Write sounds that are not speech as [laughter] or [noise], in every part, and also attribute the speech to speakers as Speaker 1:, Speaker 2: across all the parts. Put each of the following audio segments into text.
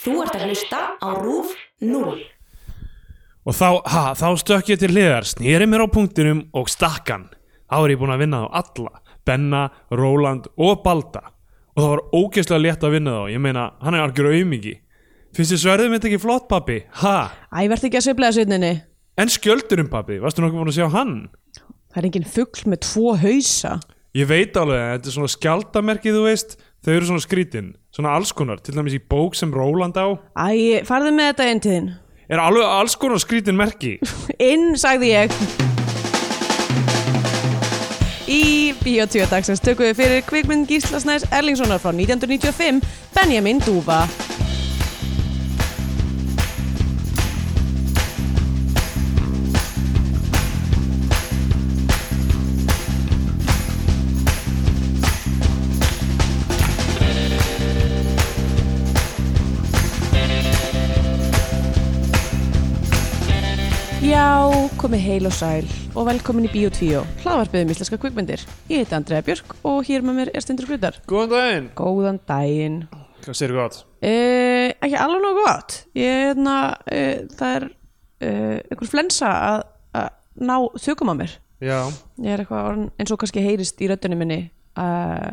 Speaker 1: Þú ert að hlusta á RÚF 0.
Speaker 2: Og þá, ha, þá stökk ég til hliðar, snýri mér á punktinum og stakkan. Þá er ég búin að vinna þá alla, Benna, Róland og Balda. Og það var ógeðslega létt að vinna þá, ég meina, hann er algjör aumingi. Finnst þið sverðið mitt ekki flott, pappi? Ha?
Speaker 3: Æ, verður ekki að sveiflega sveininni.
Speaker 2: En skjöldurinn, pappi, varstu nokkuð búin að sjá hann?
Speaker 3: Það er engin fugl með tvo hausa.
Speaker 2: Ég veit alveg að þetta er svona skjaldamerkið, þú veist, þau eru svona skrítin, svona allskonar, til dæmis í bók sem Róland á,
Speaker 3: Æ, farðu með þetta inn til þín.
Speaker 2: er alveg allskonar skrítin merki.
Speaker 3: Inn, sagði ég. Í Bíotvíu dagsins tökum við fyrir kvikmynd Gísla Snæs Erlingssonar frá 1995, Benjamin Dúfa. Já, komið heil og sæl og velkomin í Bíotvíu, hlaðvarpið um íslenska kvikmyndir. Ég heiti Andrea Björk og hér með mér er Stindur Grutar.
Speaker 2: Góðan daginn.
Speaker 3: Góðan daginn.
Speaker 2: Hvað sér gott?
Speaker 3: Uh, ekki alveg nóg gott ég, na, uh, það er uh, einhver flensa að, að ná þökum að mér
Speaker 2: Já,
Speaker 3: ég er eitthvað orðin- eins og kannski heyrist í röddunni minni uh,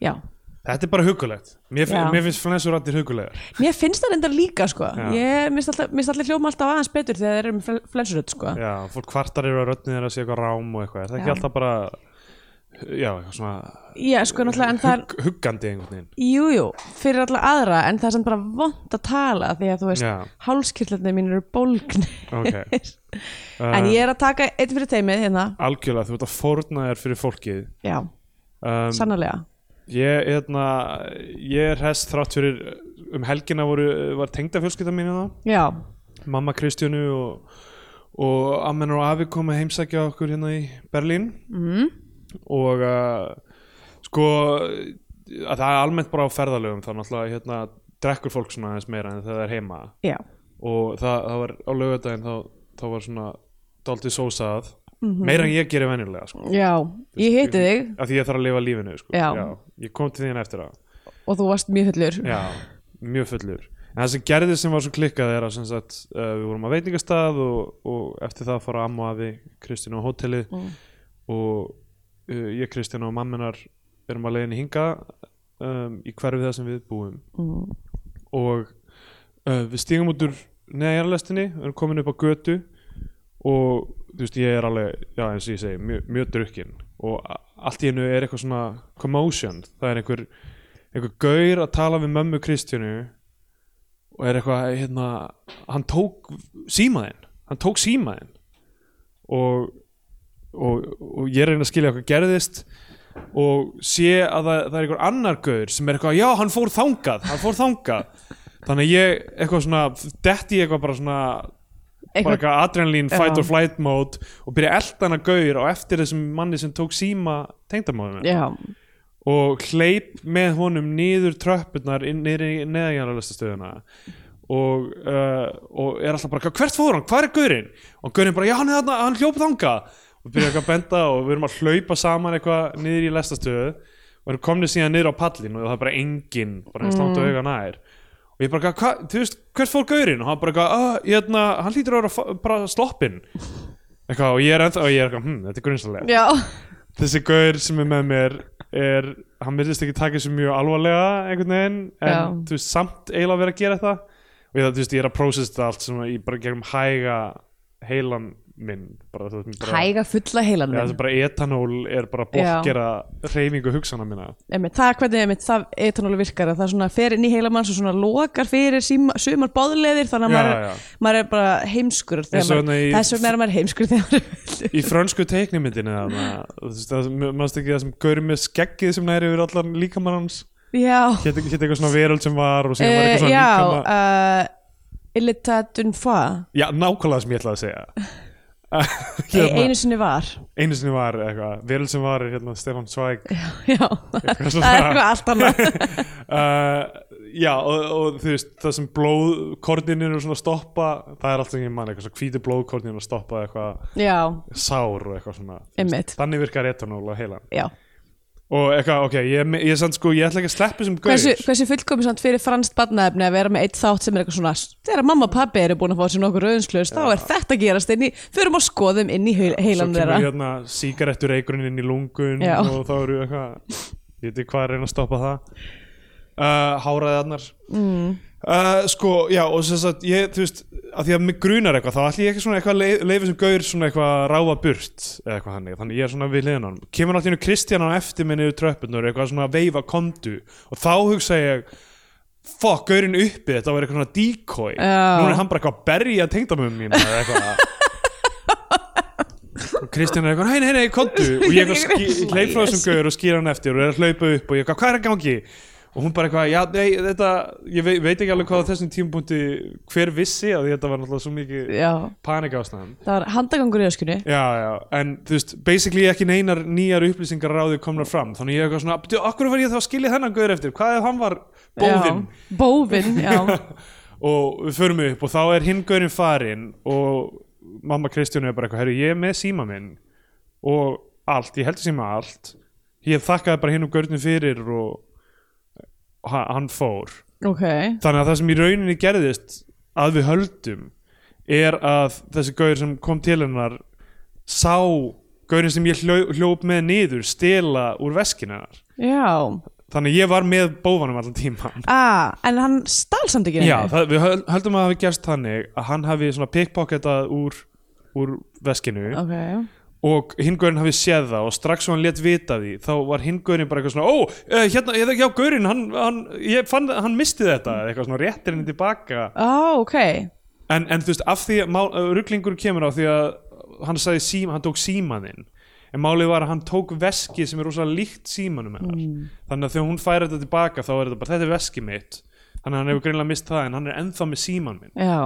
Speaker 3: já
Speaker 2: þetta er bara hugulegt. Mér,
Speaker 3: Já.
Speaker 2: finn, mér finnst flensurattir hugulegar.
Speaker 3: mér finnst það reyndar líka sko
Speaker 2: Já.
Speaker 3: ég minnst alltaf, minnst alltaf hljóma alltaf aðeins betur þegar þeir eru með fl- flensurödd sko
Speaker 2: Já, fólk kvartar eru að röddnið er að sé eitthvað rám og eitthvað, er það ekki
Speaker 3: Já.
Speaker 2: alltaf bara já, eitthvað svona
Speaker 3: já sko náttúrulega en það er
Speaker 2: hugg, huggandi einhvern veginn
Speaker 3: jújú jú, fyrir alltaf aðra en það er sem bara vond að tala því að þú veist
Speaker 2: Já.
Speaker 3: hálskirtlarnir mín eru bólgni
Speaker 2: Ok.
Speaker 3: [laughs] en ég er að taka eitt fyrir teimið hérna
Speaker 2: Algjörlega, þú ert að fórna þér fyrir fólkið
Speaker 3: já,
Speaker 2: um,
Speaker 3: sannarlega
Speaker 2: ég, hérna, ég er hess þrátt fyrir um helgina voru, var tengda fjölskylda mín hérna. það,
Speaker 3: já,
Speaker 2: mamma Kristjánu og, og ammen og afi kom að heimsækja okkur hérna í Berlín
Speaker 3: Mhm.
Speaker 2: mm. og uh, sko að það er almennt bara á ferðalögum þá náttúrulega hérna, drekkur fólk svona aðeins meira en þegar það er heima
Speaker 3: já
Speaker 2: og það, það var á laugardaginn þá, þá var svona daldið sósað meira en ég gerir venjulega sko.
Speaker 3: Já, Mhm. ég heiti þig
Speaker 2: af því ég þarf að lifa lífinu sko.
Speaker 3: Já.
Speaker 2: ég kom til þín eftir á
Speaker 3: og þú varst mjög hullur
Speaker 2: já, mjög fullur en það sem gerði sem var svo klikkað er að sem sagt, uh, við vorum á veitingastað og, og eftir það fara amma og afi Kristín á hótelið og uh, ég, Kristín og mamminar erum að leiðinni hinga um, í hverfið það sem við búum og uh, við stígum út úr neðjarlestinni, við erum komin upp á götu og þú veist ég er alveg, já eins og ég segi, mjög, mjög drukkin og a- allt í hennu er eitthvað svona commotion, það er einhver einhver gaur að tala við mömmu Kristjánu og er eitthvað hérna, hann tók símaðinn, hann tók símaðinn og, og, og ég er að reyna að skilja hvað gerðist og sé að það, það er einhver annar gaur sem er eitthvað, já hann fór þangað hann fór þangað þannig að ég eitthvað svona, detti ég eitthvað bara svona bara
Speaker 3: Eitthvað,
Speaker 2: eitthvað adrenalín fight
Speaker 3: Já.
Speaker 2: or flight mode og byrja eldan að gaur á eftir þessum manni sem tók síma tengdamáðinu
Speaker 3: já,
Speaker 2: og hleyp með honum niður tröppurnar inn niður í neðanjarðarlestastöðuna og, uh, og er alltaf bara hvert fór hann, hvað er gaurinn og gaurinn bara, já hann, er þarna, hann hljóp þanga og byrja eitthvað að benda og við erum að hlaupa saman eitthvað niður í lestastöðu og erum komnið síðan niður á pallin og það er bara enginn, bara eins langt og auga nær og ég bara, eitthvað, hvað, þú veist, hvert fór gaurinn og hann bara, eitthvað, "Ah, hérna, hann hlýtur að vera fa- bara sloppinn eitthvað, og ég er ennþá, og ég er eitthvað, hm, þetta er grunnsalega
Speaker 3: já,
Speaker 2: þessi gaur sem er með mér er, hann virðist ekki taka þessu mjög alvarlega einhvern veginn en
Speaker 3: Já.
Speaker 2: þú veist, samt eiginlega verið að gera þetta og ég, það, þú veist, ég er að processa þetta allt sem ég bara gerum hæga heilan minn bara, þú veist, bara,
Speaker 3: hæga fulla heilan
Speaker 2: Já, það er
Speaker 3: minn
Speaker 2: bara etanól er bara að blokkera hreyfingu hugsana mína
Speaker 3: Einmitt, það er hvernig einmitt, það etanólu virkar að það svona fer inn í heila manns og svona lokar fyrir síma, sumar bóðleðir
Speaker 2: Já,
Speaker 3: þannig að maður,
Speaker 2: já.
Speaker 3: maður er bara heimskur þegar
Speaker 2: Eins og hérna
Speaker 3: maður,
Speaker 2: í-
Speaker 3: þess vegna er maður heimskur þegar maður er fullur.
Speaker 2: í frönsku teiknimyndinni þarna, þú veist, það, mannst ekki það sem gaur með skeggið sem næri yfir allan líkamann hans
Speaker 3: já,
Speaker 2: hétt eitthvað svona veröld sem var og síðan var
Speaker 3: uh,
Speaker 2: eitthvað svona
Speaker 3: já
Speaker 2: líkama
Speaker 3: uh, illita dunfa
Speaker 2: já, nákvæmlega það sem ég ætlaði að Hérna. segja [laughs]
Speaker 3: e, einu sinni var [laughs]
Speaker 2: einu sinni var eitthvað, veril sem var er hérna Stefan Svæk
Speaker 3: já,
Speaker 2: Eitthvað
Speaker 3: það er
Speaker 2: svona.
Speaker 3: eitthvað allt annað
Speaker 2: [laughs] uh, já og, og þú veist það sem blóðkornin eru svona að stoppa það er allt sem ég mann, eitthvað svona hvíti blóðkornin að stoppa eitthvað
Speaker 3: já,
Speaker 2: sár og eitthvað svona þú veist.
Speaker 3: Einmitt.
Speaker 2: þannig virkar etanól á heilan
Speaker 3: já,
Speaker 2: og eitthvað, ok, ég, ég, ég, samt, sko, ég ætla ekki að sleppa þessum gaur
Speaker 3: hversu, hversu fullkomis hann fyrir franskt barnaefni að vera með eitt þátt sem er eitthvað svona þegar mamma og pabbi eru búin að fá sér nokkur rauðinslaus þá er þetta að gerast inn í, förum og skoðum inn í heil, heilan
Speaker 2: Svo
Speaker 3: þeirra
Speaker 2: kemur hérna sígarettur eikurinn inn í lungun
Speaker 3: Já.
Speaker 2: og þá eru eitthvað ég veit ekki hvað er að reyna að stoppa það uh, háraði annar mm. uh, sko, já, og sem sagt ég, þú veist, að því að mig grunar eitthvað þá ætli ég ekki svona eitthvað leif, leifi sem gaur svona eitthvað að ráfa burt eða eitthvað hannig, þannig ég er svona við hliðan á hann kemur náttúrulega Kristján á eftir minni yfir tröppunar eitthvað svona að veifa komdu og þá hugsa ég fuck, gaurinn uppi, þetta var eitthvað svona decoy
Speaker 3: Já.
Speaker 2: nú er hann bara eitthvað að berja tengdamöfum mín eða eitthvað og Kristján er eitthvað, hei, nei, nei, kontu og ég,
Speaker 3: [laughs] Ég
Speaker 2: ég,
Speaker 3: er
Speaker 2: ég hleyp frá þessum gaur og skýra hann eftir og er að hlaupa upp og ég eitthvað, hvað er að gangi? og hún bara eitthvað, já, nei, þetta ég veit, veit ekki alveg hvað á þessum tímapunkti hver vissi að þetta var náttúrulega svo mikið
Speaker 3: já,
Speaker 2: panik ástæðan
Speaker 3: það var handagangur í öskunni
Speaker 2: já, já, en þú veist, basically ekki neinar nýjar upplýsingar ráðið komnar fram þannig ég er eitthvað svona, "Bíddu, af hverju var ég þá að skilja þennan gaur eftir hvað ef hann var bóðinn
Speaker 3: já, bófin, já, [laughs]
Speaker 2: [laughs] og við förum upp og þá er hingurinn farin og mamma Kristján er bara eitthvað, herru ég er með síma minn og allt, ég heldur síma allt ég þakkaði bara hinn um görnum fyrir og ha- hann fór
Speaker 3: ok
Speaker 2: þannig að það sem í rauninni gerðist að við höldum er að þessi gaur sem kom til hennar sá gaurin sem ég hljó, hljóp með niður stela úr veskina hennar.
Speaker 3: já,
Speaker 2: þannig að ég var með bófanum allan tíman
Speaker 3: ah, en hann stál samt ekki
Speaker 2: Já,
Speaker 3: neinu.
Speaker 2: það, við höl- höldum að það hafi gerst þannig að hann hafi svona pickpocketað úr, úr veskinu
Speaker 3: ok,
Speaker 2: og hingurinn hafi séð það og strax og hann let vita því þá var hingurinn bara eitthvað svona ó, uh, hérna, ég, já, gaurinn, hann, hann, ég fann, hann misti þetta eða eitthvað svona réttir henni tilbaka
Speaker 3: ah, ok
Speaker 2: en, en þú veist, af því að rugglingur kemur á því að hann sagði síma, hann tók símaðinn en málið var að hann tók veski sem er rosalega líkt símanum hennar þannig að þegar hún færi þetta tilbaka þá er þetta bara, þetta er veski mitt þannig að hann hefur greinlega mist það en hann er ennþá með síman minn
Speaker 3: já,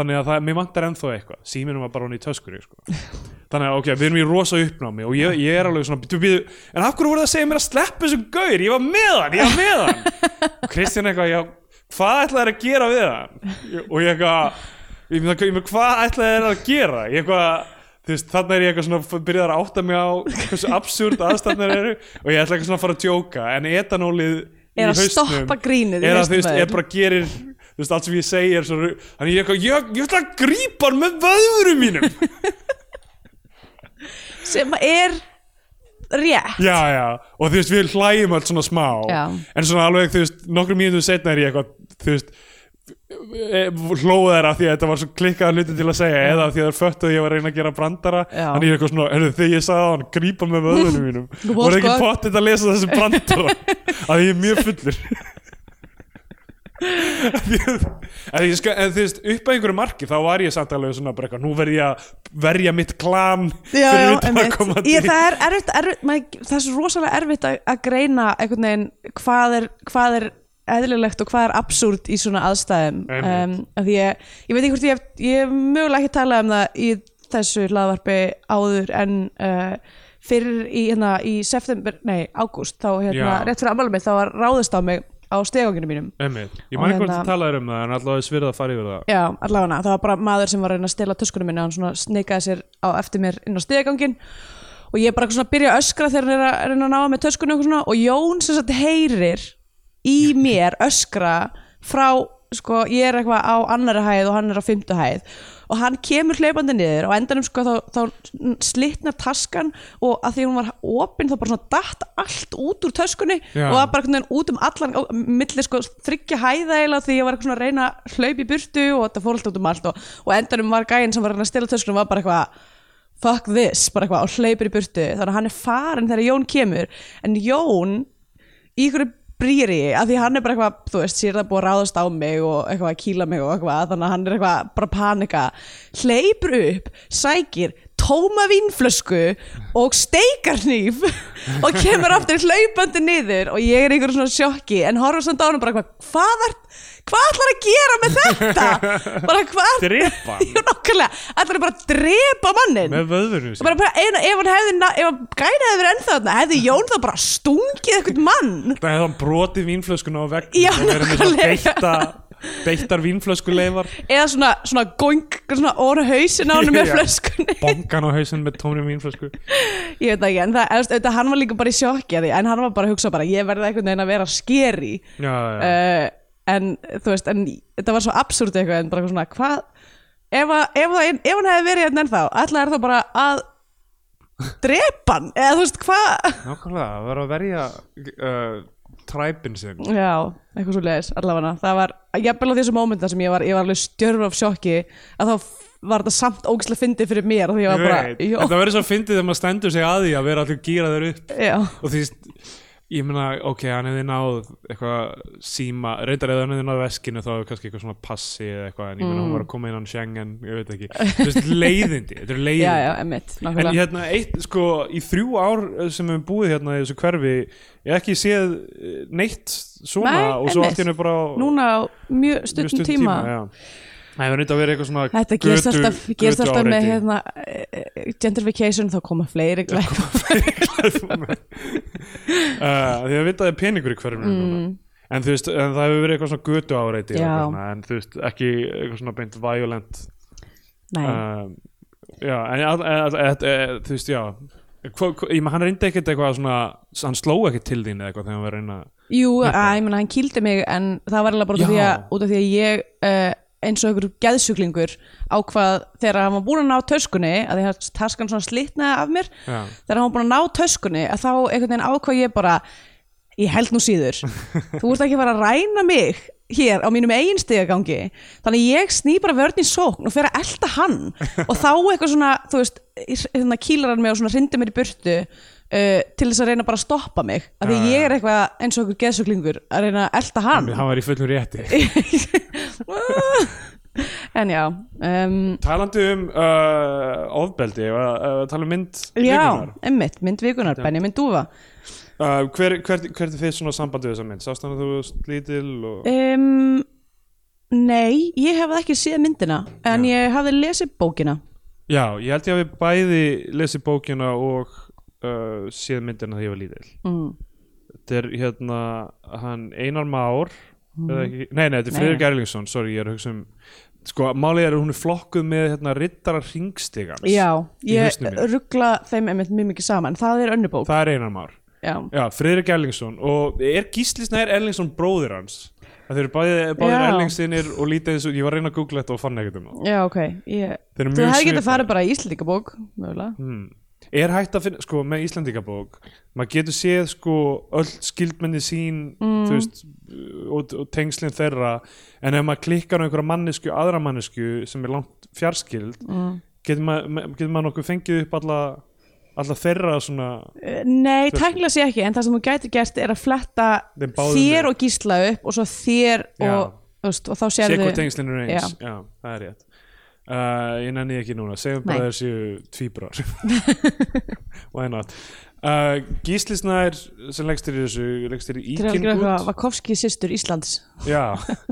Speaker 2: þannig að það, mér vantar ennþá eitthvað síminum var bara hann í töskunni sko. þannig að ok, við erum í rosa uppnámi og ég, ég er alveg svona, býtu, býtu en af hverju voru það að segja mér að sleppa þessum gaur ég var með hann, ég var með hann og Kristján eitthvað, já, hvað ætlaði þér að gera við hann og ég eitthvað ég meina, ég meina, hvað ætlaði þér að gera ég eitthvað Þú veist, þannig er ég eitthvað svona byrjar að átta mig á hversu absúrt aðstæðnir eru og ég ætla eitthvað svona að fara að djóka en etanólið í
Speaker 3: Er að
Speaker 2: hausnum
Speaker 3: stoppa grínið
Speaker 2: er
Speaker 3: í
Speaker 2: að,
Speaker 3: hausnum
Speaker 2: þú veist,
Speaker 3: á þér.
Speaker 2: er bara gerir þú veist, allt sem ég segi er svo ru- þannig ég, er eitthvað, ég, ég ætla að grípa hann með vöðurum mínum
Speaker 3: sem er rétt
Speaker 2: já, já, og þú veist, við hlægjum allt svona smá,
Speaker 3: Já.
Speaker 2: en svona alveg þú veist, nokkrum mínútum setna er ég eitthvað þú veist, e- hlóð þeirra af því að þetta var svo klikkaða hluti til að segja eða af því að þeir föttu að ég var að reyna að gera brandara
Speaker 3: Já.
Speaker 2: þannig ég er eitthvað svona, heyrðu, þegar ég sagði á hann grípa hann með
Speaker 3: [laughs]
Speaker 2: vöðurum mínum,
Speaker 3: Þú varst
Speaker 2: voru ekki
Speaker 3: gott.
Speaker 2: pottit að lesa þessu
Speaker 3: [laughs]
Speaker 2: brandara að ég er mjög fullur en, ég skal, en þú veist, upp að einhverju marki þá var ég samt alveg svona bara eitthvað nú verð ég að verja mitt klan
Speaker 3: Já,
Speaker 2: fyrir
Speaker 3: já,
Speaker 2: utan að
Speaker 3: einmitt.
Speaker 2: koma
Speaker 3: Ég,
Speaker 2: til-
Speaker 3: það er erfitt, erfitt maður, það er svo rosalega erfitt að, að greina einhvern veginn hvað er, hvað er eðlilegt og hvað er absúrt í svona aðstæðum um,
Speaker 2: Einmitt.
Speaker 3: af því ég, ég veit ekki hvort ég hef, ég hef mögulega ekki talað um það í þessu hlaðvarpi áður en uh, fyrir í, hérna, í september, nei, ágúst þá hérna,
Speaker 2: Já.
Speaker 3: rétt fyrir ammálum mitt, þá var ráðist á mig á steganginu mínum
Speaker 2: Einmitt. Ég
Speaker 3: Og
Speaker 2: man ekki hvort
Speaker 3: hérna-
Speaker 2: að talaður um það en allavega svirða að fara yfir það
Speaker 3: Já, allavega, það var bara maður sem var að reyna að stela töskunum minni, hann svona sneikaði sér á eftir mér inn á stegangin og ég er bara eitthvað svona að byrja að öskra þegar hann er að reyna að ná með töskunum og, svona, og Jón sem sagt heyrir í mér öskra frá, sko, ég er eitthvað á annari hæð og hann er á fymtu hæð og hann kemur hleypandi niður og á endanum sko þá, þá slitnar taskan og að því hún var opin þá bara svona datt allt út úr töskunni
Speaker 2: Já.
Speaker 3: og það bara einhvern veginn út um allan á milli sko þryggja hæða eiginlega því ég var eitthvað svona að reyna að hlaupa í burtu og þetta fór alltaf út um allt og, og endanum var gæinn sem var að reyna að stila töskunum var bara eitthvað fuck this, bara eitthvað og hleypur í burtu þannig að hann er farinn þegar Jón kemur en Jón í ykkur brýri að því hann er bara eitthvað, þú veist, sér það búið að ráðast á mig og eitthvað að kýla mig og eitthvað þannig að hann er eitthvað bara að panika hleypur upp, sækir tóma vínflösku og steikarnýf [laughs] og kemur aftur hlaupandi niður og ég er í ykkur svona sjokki en horfum samt á hann bara eitthvað, hvað er hvað ætlar að gera með þetta
Speaker 2: [laughs]
Speaker 3: bara hvað [laughs]
Speaker 2: Drepa hann?
Speaker 3: Jú, nokkulega, ætlar bara að drepa mannin
Speaker 2: með vöðurum
Speaker 3: bara, bara, ef, ef hann hefði, na- ef gæna hefði verið ennþá þarna, hefði Jón þá bara stungið eitthvað mann
Speaker 2: Það hefði hann brotið vínflöskuna á vegna
Speaker 3: Já,
Speaker 2: og verið með svona
Speaker 3: nákvæmlega.
Speaker 2: beitta beittar vínflöskuleifar
Speaker 3: eða svona, svona gong svona óra hausin á hann
Speaker 2: [laughs]
Speaker 3: með
Speaker 2: Já.
Speaker 3: flöskunni
Speaker 2: bongan á hausinn með tómri vínflösku
Speaker 3: ég veit það ekki, en það, eða, eða, hann var líka bara í sjokki af því, en hann var bara að hugsa bara ég verði einhvern veginn að vera skeri
Speaker 2: já, já, já.
Speaker 3: uh, en þú veist, en þetta var svo absúrt eitthvað, en bara eitthvað svona hvað, ef, að- ef, að- ef hann hefði verið hérna ennþá, alltaf er það bara að drepa hann, eða þú veist hvað
Speaker 2: nákvæmlega, það var að verja uh, træpin sinn
Speaker 3: Já, eitthvað svo leiðis, allavega það var, jafnvel á þessu mómenta sem ég var ég var alveg stjörf af sjokki að þá f- var þetta samt ógislega fyndið fyrir mér og því ég var bara,
Speaker 2: Ég veit,
Speaker 3: jó,
Speaker 2: en það verður svo fyndið þegar maður stendur sig að því að vera allir gýraður upp
Speaker 3: já
Speaker 2: og því, ég meina, ok, hann hefði náð eitthvað síma, reyndar eða hann hefði náð veskinu þá hefði kannski eitthvað svona passi eða eitthvað, en ég meina,
Speaker 3: Mm.
Speaker 2: hún var að koma innan Schengen, ég veit ekki, þú veist, leiðindi þetta
Speaker 3: [laughs]
Speaker 2: er leiðindi
Speaker 3: Já, já, emitt,
Speaker 2: En
Speaker 3: nákvæmlega
Speaker 2: hérna, eitt, sko, í þrjú ár eh, sem við höfum búið hérna í þessu hverfi ég hef ekki séð eh, neitt svona
Speaker 3: Nei,
Speaker 2: og svo
Speaker 3: einmitt.
Speaker 2: allt hérna bara á
Speaker 3: Núna á mjög
Speaker 2: mjög
Speaker 3: stundum tíma,
Speaker 2: já. Það hefur nýtt að vera eitthvað svona
Speaker 3: Þetta gerst
Speaker 2: götu-
Speaker 3: alltaf, gerst
Speaker 2: götu
Speaker 3: alltaf með
Speaker 2: áreiti.
Speaker 3: hérna, eh, eh, gentrification, þá koma fleiri glæp
Speaker 2: uh, [laughs] því að vita að það er peningur í hverfinu núna en þú veist, en það hefur verið eitthvað svona götu áreiti
Speaker 3: Mm. Já.
Speaker 2: en þú veist, ekki eitthvað svona beint violent
Speaker 3: Nei,
Speaker 2: um, já, en að- að- að- að- þú veist, já hva, hva, ég, meina, hann reyndi ekkert eitthvað svona hann sló ekkert til þín eða eitthvað þegar hann var að reyna
Speaker 3: jú, að, ég meina, hann kýldi mig en það var alveg bara út af því að,
Speaker 2: Já.
Speaker 3: út af því að ég uh, eins og einhver geðsuglingur ákvað þegar hann var búin að ná töskunni að því að taskan svona slitnaði af mér
Speaker 2: já,
Speaker 3: þegar hann var búin að ná töskunni að þá einhvern veginn ákvað ég bara ég held nú síður, þú ert ekki að fara að ræna mig hér á mínum eigin stigagangi þannig ég sný bara vörn í sókn og fer að elta hann og þá eitthvað svona, þú veist hérna kýlar hann mig og svona hrindi mér í burtu uh, til þess að reyna bara að stoppa mig af því
Speaker 2: Já, já.
Speaker 3: ég er eitthvað eins og einhver geðsuglingur að reyna að elta hann
Speaker 2: hann var í fullum rétti
Speaker 3: [laughs] en já um,
Speaker 2: talandi um uh, ofbeldi og uh, tala um mynd
Speaker 3: já,
Speaker 2: vikunnar.
Speaker 3: emmitt, mynd vikunar, Benjamin Dúfa
Speaker 2: uh, hver, hver, hvert er þið svona sambandi við þessa mynd sást hann að þú varst lítil og...
Speaker 3: um, Nei, ég hef ekki séð myndina en ég hafði lesið bókina
Speaker 2: já, ég held ég að við bæði lesið bókina og uh, séð myndina þegar ég var lítil
Speaker 3: mm.
Speaker 2: þetta er hérna hann Einar Már eða ekki, nei, nei, þetta er
Speaker 3: Mm. Nei,
Speaker 2: Friðrik
Speaker 3: nei.
Speaker 2: Erlingsson sorry, ég er að hugsa um sko, málið er að hún er flokkuð með hérna rittara ringstigans
Speaker 3: Já,
Speaker 2: í
Speaker 3: ég
Speaker 2: hausnum mínum.
Speaker 3: ruggla þeim einmitt mjög mikið saman Það er önnur bók
Speaker 2: það er Einar Már
Speaker 3: Já,
Speaker 2: Já, Friðrik Erlingsson og er Gísli Snær Erlingsson bróðir hans það eru bæði, báðir
Speaker 3: Já.
Speaker 2: Erlingsinir og lítið eins og ég var að reyna að googla þetta og fann ekkert um það
Speaker 3: já ok ég...
Speaker 2: Þeir eru mjög
Speaker 3: Þú hefði
Speaker 2: svipaðir.
Speaker 3: getað farið bara í Íslandingabók Mögulega
Speaker 2: hmm. er hægt að finna, sko, með Íslandingabók maður getur séð sko öll skildmenni sín þú veist, uh, og, og tengslin þeirra en ef maður klikkar á einhverja mannesku aðra mannesku sem er langt fjarskild mm. getur maður ma- getur maður nokkuð fengið upp alla, alla þeirra svona
Speaker 3: Eh, Nei, tæknilega sé ekki, en það sem þú gæti gert er að fletta
Speaker 2: Þeim báðum
Speaker 3: þér
Speaker 2: við.
Speaker 3: og gísla upp og svo þér
Speaker 2: Já.
Speaker 3: og, þú veist, og þá
Speaker 2: sé
Speaker 3: sérðu
Speaker 2: hvort tengslinn eru eins já. það er rétt uh, ég nenni ekki núna, segjum bara
Speaker 3: Nei.
Speaker 2: þeir séu tvíbrar [laughs] why not uh, Gísli Snær sem leggst í þessu leggst í
Speaker 3: Til að gera eitthvað
Speaker 2: Íkingut
Speaker 3: Vakovski systur Íslands
Speaker 2: já [laughs]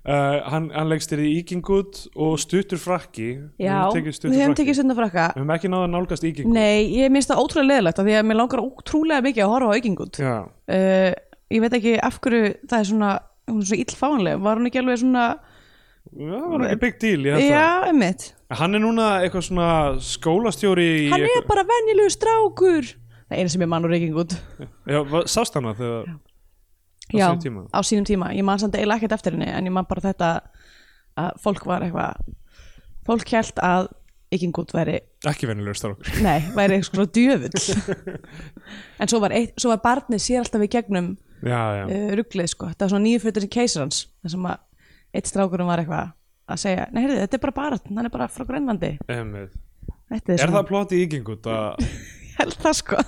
Speaker 2: Uh, hann, hann leggst þér í Íkingut og stuttur frakki
Speaker 3: Já,
Speaker 2: við höfum tekið
Speaker 3: við
Speaker 2: stuttur
Speaker 3: hefum
Speaker 2: frakki
Speaker 3: tekið stundar frakka
Speaker 2: við höfum ekki náða nálgast Íkingut
Speaker 3: Nei, ég minnst það ótrúlega leðilegt af því að mér langar ótrúlega mikið að horfa á aukingut uh,
Speaker 2: Já,
Speaker 3: Ég veit ekki af hverju það er svona hún er svo illfáanleg, var hún ekki alveg svona
Speaker 2: það var ekki big deal ég held
Speaker 3: Já, emmitt,
Speaker 2: það. Hann er núna eitthvað svona skólastjóri í
Speaker 3: hann er
Speaker 2: eitthvað-
Speaker 3: bara venjulegu strákur Það er eina sem ég man úr aukingut
Speaker 2: Já, va- Sást hana þegar
Speaker 3: Já,
Speaker 2: sínum tíma.
Speaker 3: á sínum tíma Ég man samt eiginlega ekkert eftir henni en ég man bara þetta að fólk var eitthvað fólk held að aukingut væri
Speaker 2: ekki venilegur starf
Speaker 3: Nei, væri eitthvað svona djöfull
Speaker 2: [laughs]
Speaker 3: En svo var, eitt, svo var barnið sér alltaf í gegnum
Speaker 2: Já, já
Speaker 3: uh, rugglið sko, þetta var svona nýju fyrir keisarans þar sem að eitt strákurum var eitthvað að segja, nei heyrðu, þetta er bara barat hann er bara frá Grænlandi
Speaker 2: Einmitt.
Speaker 3: þetta er,
Speaker 2: Er
Speaker 3: svona,
Speaker 2: það plott í ígengut að,
Speaker 3: það... [laughs] held það sko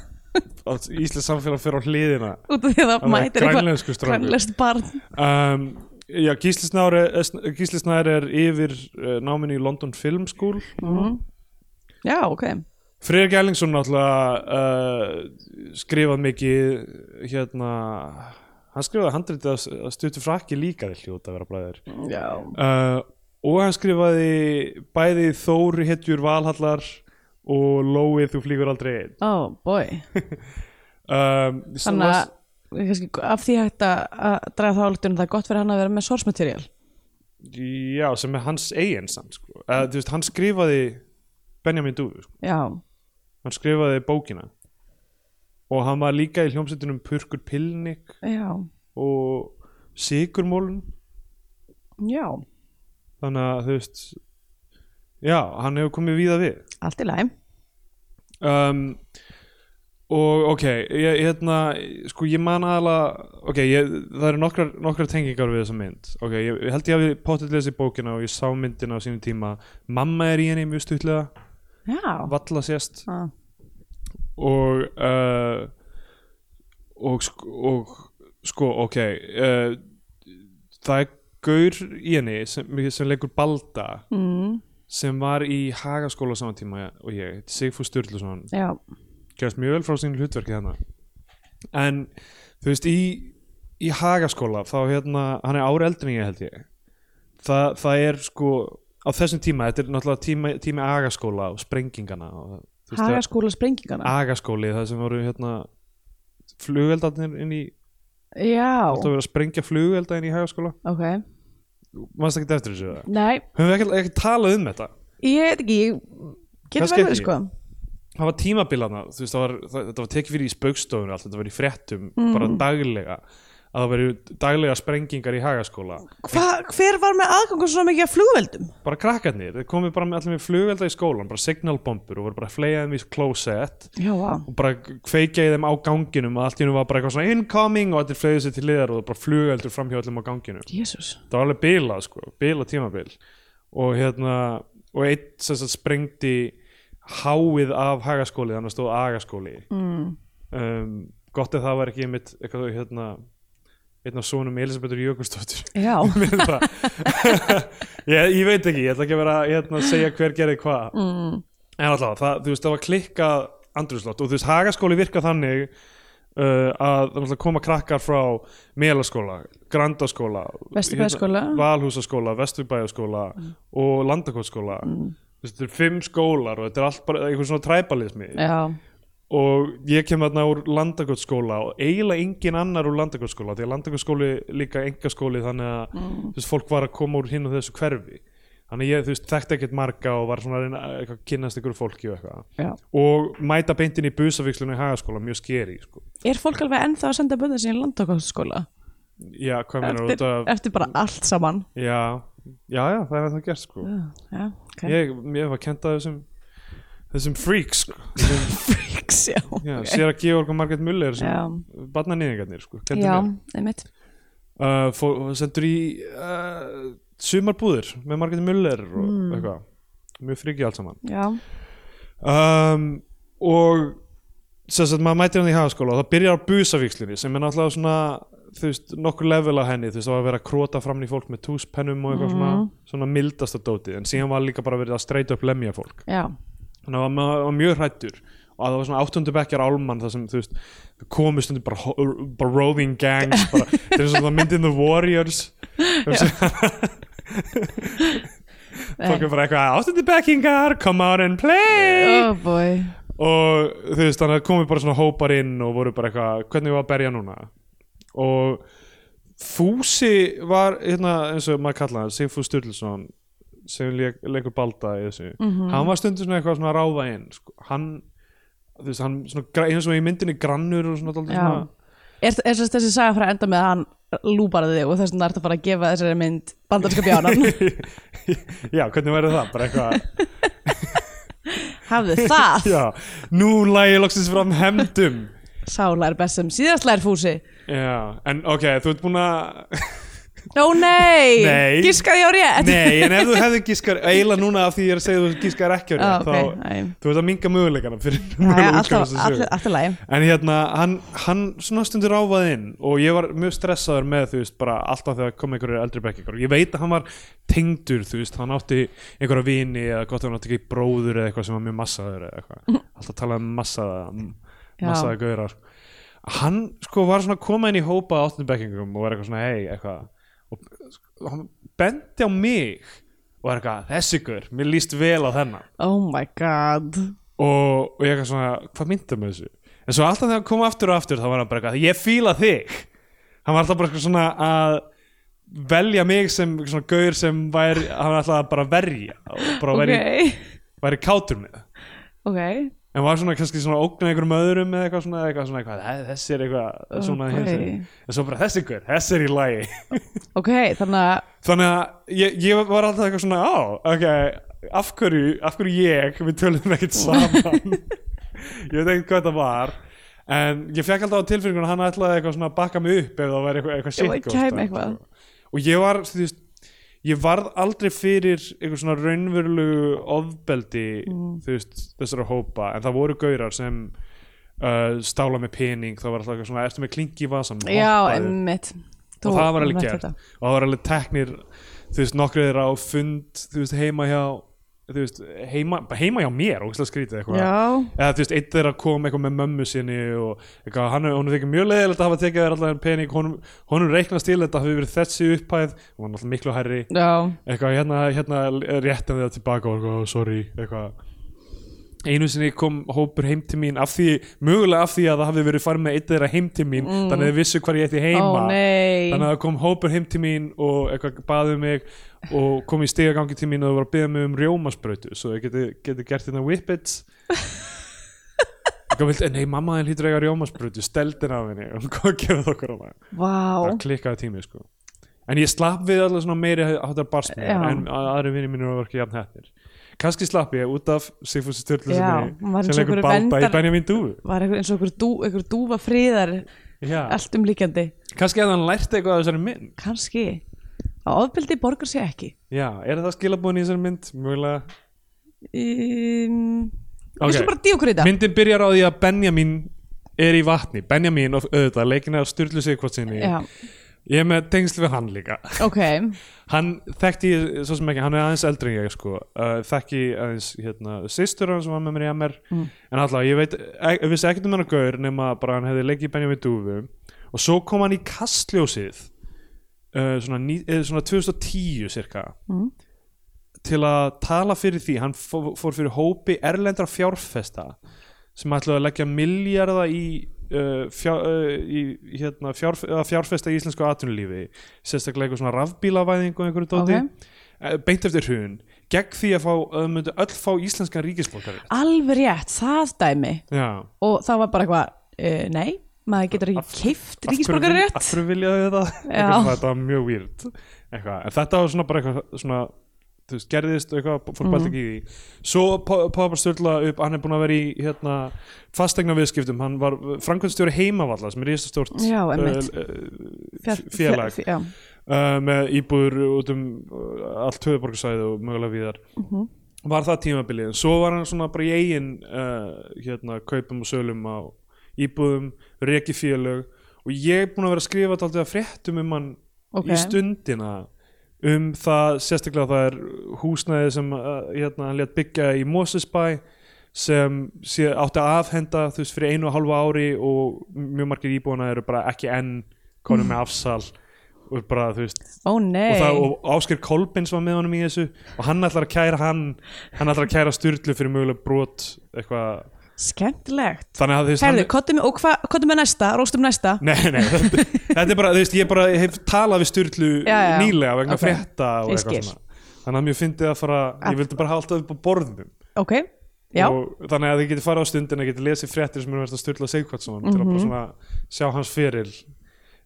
Speaker 2: að Íslands samfélag fyrir á hliðina?
Speaker 3: út af því að það
Speaker 2: var
Speaker 3: mætir
Speaker 2: grænlenskur strákur.
Speaker 3: grænlenskt barn
Speaker 2: Um, já, Gísli Snær er, Gísli Snær er yfir uh, náminni í London Film School.
Speaker 3: já, ok,
Speaker 2: Friðrik Ellingsson náttúrulega uh, skrifað mikið hérna... Hann skrifaði handritið að, að stuttu frakki líka þeir hljóta að vera bræðir.
Speaker 3: já,
Speaker 2: Uh, og hann skrifaði bæði Þór hetjur Valhallar og Lóið þú flýgur aldrei einn.
Speaker 3: oh boy
Speaker 2: Um,
Speaker 3: þannig að kannski, af því hægt að að draga þá álutinu það er gott fyrir hann að vera með source material
Speaker 2: já, sem er hans eigin samt sko. eða, þú veist, hann skrifaði Benjamin Dúfu, sko.
Speaker 3: já,
Speaker 2: hann skrifaði bókina og hann var líka í hljómsveitunum Purkur Pilnik
Speaker 3: já,
Speaker 2: og Sigurmólun
Speaker 3: já
Speaker 2: þannig að þú veist já, hann hefur komið víða við
Speaker 3: allt í læm
Speaker 2: um, og ok ég, hérna, sko ég man aðalega ok, ég, það eru nokkrar, nokkrar tengingar við þessa mynd, ok, ég, ég held ég hafi pottið lesið bókina og ég sá myndina á sínum tíma mamma er í henni mjög stutlega
Speaker 3: já,
Speaker 2: valla sést
Speaker 3: Ah,
Speaker 2: og uh, og, sk- og sko, ok uh, það er gaur í henni sem, sem leikur balda
Speaker 3: mm,
Speaker 2: sem var í hagaskóla saman tíma og ég, Sigfús Sturluson
Speaker 3: já,
Speaker 2: gerst mjög vel frá sínu hlutverki þarna en þú veist í, í hagaskóla þá hérna, hann er ári eldri en ég held ég Þa, það er sko á þessum tíma, þetta er náttúrulega tíma, tími agaskóla og sprengingana og, þú veist, það- Ah.
Speaker 3: hagaskóla sprengingana
Speaker 2: agaskóli, það sem voru hérna flugeldarnir inn í
Speaker 3: já,
Speaker 2: alltaf verið að sprengja flugelda inn í hagaskóla
Speaker 3: ok
Speaker 2: mannst ekki eftir þessu það
Speaker 3: nei,
Speaker 2: höfum við ekki, ekki talað um þetta
Speaker 3: ég veit ekki ég- getur
Speaker 2: Kannski
Speaker 3: vel verið
Speaker 2: ekki.
Speaker 3: sko
Speaker 2: það var tímabilana þú veist, það var, það, þetta var tekið fyrir í spaukstofunni allt, þetta var í fréttum, bara daglega að það veri daglega sprengingar í hagaskóla,
Speaker 3: Hva, hver var með aðgangu svona mikið að flugveldum
Speaker 2: bara krakkarnir þeir komið bara með allir með flugvelda í skólan bara signalbombur og voru bara að fleia þeim í klósett
Speaker 3: já, vá,
Speaker 2: og bara kveikja í þeim á ganginum og allt í hennu var bara eitthvað svona incoming og allir fleiði sér til liðar og bara flugveldur framhjá öllum á ganginum
Speaker 3: jésús
Speaker 2: það var alveg bila sko, bila tímabil og hérna og eitt sem sagt sprengdi háið af hagaskóli, þannig að stóð agaskóli mm. um, gott ef það var ekki einmitt eitthvað hérna einn af sonum Elisabethur Jökulsdóttur
Speaker 3: já,
Speaker 2: Mér er það.
Speaker 3: [laughs]
Speaker 2: ég, ég veit ekki, ég ætla ekki að vera hérna, að segja hver gerði hvað mm. en allavega, það, þú veist, það var klikkað andrúslott og þú veist, hagaskóli virka þannig uh, að það náttúrulega koma krakkar frá Mélaskóla, Grandaskóla
Speaker 3: Vesturbæjarskóla. Mm.
Speaker 2: hérna, Valhúsaskóla, Vesturbæjaskóla og Landakotsskóla mm. þetta er fimm skólar og þetta er allt bara einhver svona træbalismi
Speaker 3: já,
Speaker 2: og ég kem þarna úr landakotsskóla og eiginlega engin annar úr landakotsskóla því að landakotsskóli líka engaskóli þannig að mm. veist, fólk var að koma úr hinn og þessu hverfi þannig að ég þú veist, þekkti ekkert marga og var svona að reyna að eitthvað kynnast ykkur fólki og eitthvað
Speaker 3: já
Speaker 2: og mæta beintin í busafíkslunum í hagaskóla mjög skeri sko.
Speaker 3: Er fólk alveg ennþá að senda bönnið sín í landakostskóla?
Speaker 2: já, hvað meinar
Speaker 3: Eftir,
Speaker 2: út af
Speaker 3: eftir bara allt saman
Speaker 2: já, já, já, það er það gert sko.
Speaker 3: Já, ok
Speaker 2: ég, ég var kent að þessum þessum freaks sko. þessum,
Speaker 3: Freaks, já,
Speaker 2: já,
Speaker 3: ok.
Speaker 2: okay. sér að Georg og Margaret Muller sem
Speaker 3: Já.
Speaker 2: barnanýðingarnir sko, kenndu
Speaker 3: já
Speaker 2: mér.
Speaker 3: einmitt
Speaker 2: uh, fó- sendur í uh, sumarbúðir með Margreti Müller og eitthvað mjög frikið allt saman
Speaker 3: Já,
Speaker 2: um, og sem sagt maður mætir hann í hagaskóla og það byrjar á busavíkslinni sem er náttúrulega svona þú veist, nokkur level á henni þú veist, það var að vera að króta fram í fólk með túspennum og eitthvað svona, svona mildasta dótið en síðan var líka bara verið að streyta upp lemja fólk
Speaker 3: já,
Speaker 2: þannig að maður var mjög hrættur og það var svona áttundu bekkjar álmann þar sem þú veist, komið stundu bara, ho- bara roving gangs bara, það er svona myndin The Warriors fólk er bara eitthvað áttundu bekkingar, come out and play
Speaker 3: oh boy
Speaker 2: og þú veist, þannig að komið bara svona hópar inn og voru bara eitthvað, hvernig var að berja núna og Fúsi var, hérna, eins og maður kallaði hann Sigfús Sturluson sem leik, leikur balda í þessu hann var stundum svona eitthvað svona að ráða inn sko. hann, þú veist, hann svona, gra- eins og í myndinni grannur og svona, dálítið
Speaker 3: Já.
Speaker 2: svona
Speaker 3: Er, er þess þessi saga frá að enda með að hann lúbaraði þig og þess vegna ertu að fara að gefa þessari mynd bandarska bjánan
Speaker 2: já, hvernig verður það, bara eitthvað
Speaker 3: [laughs] Hafðu það,
Speaker 2: já, nú lægi loksins fram hemdum
Speaker 3: sála er best sem síðast lær fúsi
Speaker 2: já, en ok, þú ert búin að
Speaker 3: Ó nei,
Speaker 2: Nei.
Speaker 3: giskaði ég á rétt
Speaker 2: Nei, en ef þú hefði gískar eiginlega núna af því ég er að segja þú gískar ekki á
Speaker 3: Já,
Speaker 2: rétt,
Speaker 3: Ah, ok,
Speaker 2: þá
Speaker 3: nei.
Speaker 2: þú veist að minga möguleikana fyrir
Speaker 3: Æja,
Speaker 2: möguleika
Speaker 3: alltaf,
Speaker 2: þessu sögu.
Speaker 3: alltaf, alltaf læg
Speaker 2: En hérna, hann, hann svona stundur ráfað inn og ég var mjög stressaður með, þú veist, bara alltaf þegar kom einhverjir eldri bekkingar. Ég veit að hann var tengdur, þú veist, hann átti einhverja vini eða gott að hann átti ekki bróður eða eitthvað sem var mjög massaður eða eitthvað. Alltaf talaði um massaða,
Speaker 3: Já.
Speaker 2: massaða gaurar. Hann, sko, var svona að koma inn í hópa af áttundu bekkingum og var eitthvað svona, hei, eitthvað. Og sko, hann benti á mig og var eitthvað, þessi gaur, mér líst vel á þennan
Speaker 3: [laughs] Oh my god
Speaker 2: og, og ég eitthvað svona, hvað myndum með þessu en en svo alltaf þegar hann kom aftur og aftur þá var hann bara eitthvað, ég fíla þig hann var alltaf bara eitthvað svona að velja mig sem svona gaur sem væri, hann var alltaf bara að verja og bara
Speaker 3: ok,
Speaker 2: væri, væri kátur með
Speaker 3: ok
Speaker 2: en var svona kannski svona ógna einhverjum öðrum eða eitthvað svona, eitthvað svona eitthvað, "Æ, þessi er eitthvað svona
Speaker 3: Ok.
Speaker 2: okay. en svo bara þessi gaur, þessi er í lagi
Speaker 3: ok, þannig að
Speaker 2: þannig að ég, ég var alltaf eitthvað svona á, ok, af hverju af hverju ég, við tölum ekkert
Speaker 3: [laughs]
Speaker 2: saman ég veit ekkert hvað það var en ég fekk alltaf á tilfinningun að hann ætlaði eitthvað svona að bakka mig upp ef það væri eitthvað, eitthvað
Speaker 3: Ef
Speaker 2: shit
Speaker 3: það
Speaker 2: ghost
Speaker 3: kæmi
Speaker 2: þarna,
Speaker 3: eitthvað.
Speaker 2: sko. og ég var, þú veist ég varð aldrei fyrir eitthvað svona raunverulegu ofbeldi
Speaker 3: Mm.
Speaker 2: þú veist, þessara hópa en það voru gaurar sem uh, stála með pening, það var alltaf eitthvað svona ertu með klingi í vasan
Speaker 3: já, emmitt
Speaker 2: og það var alveg gert og það var alveg teknir þú veist, nokkrið þeirra á fund þú veist, heima hjá þú veist, heima, bara heima hjá mér ógeðslega skrítið eitthvað
Speaker 3: já,
Speaker 2: eða þú veist, einn þeirra kom eitthvað með mömmu sinni og eitthvað, hann, hún er þykir mjög leiðilegt að hafa tekið þér allan pening honum, honum reiknast til þetta hafi verið þessi upphæð og hann alltaf miklu hærri
Speaker 3: já,
Speaker 2: eitthvað, hérna, hérna réttum við það tilbaka og eitthvað, sorry, eitthvað einu sinni kom hópur heim til mín af því, mögulega af því að það hafi verið farið með eitt þeirra heim til mín þannig að þið vissu hvar ég ætti heima
Speaker 3: Mm. Ó, nei.
Speaker 2: þannig að það kom hópur heim til mín og eitthvað baðið um mig og kom í stigagangi til mín og það var að beða mig um rjómasbrautu svo ég geti, geti gert hérna whippets eitthvað vilt, nei mamma þín hlýtur að eiga rjómasbrautu steldir af henni [laughs] og hvað gerðu okkur á það
Speaker 3: vá
Speaker 2: það klikkaði tími sko en ég slapp við alveg svona meiri hátar
Speaker 3: Já.
Speaker 2: barsmið en að- aðri vinni mínir var ekki jafn hættir kannski slapp ég út af Sigfúsi Sturlu
Speaker 3: Já,
Speaker 2: sem,
Speaker 3: hann var eins og
Speaker 2: leikur
Speaker 3: einhver
Speaker 2: balda í
Speaker 3: verndar-
Speaker 2: Benjamin Dúfu
Speaker 3: var einhver, eins og einhver, dú, einhver dúfa friðar
Speaker 2: Já.
Speaker 3: allt um líkandi,
Speaker 2: kannski að hann lært eitthvað af þessari mynd
Speaker 3: kannski að ofbeldi borgar sig ekki
Speaker 2: Já, er það skilabúin í þessari mynd? Mjögulega
Speaker 3: um,
Speaker 2: Ok.
Speaker 3: við slum bara dýokrita
Speaker 2: Myndin byrjar á því að Benjamin er í vatni Benjamin og auðvitað, leikina af Sturlu Sigfúsinni
Speaker 3: já,
Speaker 2: Ég er með tengsl við hann líka
Speaker 3: ok,
Speaker 2: hann þekkti ég svo sem ekki, hann er aðeins eldri en ég sko, uh, þekki aðeins hérna, systur hans sem var með mér í MR en alltaf, ég veit, ég vissi ekkert um hann að gaur nema bara hann hefði leikið í Benjamin Dúfu og svo kom hann í kastljósið uh, svona, ní, eh, svona 2010 cirka
Speaker 3: Mm.
Speaker 2: til að tala fyrir því hann fó- fór fyrir hópi erlendra fjárfesta sem ætlaði að leggja milljarða í, uh, fjár, uh, í hérna, fjárf, eða fjárfesta í íslensku atvinnulífi sérstaklega eitthvað svona rafbílavæðingu og einhverju dóti
Speaker 3: Ok.
Speaker 2: okay. beint eftir hrun gegn því að fá, að þau myndu öll fá íslenskan ríkisbókari
Speaker 3: alveg rétt það dæmi
Speaker 2: Já,
Speaker 3: og það var bara eitthvað, uh, nei maður getur ekki keift
Speaker 2: af hverju-
Speaker 3: ríkisborgar
Speaker 2: af
Speaker 3: rétt
Speaker 2: hverju viljaðu þau það Eitthvað svona, þetta var mjög weird eitthvað. en þetta var svona bara eitthvað svona, þú veist, gerðist og eitthvað, fór
Speaker 3: Mhm.
Speaker 2: bælt ekki í því svo poppar Sturla upp hann er búin að vera í hérna, fastegna viðskiptum, hann var framkvæmstjóri heimavalla sem er í þessu stort
Speaker 3: Já, einmitt.
Speaker 2: félag.
Speaker 3: fjall, já,
Speaker 2: uh, með íbúður út um uh, allt höfuborgarsæði og mögulega víðar var það tímabilið en svo var hann svona bara í eigin uh, hérna, kaupum og sölum á íbúðum, reki félög og ég er búin að vera að skrifa dálítið að fréttum um hann
Speaker 3: Ok.
Speaker 2: í stundina um það sérstaklega það er húsnæði sem uh, hérna, hann létt byggja í Mosesbæ sem sé, átti að afhenda þú veist fyrir einu og halvu ári og mjög margir íbúðana eru bara ekki enn konum með afsal og bara þú veist
Speaker 3: ó
Speaker 2: og,
Speaker 3: nei
Speaker 2: það, og Ásker Kolbins var með honum í þessu og hann ætlar að kæra hann hann ætlar að kæra Sturlu fyrir mögulega brot eitthvað
Speaker 3: skemmtilegt
Speaker 2: þannig að þú veist
Speaker 3: Herðu,
Speaker 2: hann-
Speaker 3: kottum, og hvað, kottum með næsta, róstum næsta
Speaker 2: Nei, nei, þetta, þetta er bara, þú veist, ég bara hef talað við Sturlu
Speaker 3: Já, já.
Speaker 2: nýlega vegna okay.
Speaker 3: Ok.
Speaker 2: frétta og
Speaker 3: Ég
Speaker 2: eitthvað
Speaker 3: skil.
Speaker 2: svona þannig að mér fyndi að fara, ég vildi bara halda upp á borðum
Speaker 3: ok, já,
Speaker 2: og þannig að þið getið farið á stundin að getið lesið fréttir sem eru verið að Sturla Sigvatsson mm til að
Speaker 3: Mhm.
Speaker 2: bara svona sjá hans fyrir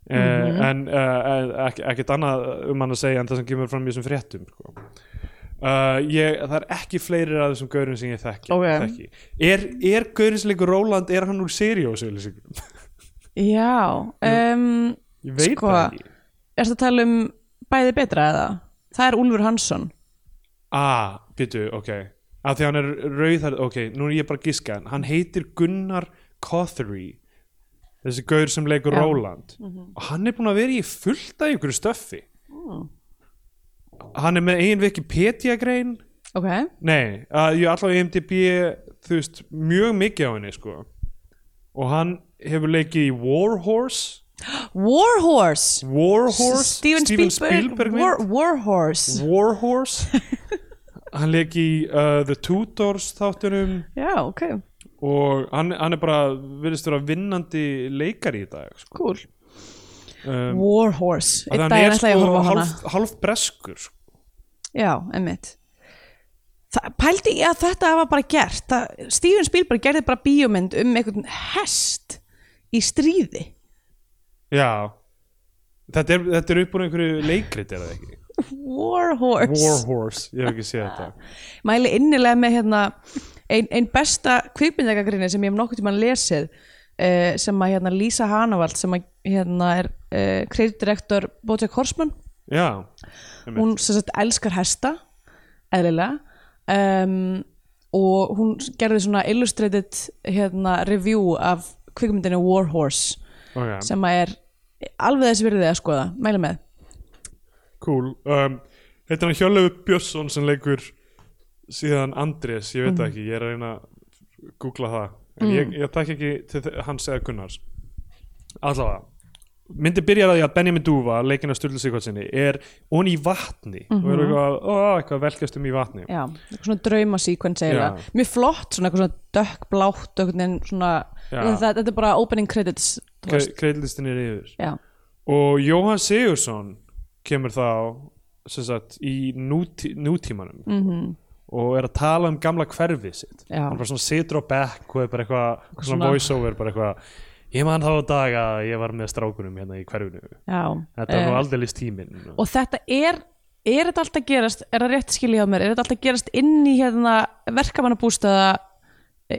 Speaker 2: mm en uh, ekki, ekkert annað um hann að segja en það sem kemur fram í þessum fréttum sko. uh, ég, það er ekki fleiri að þessum gaurum sem ég þekki,
Speaker 3: Ok.
Speaker 2: þekki. er, er gaurin sem leikur Róland er hann úr Sirius auglýsingum?
Speaker 3: já um,
Speaker 2: ég veit
Speaker 3: Sko,
Speaker 2: það ekki
Speaker 3: erstu að tala um bæði betra eða? Það er Úlfur Hansson
Speaker 2: Ah, býtu, ok að því hann er rauðar, ok, nú er ég bara að gíska hann heitir Gunnar Cothery þessi gaur sem leikur
Speaker 3: Já. Mhm.
Speaker 2: Róland og hann er búin að vera í fullt af einhverju stöffi
Speaker 3: Mm.
Speaker 2: hann er með eigin Wikipedia grein
Speaker 3: ok,
Speaker 2: nei, að ég allavega IMDb þú veist, mjög mikið á henni sko og hann hefur leikið í Warhorse
Speaker 3: Warhorse
Speaker 2: Warhorse,
Speaker 3: Steven Spielberg,
Speaker 2: mynd.
Speaker 3: War, Warhorse
Speaker 2: [laughs] Warhorse hann leik í uh, The Tudors þáttunum
Speaker 3: já, ok,
Speaker 2: og hann, hann er bara virðist vera vinnandi leikari í dag sko.
Speaker 3: cool
Speaker 2: um,
Speaker 3: Warhorse,
Speaker 2: að
Speaker 3: einn
Speaker 2: hann
Speaker 3: daginn
Speaker 2: er
Speaker 3: ætla ég að
Speaker 2: sko
Speaker 3: horfa á hana
Speaker 2: hálf, hálf breskur sko.
Speaker 3: já, emmitt pældi ég að þetta hafa bara gert það, Steven Spielberg gerði bara bíómynd um einhvern hest í stríði
Speaker 2: já þetta er, þetta er upp úr einhverju leikrit er það ekki
Speaker 3: Warhorse
Speaker 2: Warhorse, ég hef ekki séð þetta
Speaker 3: mæli innilega með hérna ein, ein besta kvikmyndagagrinni sem ég hef nokkuð tíma lesið uh, sem að hérna Lisa Hanavald sem að hérna er uh, kreitdirektor Bojack Horseman
Speaker 2: já,
Speaker 3: hún sem sagt elskar hesta eðlilega um, og hún gerði svona illustrated hérna review af kvikmyndinu Warhorse
Speaker 2: ok,
Speaker 3: sem að er alveg þessi virðið að skoða mæli með
Speaker 2: cool um, heitir hann Hjörlefi Björnsson sem leikur síðan Andrés, ég veit það ekki ég er að reyna að googla það en ég, ég takk ekki til þe- hans eða Gunnars allavega myndi byrjar að því að Benjamin Dúfa leikina Sturlu Sigvartsinni er on í vatni og er eitthvað, ó, eitthvað velkjast um í vatni
Speaker 3: Já, eitthvað svona draumasíkvens eiginlega.
Speaker 2: Já.
Speaker 3: Mjög flott, svona eitthvað svona dökkblátt, einhvern veginn svona,
Speaker 2: Já.
Speaker 3: þetta, þetta er bara opening credits, þú veist.
Speaker 2: kreidlistin er yfir
Speaker 3: Já,
Speaker 2: og Jóhann Sigursson kemur þá sem sagt, í nútí, nútímanum -hmm. og er að tala um gamla hverfið sitt
Speaker 3: Mhm. Já.
Speaker 2: hann bara svona situr á bekk og er bara eitthvað, svona,
Speaker 3: Svona-
Speaker 2: svona voiceover bara eitthvað, ég man þá á dag að ég var með strákunum hérna í hverfinu
Speaker 3: já.
Speaker 2: þetta var nú
Speaker 3: Eh,
Speaker 2: aldeilis tíminn
Speaker 3: Og þetta er, er þetta alltaf gerast, er það rétt skilja á mér, er þetta alltaf gerast inn í hérna verkamannabústaða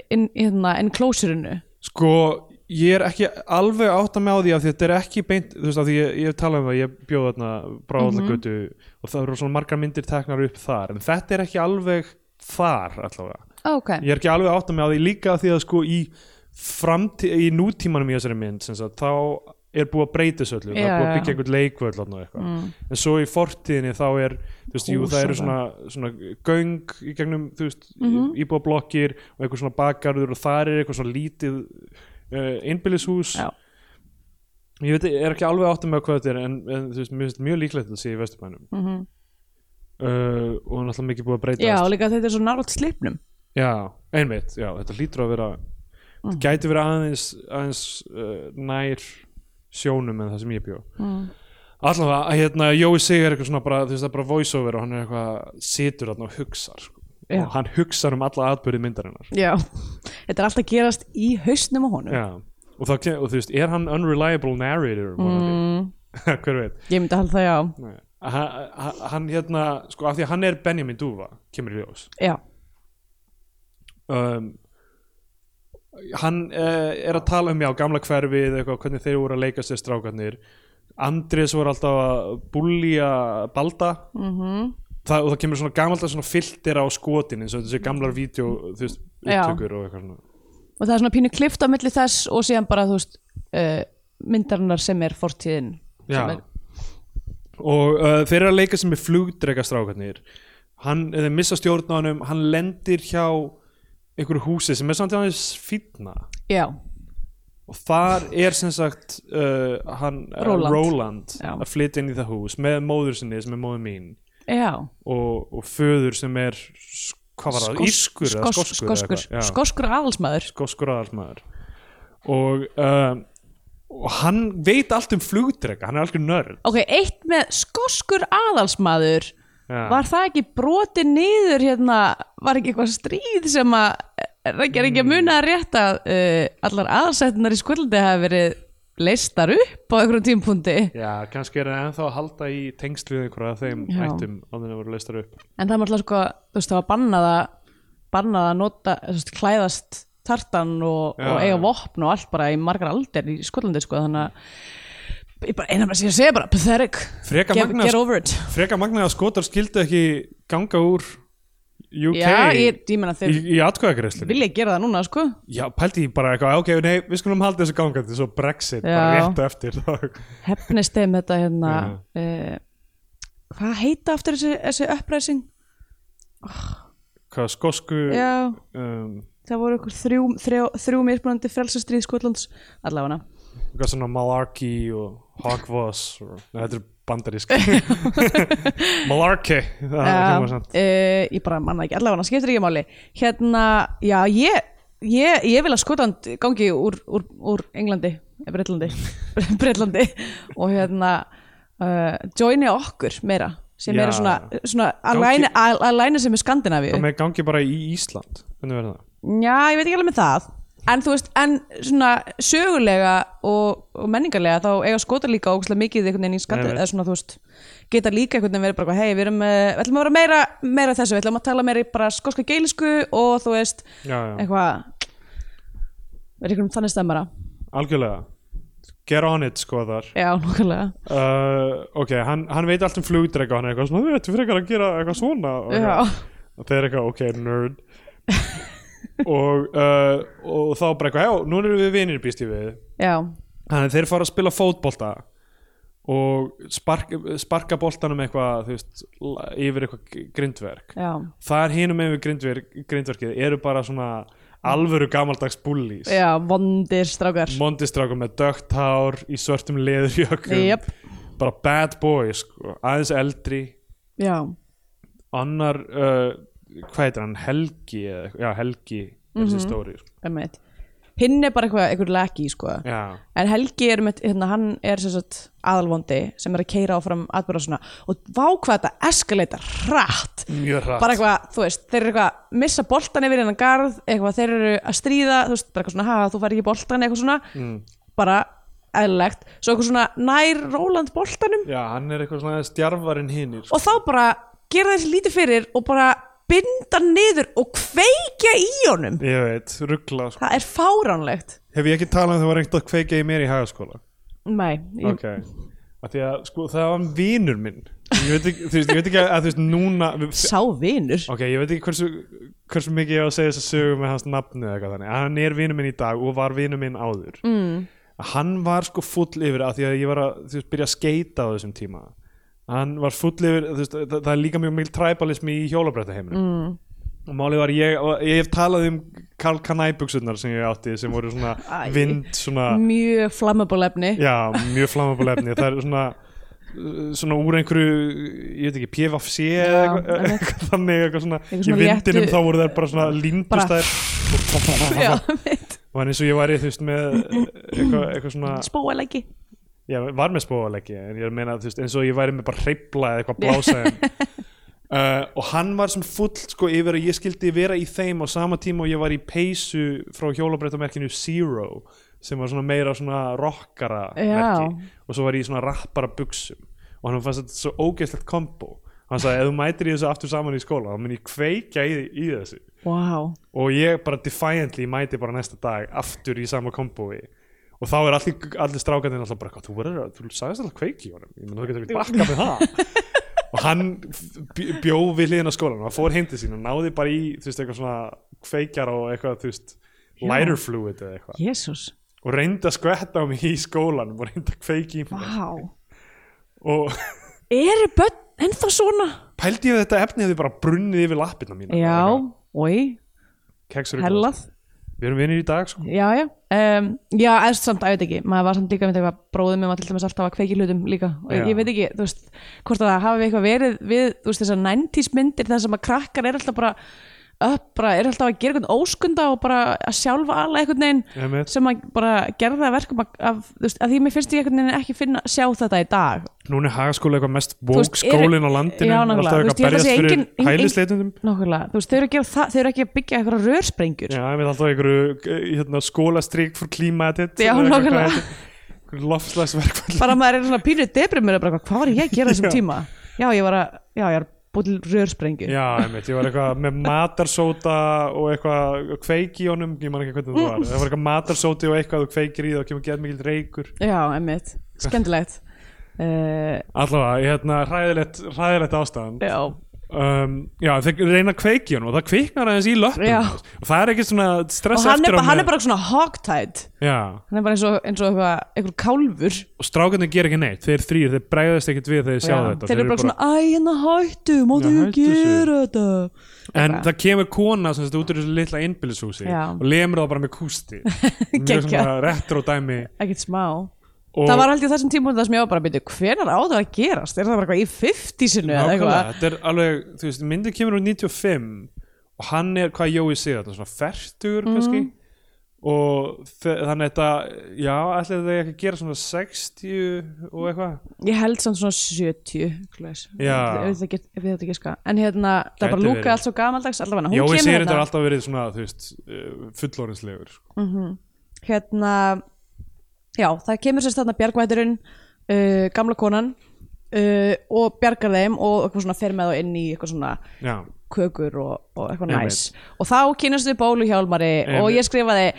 Speaker 3: inn í hérna enclosurinu?
Speaker 2: Sko, ég er ekki alveg átt að með á því af því að þetta er ekki beint þú veist, af því ég, ég tala um það, ég bjóð þarna
Speaker 3: Mhm.
Speaker 2: bráðallagötu og það eru svona margar myndir teknar upp þar, en þetta er ekki alveg þar allavega
Speaker 3: Ok,
Speaker 2: ég er ekki alveg átt að með á því líka af því að sko í, framtí, í nútímanum í þessari mynd sem sagt, þá er búið að breyta þessu öllu, það
Speaker 3: Já,
Speaker 2: er búið að
Speaker 3: já. Mm.
Speaker 2: byggja einhvern leikvöld þarna og eitthvað, en svo í fortíðinni þá er, þú veist, jú,
Speaker 3: Hús
Speaker 2: það
Speaker 3: og
Speaker 2: eru svona, svona göng í gegnum, þú veist, mm
Speaker 3: Mhm.
Speaker 2: íbúablokkir og eitthvað svona bakgarður og þar er eitthvað svona lítið uh, einbýlishús
Speaker 3: Já.
Speaker 2: ég veit, ég er ekki alveg átt að með hvað þetta er en, en þú veist, mjög, mjög líklegt að sé í vesturbænum mm
Speaker 3: Mhm.
Speaker 2: -hmm. uh, og náttúrulega mikið búið að breyta
Speaker 3: já, og líka þetta er svo nátt slipnum.
Speaker 2: Já, einmitt, já, þetta hlýtur að vera þetta gæti verið aðeins, aðeins uh, nær sjónum en það sem ég bjó mm. allavega, að hérna, Jói Sig er eitthvað svona bara, þú veist, það er bara voiceover og hann er eitthvað situr þarna og hugsar sko.
Speaker 3: Já.
Speaker 2: og hann hugsar um alla atbyrði myndarinnar
Speaker 3: Já, þetta er alltaf gerast í hausnum á honum.
Speaker 2: Já, og, það, og þú veist, er hann unreliable narrator mm. [laughs] hver veit
Speaker 3: Ég myndi að halda það, já.
Speaker 2: Nei. Hann- hann hann hérna, sko, af því að hann er Benjamin Dúfa, kemur í ljós
Speaker 3: Já,
Speaker 2: um, hann uh, er að tala um já, gamla hverfið, eitthvað, hvernig þeir voru að leika sér strákarnir Andrés voru alltaf að búlja Balda
Speaker 3: Mhm.
Speaker 2: -hmm. það, og það kemur svona gamalda svona filter á skotin eins og þessi gamlar vídeo þú veist,
Speaker 3: Já.
Speaker 2: upptökur og eitthvað svona
Speaker 3: og það er svona pínu klift á milli þess og síðan bara þú veist uh, myndarinnar sem er fortíðin sem er,
Speaker 2: og uh, þeir eru að leika sem er flugdrega strákarnir hann, eða missa stjórn á hannum hann lendir hjá einhverju húsi sem er samt aðeins fínna
Speaker 3: já,
Speaker 2: og þar er sem sagt uh, hann, uh,
Speaker 3: Róland.
Speaker 2: Róland
Speaker 3: Já.
Speaker 2: að flytja inn í það hús með móður sinni sem er móður mín
Speaker 3: já
Speaker 2: og, og föður sem er s- hvað var það,
Speaker 3: Skos-
Speaker 2: írskur eða
Speaker 3: skos-
Speaker 2: skoskur eða
Speaker 3: skoskur,
Speaker 2: eitthvað, já.
Speaker 3: skoskur aðalsmaður
Speaker 2: skoskur aðalsmaður og, um, og hann veit allt um flugdrega, hann er algjör nörd
Speaker 3: ok, eitt með skoskur aðalsmaður
Speaker 2: Já.
Speaker 3: var það ekki brotið niður hérna, var ekki eitthvað stríð sem að er ekki, er ekki að muna að rétta uh, allar aðalsættunar í skvöldi hafa verið leistar upp á einhverjum tímpúndi
Speaker 2: Já, kannski er hann ennþá að halda í tengsl við einhverja af þeim
Speaker 3: Já.
Speaker 2: ættum á þeirna voru leistar upp
Speaker 3: En það er alltaf sko, þú veist, það var bannað að bannað að nota, þú veist, klæðast tartan og,
Speaker 2: Já,
Speaker 3: og eiga
Speaker 2: já.
Speaker 3: vopn og allt bara í margar aldir í Skotlandi sko, þannig að ég bara, eina bara sé að segja bara, pathetic
Speaker 2: Freka
Speaker 3: get,
Speaker 2: magnað-
Speaker 3: get over it
Speaker 2: Freka magnaði að skotar skildu ekki ganga úr UK
Speaker 3: Já, ég, ég meina
Speaker 2: í,
Speaker 3: þeir
Speaker 2: í atkvæðagreislunni
Speaker 3: vilja gera það núna sko
Speaker 2: Já, pælti ég bara eitthvað, ok, nei, við skulum halda þessu gangandi, svo Brexit,
Speaker 3: Já.
Speaker 2: bara rétt á eftir þá-
Speaker 3: hefnist þeim þetta hérna uh, hvað heita aftur þessi, þessi uppræsing?
Speaker 2: Hvað, skosku
Speaker 3: Já,
Speaker 2: um,
Speaker 3: það voru ykkur þrjú, þrjú, þrjú mismunandi frelsastríð Skotlands allavega
Speaker 2: Hvað svona malarkey og hogwass og, Nei, þetta er bandarísk [laughs] Malarkey Það er
Speaker 3: Já, eh,
Speaker 2: hljóma sant
Speaker 3: uh, ég bara manna ekki allavega, skiptir ekki máli hérna, já, ég ég, ég vil að Skotland gangi úr, úr, úr Englandi eh, [laughs] Bretlandi, Bretlandi og hérna uh, joini okkur meira sem
Speaker 2: Já.
Speaker 3: meira svona, svona
Speaker 2: Gangi-
Speaker 3: alæni, alæni sem er Skandinavíu
Speaker 2: Það með gangi bara í Ísland Hvernig verður það?
Speaker 3: Já, ég veit ekki alveg með það En þú veist, en svona sögulega og, og menningarlega þá eiga skotar líka ógustlega mikið einhvern veginn í skandi
Speaker 2: Nei, nei.
Speaker 3: eða svona, þú veist, geta líka einhvern veginn verið bara, hei, við erum, eh, við ætlum að vera meira meira af þessu, við ætlum að tala meira í bara skoska geilisku og þú veist,
Speaker 2: Já, já,
Speaker 3: eitthvað verið einhvern þannig stemmara
Speaker 2: algjörlega Get on it sko þar
Speaker 3: Já, nokkulega
Speaker 2: uh, Ok, hann, hann veit allt um flugdrega Hann er eitthvað svona, þú veit, þú frekar að gera eitthvað svona og,
Speaker 3: Já.
Speaker 2: og þeir eitthvað, ok, nerd [laughs] og, uh, og þá bara eitthvað, já, nú erum við vinir býst ég við
Speaker 3: Já,
Speaker 2: Þannig að þeir fara að spila fótbolta og spark, sparka boltanum eitthvað, þú veist, la- yfir eitthvað grindverk.
Speaker 3: já,
Speaker 2: Þar hinum yfir grindverk, grindverkið eru bara svona alvöru gamaldags bullís.
Speaker 3: já, vondir strákar
Speaker 2: Mondistrákum með dögt hár í svörtum leðurjökum.
Speaker 3: Jöp.
Speaker 2: Bara bad boys, sko. aðeins eldri.
Speaker 3: Já,
Speaker 2: Annar, uh, hvað heitir hann, Helgi, eða, eitthvað- já, Helgi er þessi
Speaker 3: Mhm.
Speaker 2: stóri. Sko.
Speaker 3: emmitt Hinn er bara eitthvað, einhver laki, sko
Speaker 2: Já,
Speaker 3: En Helgi er með, hérna, hann er sem sagt aðalvondi sem er að keira áfram atbyrðarsuna og vá hvað þetta eskaleita hratt.
Speaker 2: mjög hratt.
Speaker 3: Bara eitthvað, þú veist, þeir eru eitthvað að missa boltan yfir hennan garð, eitthvað þeir eru að stríða, þú veist, bara eitthvað svona, haha, þú fær ekki boltan eitthvað svona,
Speaker 2: Mm.
Speaker 3: bara eðlilegt, svo eitthvað svona nær Róland boltanum
Speaker 2: Já, hann er eitthvað svona stjarfarinn hinir. sko.
Speaker 3: og þá bara gera þessi lítið fyrir og bara binda hann niður og kveikja í honum.
Speaker 2: Ég veit, ruggla sko.
Speaker 3: Það er fáránlegt.
Speaker 2: Hef ég ekki talað um það var reynd að kveika í mér í hagaskóla?
Speaker 3: Nei, ég,
Speaker 2: Ok. Af því að, sko, það var vinur minn. Ég veit ekki, þú veist, ég veit ekki að, þú veist, núna...
Speaker 3: sá vinur.
Speaker 2: Ok, ég veit ekki hversu, hversu mikið ég á að segja þess að sögu með hans nafnu eða eitthvað þannig. Hann er vinur minn í dag og var vinur minn áður. Mm. Hann var sko full yfir af því að ég var að, þú veist, byrja að skeita á þessum tíma. Hann var full yfir, þú veist, það, það er líka mjög mikil træbalismi í hjólabrættaheiminum. Mm og málið var ég, og ég hef talað um Karl Kanæbuksunar sem ég átti sem voru svona
Speaker 3: Æ.
Speaker 2: vind svona,
Speaker 3: Mjög flammable efni.
Speaker 2: já, mjög flammabóla efni það er svona uh, svona úr einhverju, ég veit ekki PFC eða
Speaker 3: Já,
Speaker 2: eitthvað-
Speaker 3: einmitt.
Speaker 2: eitthvað þannig eitthvað svona,
Speaker 3: Eitthvað
Speaker 2: í
Speaker 3: svona
Speaker 2: vindinum
Speaker 3: léttu-
Speaker 2: þá voru þær bara svona
Speaker 3: Bara-
Speaker 2: líndustær
Speaker 3: Já,
Speaker 2: og
Speaker 3: mitt.
Speaker 2: og hann eins og ég væri þú veist með eitthvað, eitthvað svona
Speaker 3: Spóaleggi.
Speaker 2: Já, var með spóaleggi en ég meina, þú veist, eins og ég væri með bara hreipla eða eitthvað blásæðum uh, og hann var sem full sko yfir að ég skildi vera í þeim á sama tíma og ég var í peysu frá hjólabrettamerkinu Zero sem var svona meira svona rockara
Speaker 3: Já.
Speaker 2: merki og svo var ég í svona rappara buksum og hann fannst þetta svo ógeðslegt kombo hann sagði, ef þú mætir í þessu aftur saman í skóla þá mun ég kveikja í, í þessu
Speaker 3: Vá. Wow.
Speaker 2: og ég bara defiantly mæti bara næsta dag aftur í sama kombói og þá er allir, allir strákarnir alltaf bara, "Hvað, þú verður að, þú sagðist alltaf kveiki í honum ég menn þú getur ekki bakka með það
Speaker 3: [laughs]
Speaker 2: og hann bj- bjó við hliðina skólan og hann fór hindi sín og náði bara í þú veist, eitthvað svona kveikjar og eitthvað þú veist, lighter fluid eða eitthvað
Speaker 3: Jésús.
Speaker 2: og reyndi að skvetta á mig í skólanum og reyndi að kveiki í
Speaker 3: Vá.
Speaker 2: mig og
Speaker 3: Eru börn ennþá svona?
Speaker 2: pældi ég að þetta efni hefði bara brunnið yfir lappirna mína
Speaker 3: Já, oi,
Speaker 2: hellað
Speaker 3: hellað.
Speaker 2: við erum vinir í dag sko
Speaker 3: Já, já. Um, já, eða samt, að ég veit ekki. Maður var samt líka með eitthvað bróðum um að til dæmis alltaf að kveiki hlutum líka. Og
Speaker 2: Já.
Speaker 3: ég veit ekki, þú veist, hvort að það hafi eitthvað verið við, þú veist, þessar 90s myndir þar sem að krakkar er alltaf bara upp, bara er alltaf að gera eitthvað óskunda og bara að sjálfa alla einhvern veginn
Speaker 2: Einmitt.
Speaker 3: sem að bara gerða það að verkum að, að, þú veist, að því mér finnst ég einhvern veginn ekki finna sjá þetta í dag
Speaker 2: Núna er hagaskóla eitthvað mest
Speaker 3: Þú
Speaker 2: woke
Speaker 3: veist, eru-
Speaker 2: skólinn á landinu
Speaker 3: Já, nákvæmlega.
Speaker 2: alltaf
Speaker 3: Þú
Speaker 2: eitthvað
Speaker 3: veist, ég held að
Speaker 2: berjast
Speaker 3: sé
Speaker 2: fyrir
Speaker 3: engin- engin-
Speaker 2: hælisleitundum
Speaker 3: Nákvæmlega, þú veist, þau eru, að gera það, þau eru ekki að byggja eitthvað rörsprengjur
Speaker 2: Já, ég veit alltaf einhverju hérna, skólastrík fyrir klímatit
Speaker 3: Já, nákvæmlega.
Speaker 2: Lofslagsverkvall
Speaker 3: bara maður er svona pínu deprimur bara, eitthvað, hvað var ég að gera þessum
Speaker 2: [laughs] Já.
Speaker 3: tíma já, ég var að, já, ég var að búið til rörsprengju
Speaker 2: Já, ég veit, ég var eitthvað með matarsóta og eitthvað kveiki í honum ég man ekki hvernig það var, það var eitthvað matarsóti og eitthvað þú kveikir í það og kemur gett mikil reykur
Speaker 3: já emmitt, skemmtilegt uh,
Speaker 2: Allavega, ég, hérna, hræðilegt, hræðilegt ástæðan
Speaker 3: já,
Speaker 2: um, Já, þeir reyna að kveiki í honum og það kviknar aðeins í löppum
Speaker 3: Já.
Speaker 2: og það er ekki svona
Speaker 3: og
Speaker 2: stress
Speaker 3: hann er,
Speaker 2: eftir á
Speaker 3: bara- hann
Speaker 2: með-
Speaker 3: er bara svona hogtied
Speaker 2: Já,
Speaker 3: hann er bara eins og, eins og eitthvað, eitthvað kálfur
Speaker 2: og strákarnir ger ekki neitt þeir þrýr, þeir bregðast ekkert við þegar þeir sjá
Speaker 3: Já.
Speaker 2: þetta
Speaker 3: þeir eru bara svona, æ, hérna hættu máttu
Speaker 2: Já,
Speaker 3: ekki
Speaker 2: hættu
Speaker 3: gera þetta
Speaker 2: en það kemur kona sem þetta út úr þessu litla einbýlishúsi
Speaker 3: Já.
Speaker 2: og lemur það bara með
Speaker 3: [laughs]
Speaker 2: kústi mjög
Speaker 3: Geggjað.
Speaker 2: svona retro dæmi
Speaker 3: ekkert smá
Speaker 2: og
Speaker 3: það var aldrei þessum tíma það sem ég var bara að byrja hvenar á það að gerast, er það bara eitthvað í 50 sinu eða
Speaker 2: nákvæmlega,
Speaker 3: eitthvað
Speaker 2: þetta er alveg, þú veist, myndið kemur úr 95 og hann er hvað Jói Sigurðarson svona
Speaker 3: Mhm.
Speaker 2: fertugur kannski og þe- þannig þetta já, ætlaði þau ekki að gera svona 60 og eitthvað
Speaker 3: ég held samt svona 70 klukkulags.
Speaker 2: Já.
Speaker 3: ef þetta get- ef ég þetta ekki ska en hérna, það er bara
Speaker 2: Gæti
Speaker 3: lúka
Speaker 2: verið.
Speaker 3: allt svo gamaldags allavega, hún
Speaker 2: Jói
Speaker 3: kemur
Speaker 2: Sigurðarson
Speaker 3: hérna
Speaker 2: er alltaf verið svona, þú veist eh, fullorðinslegur sko.
Speaker 3: hérna, já, það kemur sérst þarna bjargvætturinn uh, gamla konan uh, og bjargar þeim og eitthvað svona fer með þá inn í eitthvað svona
Speaker 2: já,
Speaker 3: kökur og, og eitthvað
Speaker 2: Einmitt.
Speaker 3: næs og þá kynastu bóluhjálmari
Speaker 2: Einmitt.
Speaker 3: og ég skrifaði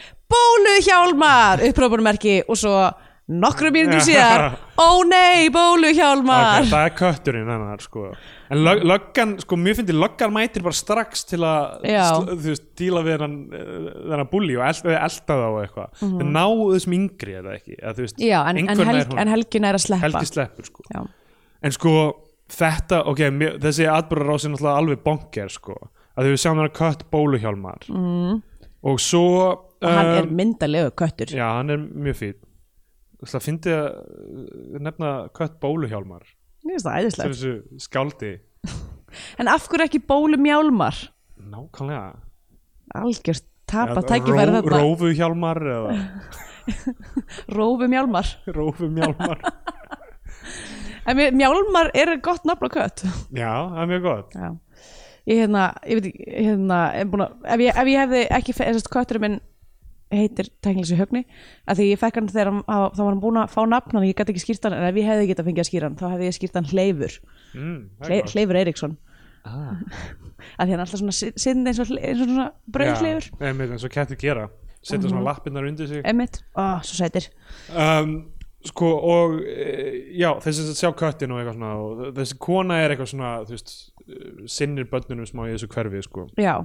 Speaker 3: bóluhjálmar upprópunmerki og svo nokkrum mínútur síðar ó nei bóluhjálmar
Speaker 2: okay, það er kötturinn hennar sko. en lög, löggan, sko, mér finnir löggan mætir bara strax til að
Speaker 3: Já.
Speaker 2: sl- þú veist, díla við þennan, eh, þennan búli og elda, elda þá eitthvað mm -hmm. ná þessum yngri eða ekki eða, þú veist,
Speaker 3: Mhm. Já, en, en,
Speaker 2: einhvern nær
Speaker 3: helg,
Speaker 2: honum.
Speaker 3: en helgin er að sleppa
Speaker 2: helgi sleppur sko.
Speaker 3: Já.
Speaker 2: en sko þetta, ok, mér, þessi atbúrarás er náttúrulega alveg bonger sko. að við sjáum hann að kött bóluhjálmar mm. og svo
Speaker 3: Mhm. og hann er
Speaker 2: um,
Speaker 3: myndalegu köttur
Speaker 2: já, hann er mjög fín það fyndi að uh, nefna kött bóluhjálmar
Speaker 3: Mér finnst það
Speaker 2: sem
Speaker 3: æðislegt
Speaker 2: þessu skáldi
Speaker 3: En af hverju ekki bólumjálmar?
Speaker 2: nákvæmlega
Speaker 3: Algjörst tapa tækifæri
Speaker 2: Ró-
Speaker 3: þarna
Speaker 2: rófuhjálmar eða [laughs]
Speaker 3: Rófumjálmar
Speaker 2: rófumjálmar
Speaker 3: En mér- mjálmar er gott nafn á kött
Speaker 2: já, það er mjög gott
Speaker 3: Já Ég hérna, ég veit ekki, ég hérna er búin að, ef, ég, ef ég hefði ekki, fe- þessast kötturinn minn heitir tæknilegsi högni að því ég fekk hann þegar hann, hann- þá var hann búin að fá nafn hann, ég gæti ekki skýrt hann, en ef ég hefði getað fengið að skýra hann, þá hefði ég skýrt hann Hleifur
Speaker 2: mm, það
Speaker 3: Hle,
Speaker 2: er gott.
Speaker 3: Hleifur Eiríksson
Speaker 2: Ah.
Speaker 3: að því hann er alltaf svona sinn eins og, hle- eins og svona brauðleifur
Speaker 2: Já, einmitt, eins og kettir gera setja svona lappirnar undir sig
Speaker 3: Emmitt, ó, svo sætir
Speaker 2: um, sko og e, já, þessi að sjá köttin og eitthvað svona og þessi kona er eitthvað svona þú veist, eh, sinnir börnunum smá í þessu hverfi sko.
Speaker 3: Já,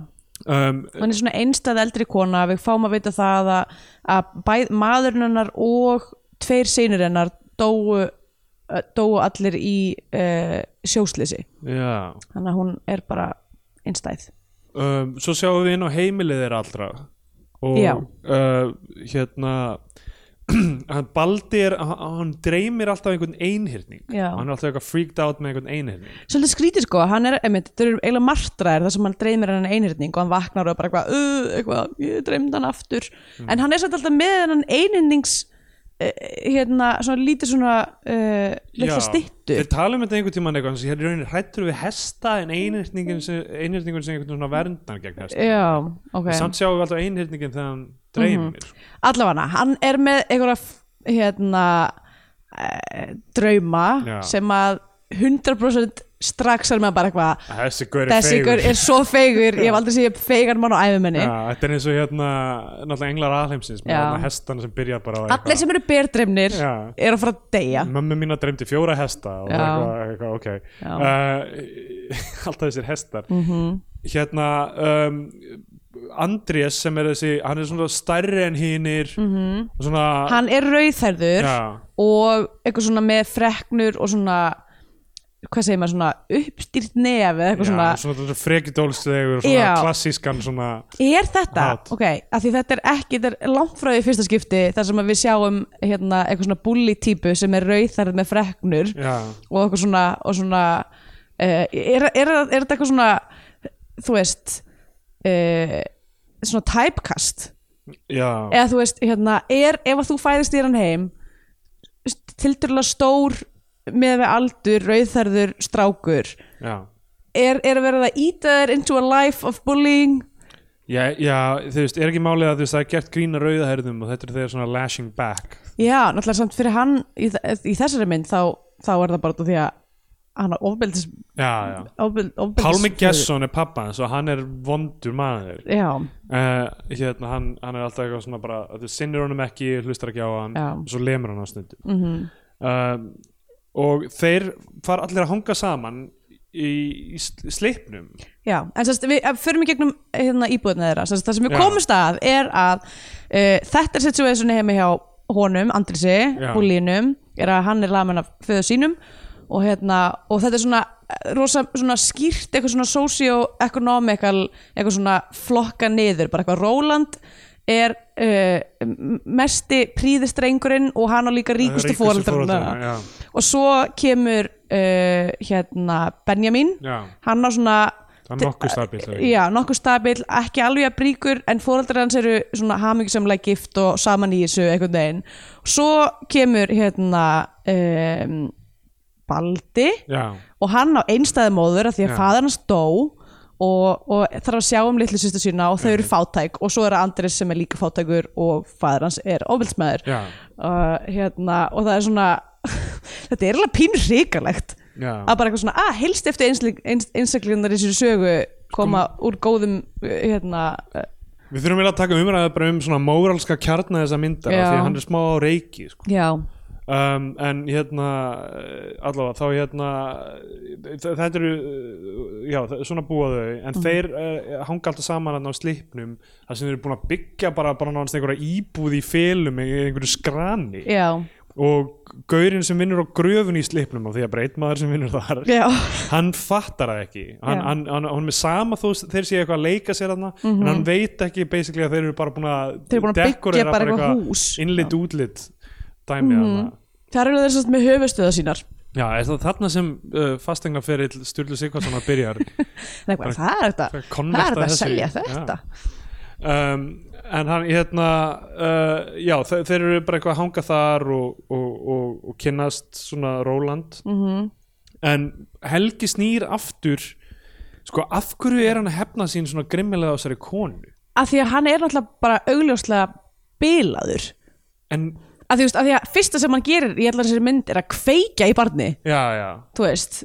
Speaker 2: um,
Speaker 3: hún er svona einstæð eldri kona við fáum að vita það að, að bæð, maðurinn hennar og tveir seinur hennar dóu, eh, dóu allir í uh, sjóslisi
Speaker 2: já
Speaker 3: þannig að hún er bara einstæð
Speaker 2: um, svo sjáum við inn á heimilið þeirra allra og
Speaker 3: Já.
Speaker 2: uh, hérna [clears throat] hann Baldi er, hann- hann dreymir alltaf einhvern einhyrning
Speaker 3: Já.
Speaker 2: hann er alltaf eitthvað freaked out með einhvern einhyrning
Speaker 3: Svolítið skrítið sko, hann er, einmitt, þetta eru eiginlega martraðir þar sem hann dreymir hann einhyrning og hann vaknar og er bara eitthvað, uh, eitthvað, ég dreymd hann aftur
Speaker 2: Mm.
Speaker 3: en hann er svolítið alltaf með hann einhyrnings uh, hérna, svona lítið svona uh, litla
Speaker 2: Já.
Speaker 3: styttu
Speaker 2: Þeir tala um þetta einhvern tímann eitthvað sem hér í rauninni hrættur við hesta en einhyrningin sem, einhyrningun sem einhvern svona verndar gegn hesta
Speaker 3: Já, Mhm. ok
Speaker 2: samt sjáum við alltaf einhyrningin þegar hann dreymir
Speaker 3: Allavega, hann er með einhverja f- hérna uh, drauma
Speaker 2: Já.
Speaker 3: sem að 100% strax er maður bara eitthvað
Speaker 2: þessi gaur er
Speaker 3: þessi ykkur er svo feigur, ég hef aldrei séð feigan mann á æfumenni
Speaker 2: ja, þetta er eins og hérna náttúrulega englar alheimsins með
Speaker 3: Já.
Speaker 2: hérna hestana sem byrja bara á
Speaker 3: Allir sem eru berdreimnir
Speaker 2: Já. Mm.
Speaker 3: eru að fara að deyja
Speaker 2: mömmu mína dreymdi fjóra hesta og
Speaker 3: Já.
Speaker 2: eitthvað, eitthvað ok uh, [laughs] alltaf þessir hestar
Speaker 3: Mhm.
Speaker 2: -hmm. hérna um, Andrés sem er þessi hann er svona stærri en hinnir -hmm. og svona
Speaker 3: Mhm. Hann er rauðhærður
Speaker 2: já,
Speaker 3: og eitthvað svona með freknur og svona hvað segir maður, svona uppstýrt nef eða eitthvað
Speaker 2: svona,
Speaker 3: svona
Speaker 2: já, svona, svona frekjudólslegur svona
Speaker 3: Já.
Speaker 2: klassískan svona
Speaker 3: Er þetta?
Speaker 2: Hat.
Speaker 3: Ok, af því þetta er ekki, þetta er langt frá því fyrsta skipti þar sem að við sjáum hérna eitthvað svona bully típu sem er rauðarð með freknur
Speaker 2: já,
Speaker 3: og eitthvað svona, og svona uh, er, er, er þetta eitthvað svona þú veist uh, svona typecast
Speaker 2: já,
Speaker 3: eða þú veist, hérna, er ef að þú fæðist í hann heim tildurlega stór með við aldur, rauðarður, strákur
Speaker 2: já.
Speaker 3: er, er að vera það íta þér into a life of bullying
Speaker 2: Já, já, þú veist, er ekki málið að þú veist, það er gert grína rauðaherðum og þetta er þegar svona lashing back
Speaker 3: Já, náttúrulega samt fyrir hann í, þ- í þessari mynd þá, þá er það bara út af því að hann er ofbeldis,
Speaker 2: Já, já
Speaker 3: ofbeld, ofbeldis
Speaker 2: Pálmi Gesson er pappa hans og hann er vondur maður
Speaker 3: Já,
Speaker 2: uh, hérna, hann, hann er alltaf eitthvað svona bara þú sinnir honum ekki, hlustar ekki á hann
Speaker 3: Já. Mhm.
Speaker 2: og svo lemur hann á stundum mm og þeir fara allir að hanga saman í, í sl- sleipnum
Speaker 3: já, en sérst við ef förum í gegnum hérna íbúðina þeirra sérst það sem við
Speaker 2: Já.
Speaker 3: komumst að er að uh, þetta er situationi heimi hjá honum, Andrisi,
Speaker 2: Já.
Speaker 3: búlínum er að hann er lamin af föðu sínum og hérna, og þetta er svona eh, rosa svona skýrt, eitthvað svona socio-economical, eitthvað svona flokka niður, bara eitthvað Róland er uh, mesti príðistrengurinn og hann á líka ríkustu
Speaker 2: foreldrarna,
Speaker 3: fóreldrarna
Speaker 2: já.
Speaker 3: og svo kemur uh, hérna Benjamin
Speaker 2: Já.
Speaker 3: hann á svona
Speaker 2: Það Það er nokkuð stabilt það er ekki.
Speaker 3: já, nokkuð stabil, ekki alveg að bríkur en fóreldrar hans eru svona hamingisamlega gift og saman í þessu einhvern veginn svo kemur hérna um, Baldi
Speaker 2: Já,
Speaker 3: og hann á einstæði móður af því að
Speaker 2: Já.
Speaker 3: faðar hans dó og, og þarf að sjá um litlu sýstu sína og þau
Speaker 2: Mhm.
Speaker 3: eru fátæk og svo er það Andres sem er líka fátækur og faðar hans er ofilsmaður
Speaker 2: já,
Speaker 3: uh, hérna, og það er svona [laughs] þetta er alveg pínur hrikalegt
Speaker 2: já
Speaker 3: að bara eitthvað svona, að helst eftir einstaklingar í sér sögu koma úr góðum uh, hérna, uh,
Speaker 2: Við þurfum eiginlega að taka umræðu bara um svona móralska kjarna þessa myndar af
Speaker 3: Já.
Speaker 2: Því að hann er smá á reiki sko.
Speaker 3: já,
Speaker 2: um, En hérna, eh, allavega þá hérna þ- Þetta eru, eh, já, þ- svona búa þau En
Speaker 3: Mhm.
Speaker 2: þeir uh, hanga alltaf saman hann á slipnum Það sem þeir eru búin að byggja bara, bara náttúrulega einhverja íbúð í felum Í einhverju skrani
Speaker 3: já,
Speaker 2: Og gaurinn sem vinnur á gröfun í slipnum Af því að breyt maður sem vinnur þar
Speaker 3: já
Speaker 2: hann fattar það ekki hann,
Speaker 3: Já.
Speaker 2: hann, hann, hann með sama þó þeir séu eitthvað að leika sér þarna en hann veit ekki basically að þeir eru bara búin að
Speaker 3: Mhm. Þeir eru búin að
Speaker 2: dekorera
Speaker 3: byggja bara eitthvað hús. Mhm.
Speaker 2: innlit útlit dæmi þarna
Speaker 3: það eru þeir svolítið með höfustöða sínar
Speaker 2: já, er það þarna sem uh, fastegnaferill Sturlu Sigvarsson að byrjar
Speaker 3: Nei, hvað, það er þetta,
Speaker 2: Bara
Speaker 3: það
Speaker 2: konverta
Speaker 3: er þetta að
Speaker 2: þessu.
Speaker 3: selja
Speaker 2: Já.
Speaker 3: þetta
Speaker 2: um, en hann hérna uh, já, þe þeir eru bara eitthvað að hanga þar og, og, og, og kynnast svona Róland
Speaker 3: Mhm.
Speaker 2: en Helgi snýr aftur sko af hverju er hann að hefna sín svona grimmilega á þessari konu
Speaker 3: að því að hann er náttúrulega bara augljóslega bilaður
Speaker 2: en
Speaker 3: að því, þú veist, að því að fyrsta sem hann gerir í allar þessari mynd er að kveikja í barni
Speaker 2: já, já
Speaker 3: þú veist,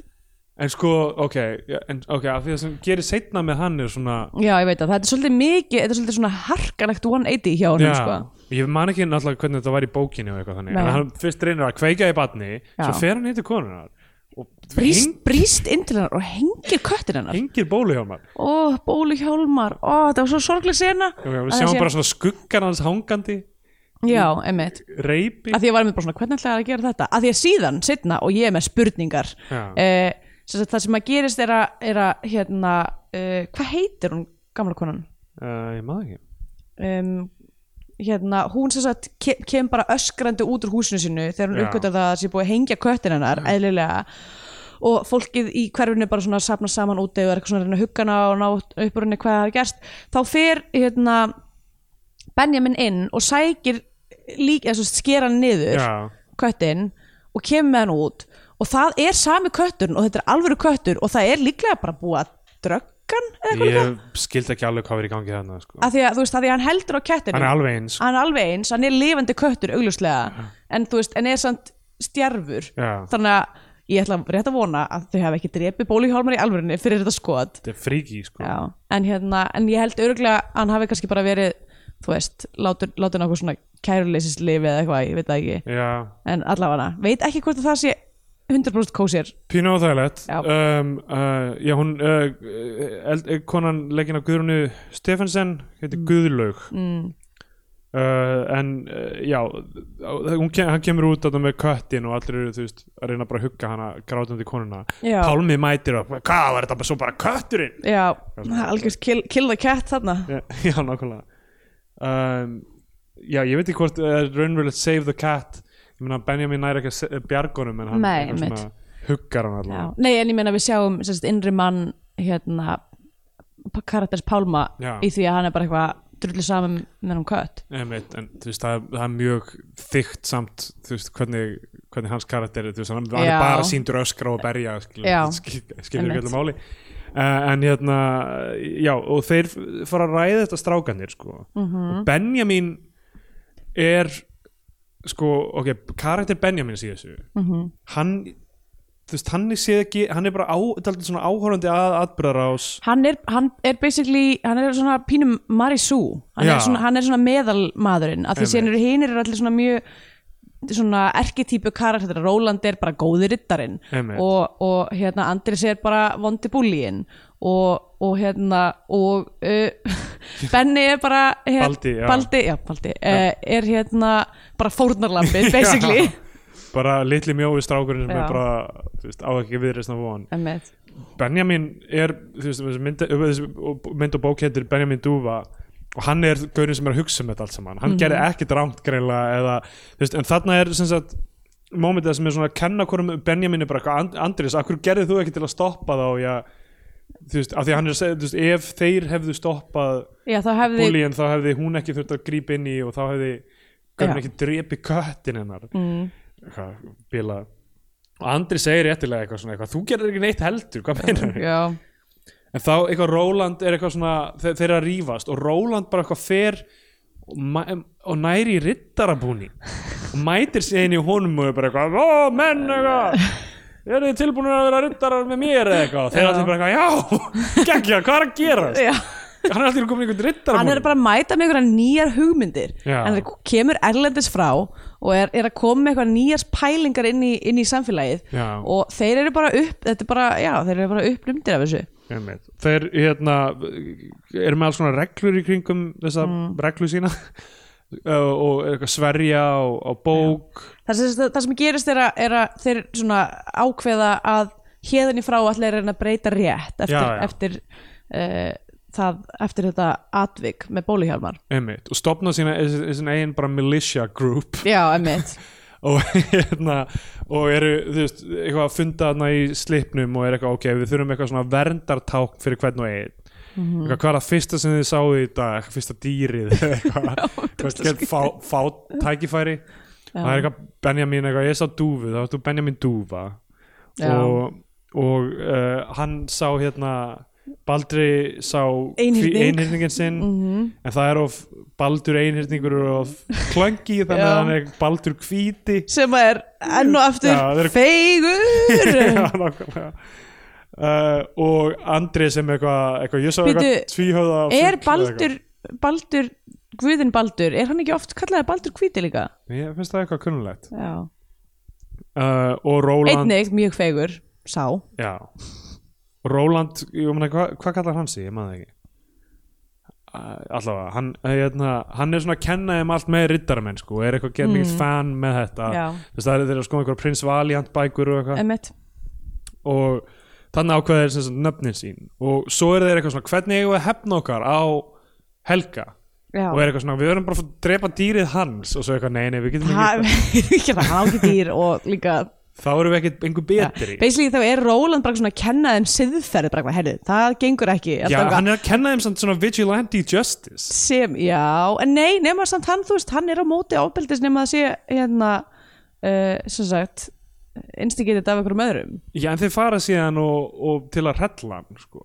Speaker 2: En sko, ok, já, en, ok, af því að sem gerir seinna með hann er svona
Speaker 3: já ég veit að það er svolítið mikið, þetta er svolítið svona harkalegt 180 hjá honum sko.
Speaker 2: ég man ekki náttúrulega hvernig þetta var í bókinni og eitthvað þannig,
Speaker 3: Nei.
Speaker 2: en hann fyrst reynir að kveika í batni, svo fer hann heitir konunar og
Speaker 3: brýst, brýst inn til hennar og hengir köttin hennar
Speaker 2: hengir bólu hjá maður
Speaker 3: ó, bólu hjálmar, ó, það var svo sorgleg sena
Speaker 2: Já, já,
Speaker 3: Að
Speaker 2: við
Speaker 3: það
Speaker 2: sjáum
Speaker 3: sé-
Speaker 2: bara svona skuggan hans hangandi
Speaker 3: já, emmitt
Speaker 2: reypi
Speaker 3: að því ég var með bara svona, hvernig ætlaði að gera þetta að því að síðan, setna, og ég er með spurningar
Speaker 2: Já.
Speaker 3: eh, sem sagt, það sem að gerist er að, er að hérna, eh, hvað heitir hún gamla konan
Speaker 2: uh, ég maður ekki
Speaker 3: um, hérna, hún sem sagt ke- kem bara öskrandi út úr húsinu sínu þegar hún
Speaker 2: Já. Mm.
Speaker 3: uppgötar það að það sé búið að hengja köttin hennar eðlilega og fólkið í hverfinu bara svona sapna saman út eða er eitthvað svona að reyna að hugga hana og ná upp úr henni hvað það er gerst þá fer hérna Benjamin inn og sækir líka, eða svo skera hann niður
Speaker 2: já,
Speaker 3: köttin og kemur með hann út og það er sami kötturinn og þetta er alvöru köttur og það er líklega bara búið að dröggan eða eitthvað yeah.
Speaker 2: ég skildi ekki alveg hvað verið í gangi þarna sko.
Speaker 3: að því að þú veist að því að hann heldur á kettinu
Speaker 2: hann er alveg eins sko.
Speaker 3: hann er alveg eins, hann er lifandi köttur augljóslega, en þú veist, en er samt stjarfur,
Speaker 2: Já.
Speaker 3: þannig að ég ætla rétt að vona að þau hafi ekki drepið bólíhjálmar í alvörinni fyrir þetta skot
Speaker 2: þetta er fríki sko.
Speaker 3: Já. en hérna, en ég held örgulega að hann hafi kannski bara verið, þú veist látur, látur nákvæm svona kæruleysislif eða eitthvað, ég veit það ekki,
Speaker 2: já,
Speaker 3: en allavega veit ekki hvort að það sé 100% kósér
Speaker 2: pínu óþægilegt
Speaker 3: Já.
Speaker 2: um, uh, já, hún uh, eld, uh, konan leggin á Guðrúnu Stefansen heitir Guðlaug mm. uh, en uh, já hún, kem- hann kemur út þetta með köttin og allir eru þú veist að reyna bara að hugga hana grátandi konuna
Speaker 3: Já.
Speaker 2: Pálmi mætir og hvað var þetta bara svo bara kötturinn
Speaker 3: Já, algjörst kill, kill the cat þarna
Speaker 2: Já, [laughs] já nákvæmlega um, Já, ég veit ekki hvort uh, raunverulegt Save the Cat ég meina Benjamin næri ekki að se- bjarga honum en hann
Speaker 3: Nei,
Speaker 2: hann svona huggar hann
Speaker 3: Já.
Speaker 2: allavega
Speaker 3: Nei, en ég meina við sjáum sérst, innri mann hérna, p- karakters Pálma
Speaker 2: Já.
Speaker 3: í því að hann er bara eitthvað drullið saman með hann kött
Speaker 2: Einmitt, en þú veist, það, er- það er mjög þykkt samt, þú veist, hvernig, hvernig hans karakter er, þú veist, hann, hann
Speaker 3: Já.
Speaker 2: er bara síndur öskra og berja,
Speaker 3: Já.
Speaker 2: skilur skil- skilur
Speaker 3: Einmitt.
Speaker 2: ekki öllu máli uh, en hérna, já, og þeir fara að ræða þetta strákanir, sko
Speaker 3: Mhm.
Speaker 2: og Benjamin er sko, ok, karakter Benjamin í þessu,
Speaker 3: Mhm.
Speaker 2: -hmm. hann þú veist, hann er séð ekki, hann er bara á, dálítið svona áhorandi að atbyrðarás
Speaker 3: hann er, hann er basically hann er svona pínum Marisú hann, er
Speaker 2: Já.
Speaker 3: svona- hann er svona meðalmaðurinn af því
Speaker 2: Einmitt.
Speaker 3: síðan eru hinir eru allir svona mjög svona erketýpu karakter Róland er bara góði riddarinn
Speaker 2: Einmitt.
Speaker 3: og, og hérna Andris er bara vondi búlíinn og, og hérna og uh, [laughs] Benni er bara hér,
Speaker 2: Baldi, já.
Speaker 3: Baldi, já, Baldi uh, er hérna bara
Speaker 2: [laughs]
Speaker 3: fórnarlambið basically
Speaker 2: bara litli mjói strákurinn sem
Speaker 3: Já.
Speaker 2: er bara, þú veist, á ekki viðreisna von
Speaker 3: Einmitt.
Speaker 2: Benjamin er þú veist, þessi mynd, þessi mynd og bók heitir Benjamin Dúfa og hann er gaurinn sem er að hugsa um þetta allt saman hann gerði ekkert rámt greinlega eða, þú veist, en þarna er sem sagt momentið sem er svona að kenna hverjum Benjamin er bara eitthvað "And- Andrés, af hverju gerðið þú ekki til að stoppa þá já, þú veist, af því að hann er að segja, þú veist, ef þeir hefðu stoppað
Speaker 3: já þá hefði
Speaker 2: búlíin þá hefði hún ekki þurft að grípa inn í og þá hefði
Speaker 3: Já.
Speaker 2: gönn ekki drepi köttin hennar mm. eitthvað, bila og Andri segir réttilega eitthvað svona eitthvað, þú gerir ekki neitt heldur, hvað meinar
Speaker 3: [laughs] já,
Speaker 2: en þá eitthvað Róland er eitthvað svona þe þeir eru að rífast og Róland bara eitthvað fer og, ma- og næri í rittarabúni og mætir sér inn í honum og er bara eitthvað, ó menn eitthvað eru þið tilbúinir að vera rittarar með mér eða eitthvað, þeir
Speaker 3: Já.
Speaker 2: eru allir bara eitthvað, já [laughs] geggja, hvað er að gera
Speaker 3: já.
Speaker 2: hann er allir komin í einhvern rittarabúni
Speaker 3: hann er bara að mæta með einhverja nýjar hugmyndir
Speaker 2: Já.
Speaker 3: hann er, kemur erlendis frá og er, er að koma með eitthvað nýjar pælingar inn í, inn í samfélagið
Speaker 2: Já.
Speaker 3: og þeir eru bara upp þetta er bara, já, þeir eru bara upplumdir af þessu
Speaker 2: Einmitt. Þeir hérna, eru með alls svona reglur í kringum þessa reglu sína [laughs] Uh, og er eitthvað sverja á, á bók
Speaker 3: það sem, það sem gerist er að, er að þeir svona ákveða að hérðinni frá allir er að breyta rétt eftir,
Speaker 2: Já, já.
Speaker 3: eftir uh, það, eftir þetta atvik með bóluhjálmar
Speaker 2: einmitt, og stopna sína er er sína eigin bara militia group [laughs]
Speaker 3: já, emmitt
Speaker 2: og, hérna, og eru þú veist, eitthvað að funda þarna í slipnum og er eitthvað ok, við þurfum eitthvað svona verndarták fyrir hvern og einn eitthvað, hvað er það fyrsta sem þið sáðu í dag Eitthvað, fyrsta dýrið [laughs] eitthvað, eitthvað, eitthvað, fá, fá tækifæri það er eitthvað Benjamin eitthvað, ég sá dúfu, þá ertu Benjamin dúfa
Speaker 3: Já.
Speaker 2: og, og uh, hann sá hérna Baldri sá
Speaker 3: Einhyrning. Mhm.
Speaker 2: hví- einhyrninginn sinn en það er of Baldur einhyrningur er of
Speaker 3: [laughs]
Speaker 2: klöngi þannig
Speaker 3: Já.
Speaker 2: að hann er Baldur hvíti
Speaker 3: sem að er enn og aftur
Speaker 2: Já, þeir-
Speaker 3: feigur
Speaker 2: [laughs] Já, nákvæmlega. uh, og Andri sem eitthvað eitthva, ég sá
Speaker 3: Bíddu,
Speaker 2: eitthvað tvíhöða fugl
Speaker 3: er
Speaker 2: eða
Speaker 3: Baldur,
Speaker 2: eitthvað.
Speaker 3: Baldur Guðin Baldur, er hann ekki oft kallaði Baldur hvíti líka?
Speaker 2: ég finnst það eitthvað kunnulegt
Speaker 3: Já.
Speaker 2: uh, og Róland
Speaker 3: Einnig mjög fegur, sá
Speaker 2: já og Róland, ég meina, hva, hvað kallar hann sig ég maður það ekki Uh, allavega, hann, hérna, hann er svona að kenna þeim allt með riddaramenn sko, og er eitthvað gerð mikið fan með þetta
Speaker 3: Mm. Já.
Speaker 2: þess að þeir eru að skoða einhverja prins Valiant bækur og eitthvað
Speaker 3: Emmett,
Speaker 2: og þannig ákveða þeir sem sagt nöfnin sín og svo eru þeir eitthvað svona hvernig eigum við að hefna okkar á helga
Speaker 3: já
Speaker 2: og er eitthvað svona við verðum bara að fá- drepa dýrið hans og svo eitthvað nei nei við getum ekki
Speaker 3: Ha-
Speaker 2: gert
Speaker 3: [laughs] ekki það, hann á ekki dýr og líka
Speaker 2: það þá erum við ekkert einhver betri já,
Speaker 3: basically þá er Róland bara svona að kenna þeim siðferði bara, herri, það gengur ekki Alltaf
Speaker 2: hann er að kenna þeim samt svona vigilante justice
Speaker 3: sem, já, en nei, nema samt hann, þú veist, hann er á móti ábeldis nema að sé hérna uh, sem sagt, instigated af einhverjum öðrum
Speaker 2: já en þeir fara síðan og, og til að hrella hann sko.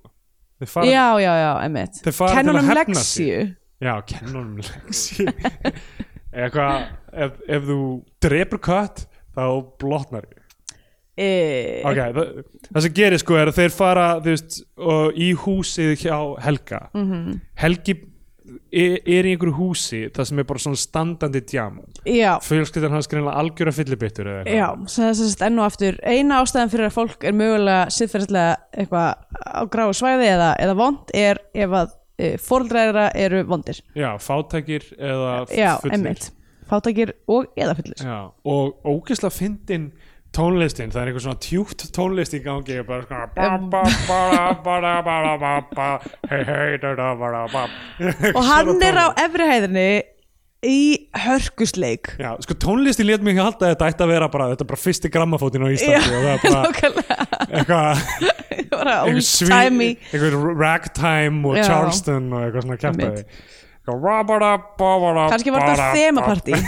Speaker 2: þeir fara
Speaker 3: já, já, já, um emitt
Speaker 2: Þeir fara til að
Speaker 3: kennunum
Speaker 2: hefna
Speaker 3: leksíu
Speaker 2: Já, kennunum leksi [laughs] Eitthvað, ef, ef þú drepur kött þá blotnar ég
Speaker 3: e,
Speaker 2: Ok, það, það sem gerir sko er að þeir fara þú veist, og í húsið hjá Helga
Speaker 3: Mhm.
Speaker 2: -hmm. Helgi er, er í einhverju húsi það sem er bara svona standandi djam
Speaker 3: já,
Speaker 2: fjölskyldan hans greinlega algjöra fyllibittur eða eitthvað.
Speaker 3: já, sem þess að enn og aftur eina ástæðan fyrir að fólk er mögulega siðferðislega eitthvað á gráu svæði eða, eða vond er ef að e, fóreldræðra eru vondir
Speaker 2: já, fátækir eða
Speaker 3: já,
Speaker 2: fullir.
Speaker 3: emitt, fátækir og eða
Speaker 2: [laughs]
Speaker 3: fullir
Speaker 2: Já, og ógislega fyndin tónlistin, það er einhver svona tjúkt tónlist í gangi og bara svona ba, ba, ba, ba, ba, ba, ba, ba, hei, hei, da, da, ba, da, ba.
Speaker 3: og hann er á efri hæðinni í hörkusleik
Speaker 2: Já, sko tónlistin létt mig halda að þetta ætti að vera bara, þetta er bara fyrsti grammafótinn á Íslandi og það er
Speaker 3: [laughs]
Speaker 2: bara
Speaker 3: nákvæmlega
Speaker 2: eitthvað
Speaker 3: bara
Speaker 2: [laughs] einhver
Speaker 3: old
Speaker 2: sví-
Speaker 3: timey
Speaker 2: einhver ragtime og
Speaker 3: Já.
Speaker 2: Charleston og eitthvað svona kjartaði
Speaker 3: Einmitt. kannski
Speaker 2: kannski
Speaker 3: var þetta þemapartí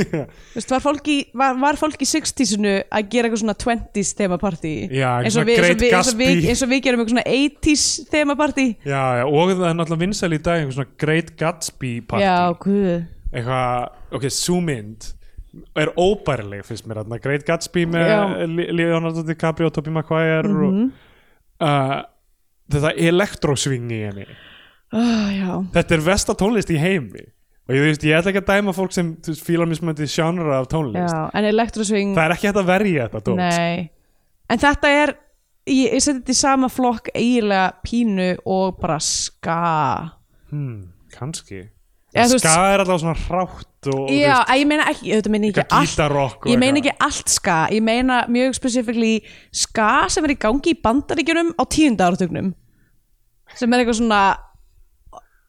Speaker 2: [laughs]
Speaker 3: Vist, var, fólk í, var, var fólk í 60s-inu að gera eitthvað svona 20s þemapartí
Speaker 2: Já, eitthvað
Speaker 3: eins og
Speaker 2: svona
Speaker 3: við- eins
Speaker 2: Great
Speaker 3: og við- eins og við-
Speaker 2: Gatsby.
Speaker 3: eins og við gerum eitthvað svona 80s þemapartí
Speaker 2: Já, já, og það er náttúrulega vinsæl í dag einhver svona Great Gatsby party
Speaker 3: já, guð
Speaker 2: eitthvað, ok, súmynd er óbærileg finnst mér þarna Great Gatsby með
Speaker 3: Já. Mhm.
Speaker 2: Li- Leonardo DiCaprio og Tobey Maguire og uh, þetta elektrósving í henni
Speaker 3: oh, já,
Speaker 2: þetta er vesta tónlist í heimi og ég, þú veist, ég ætla ekki að dæma fólk sem þú veist, fílar mismöndi sjónra af tónlist
Speaker 3: já, en elektrosving
Speaker 2: það er ekki hægt að verja þetta tónlist
Speaker 3: nei en þetta er, ég, ég seti þetta í sama flokk eiginlega pínu og bara ska
Speaker 2: hmm, kannski
Speaker 3: Já, þú veist-
Speaker 2: Ska er alltaf svona hrátt og, og þú
Speaker 3: já,
Speaker 2: veist,
Speaker 3: að ég meina ekki, þetta meina ég ekki
Speaker 2: Eitthvað
Speaker 3: allt
Speaker 2: gítarrokk og
Speaker 3: ég meina
Speaker 2: eitthvað.
Speaker 3: ekki allt ska, ég meina mjög spesifíkli ska sem er í gangi í bandaríkjunum á tíunda áratugnum sem er eitthvað svona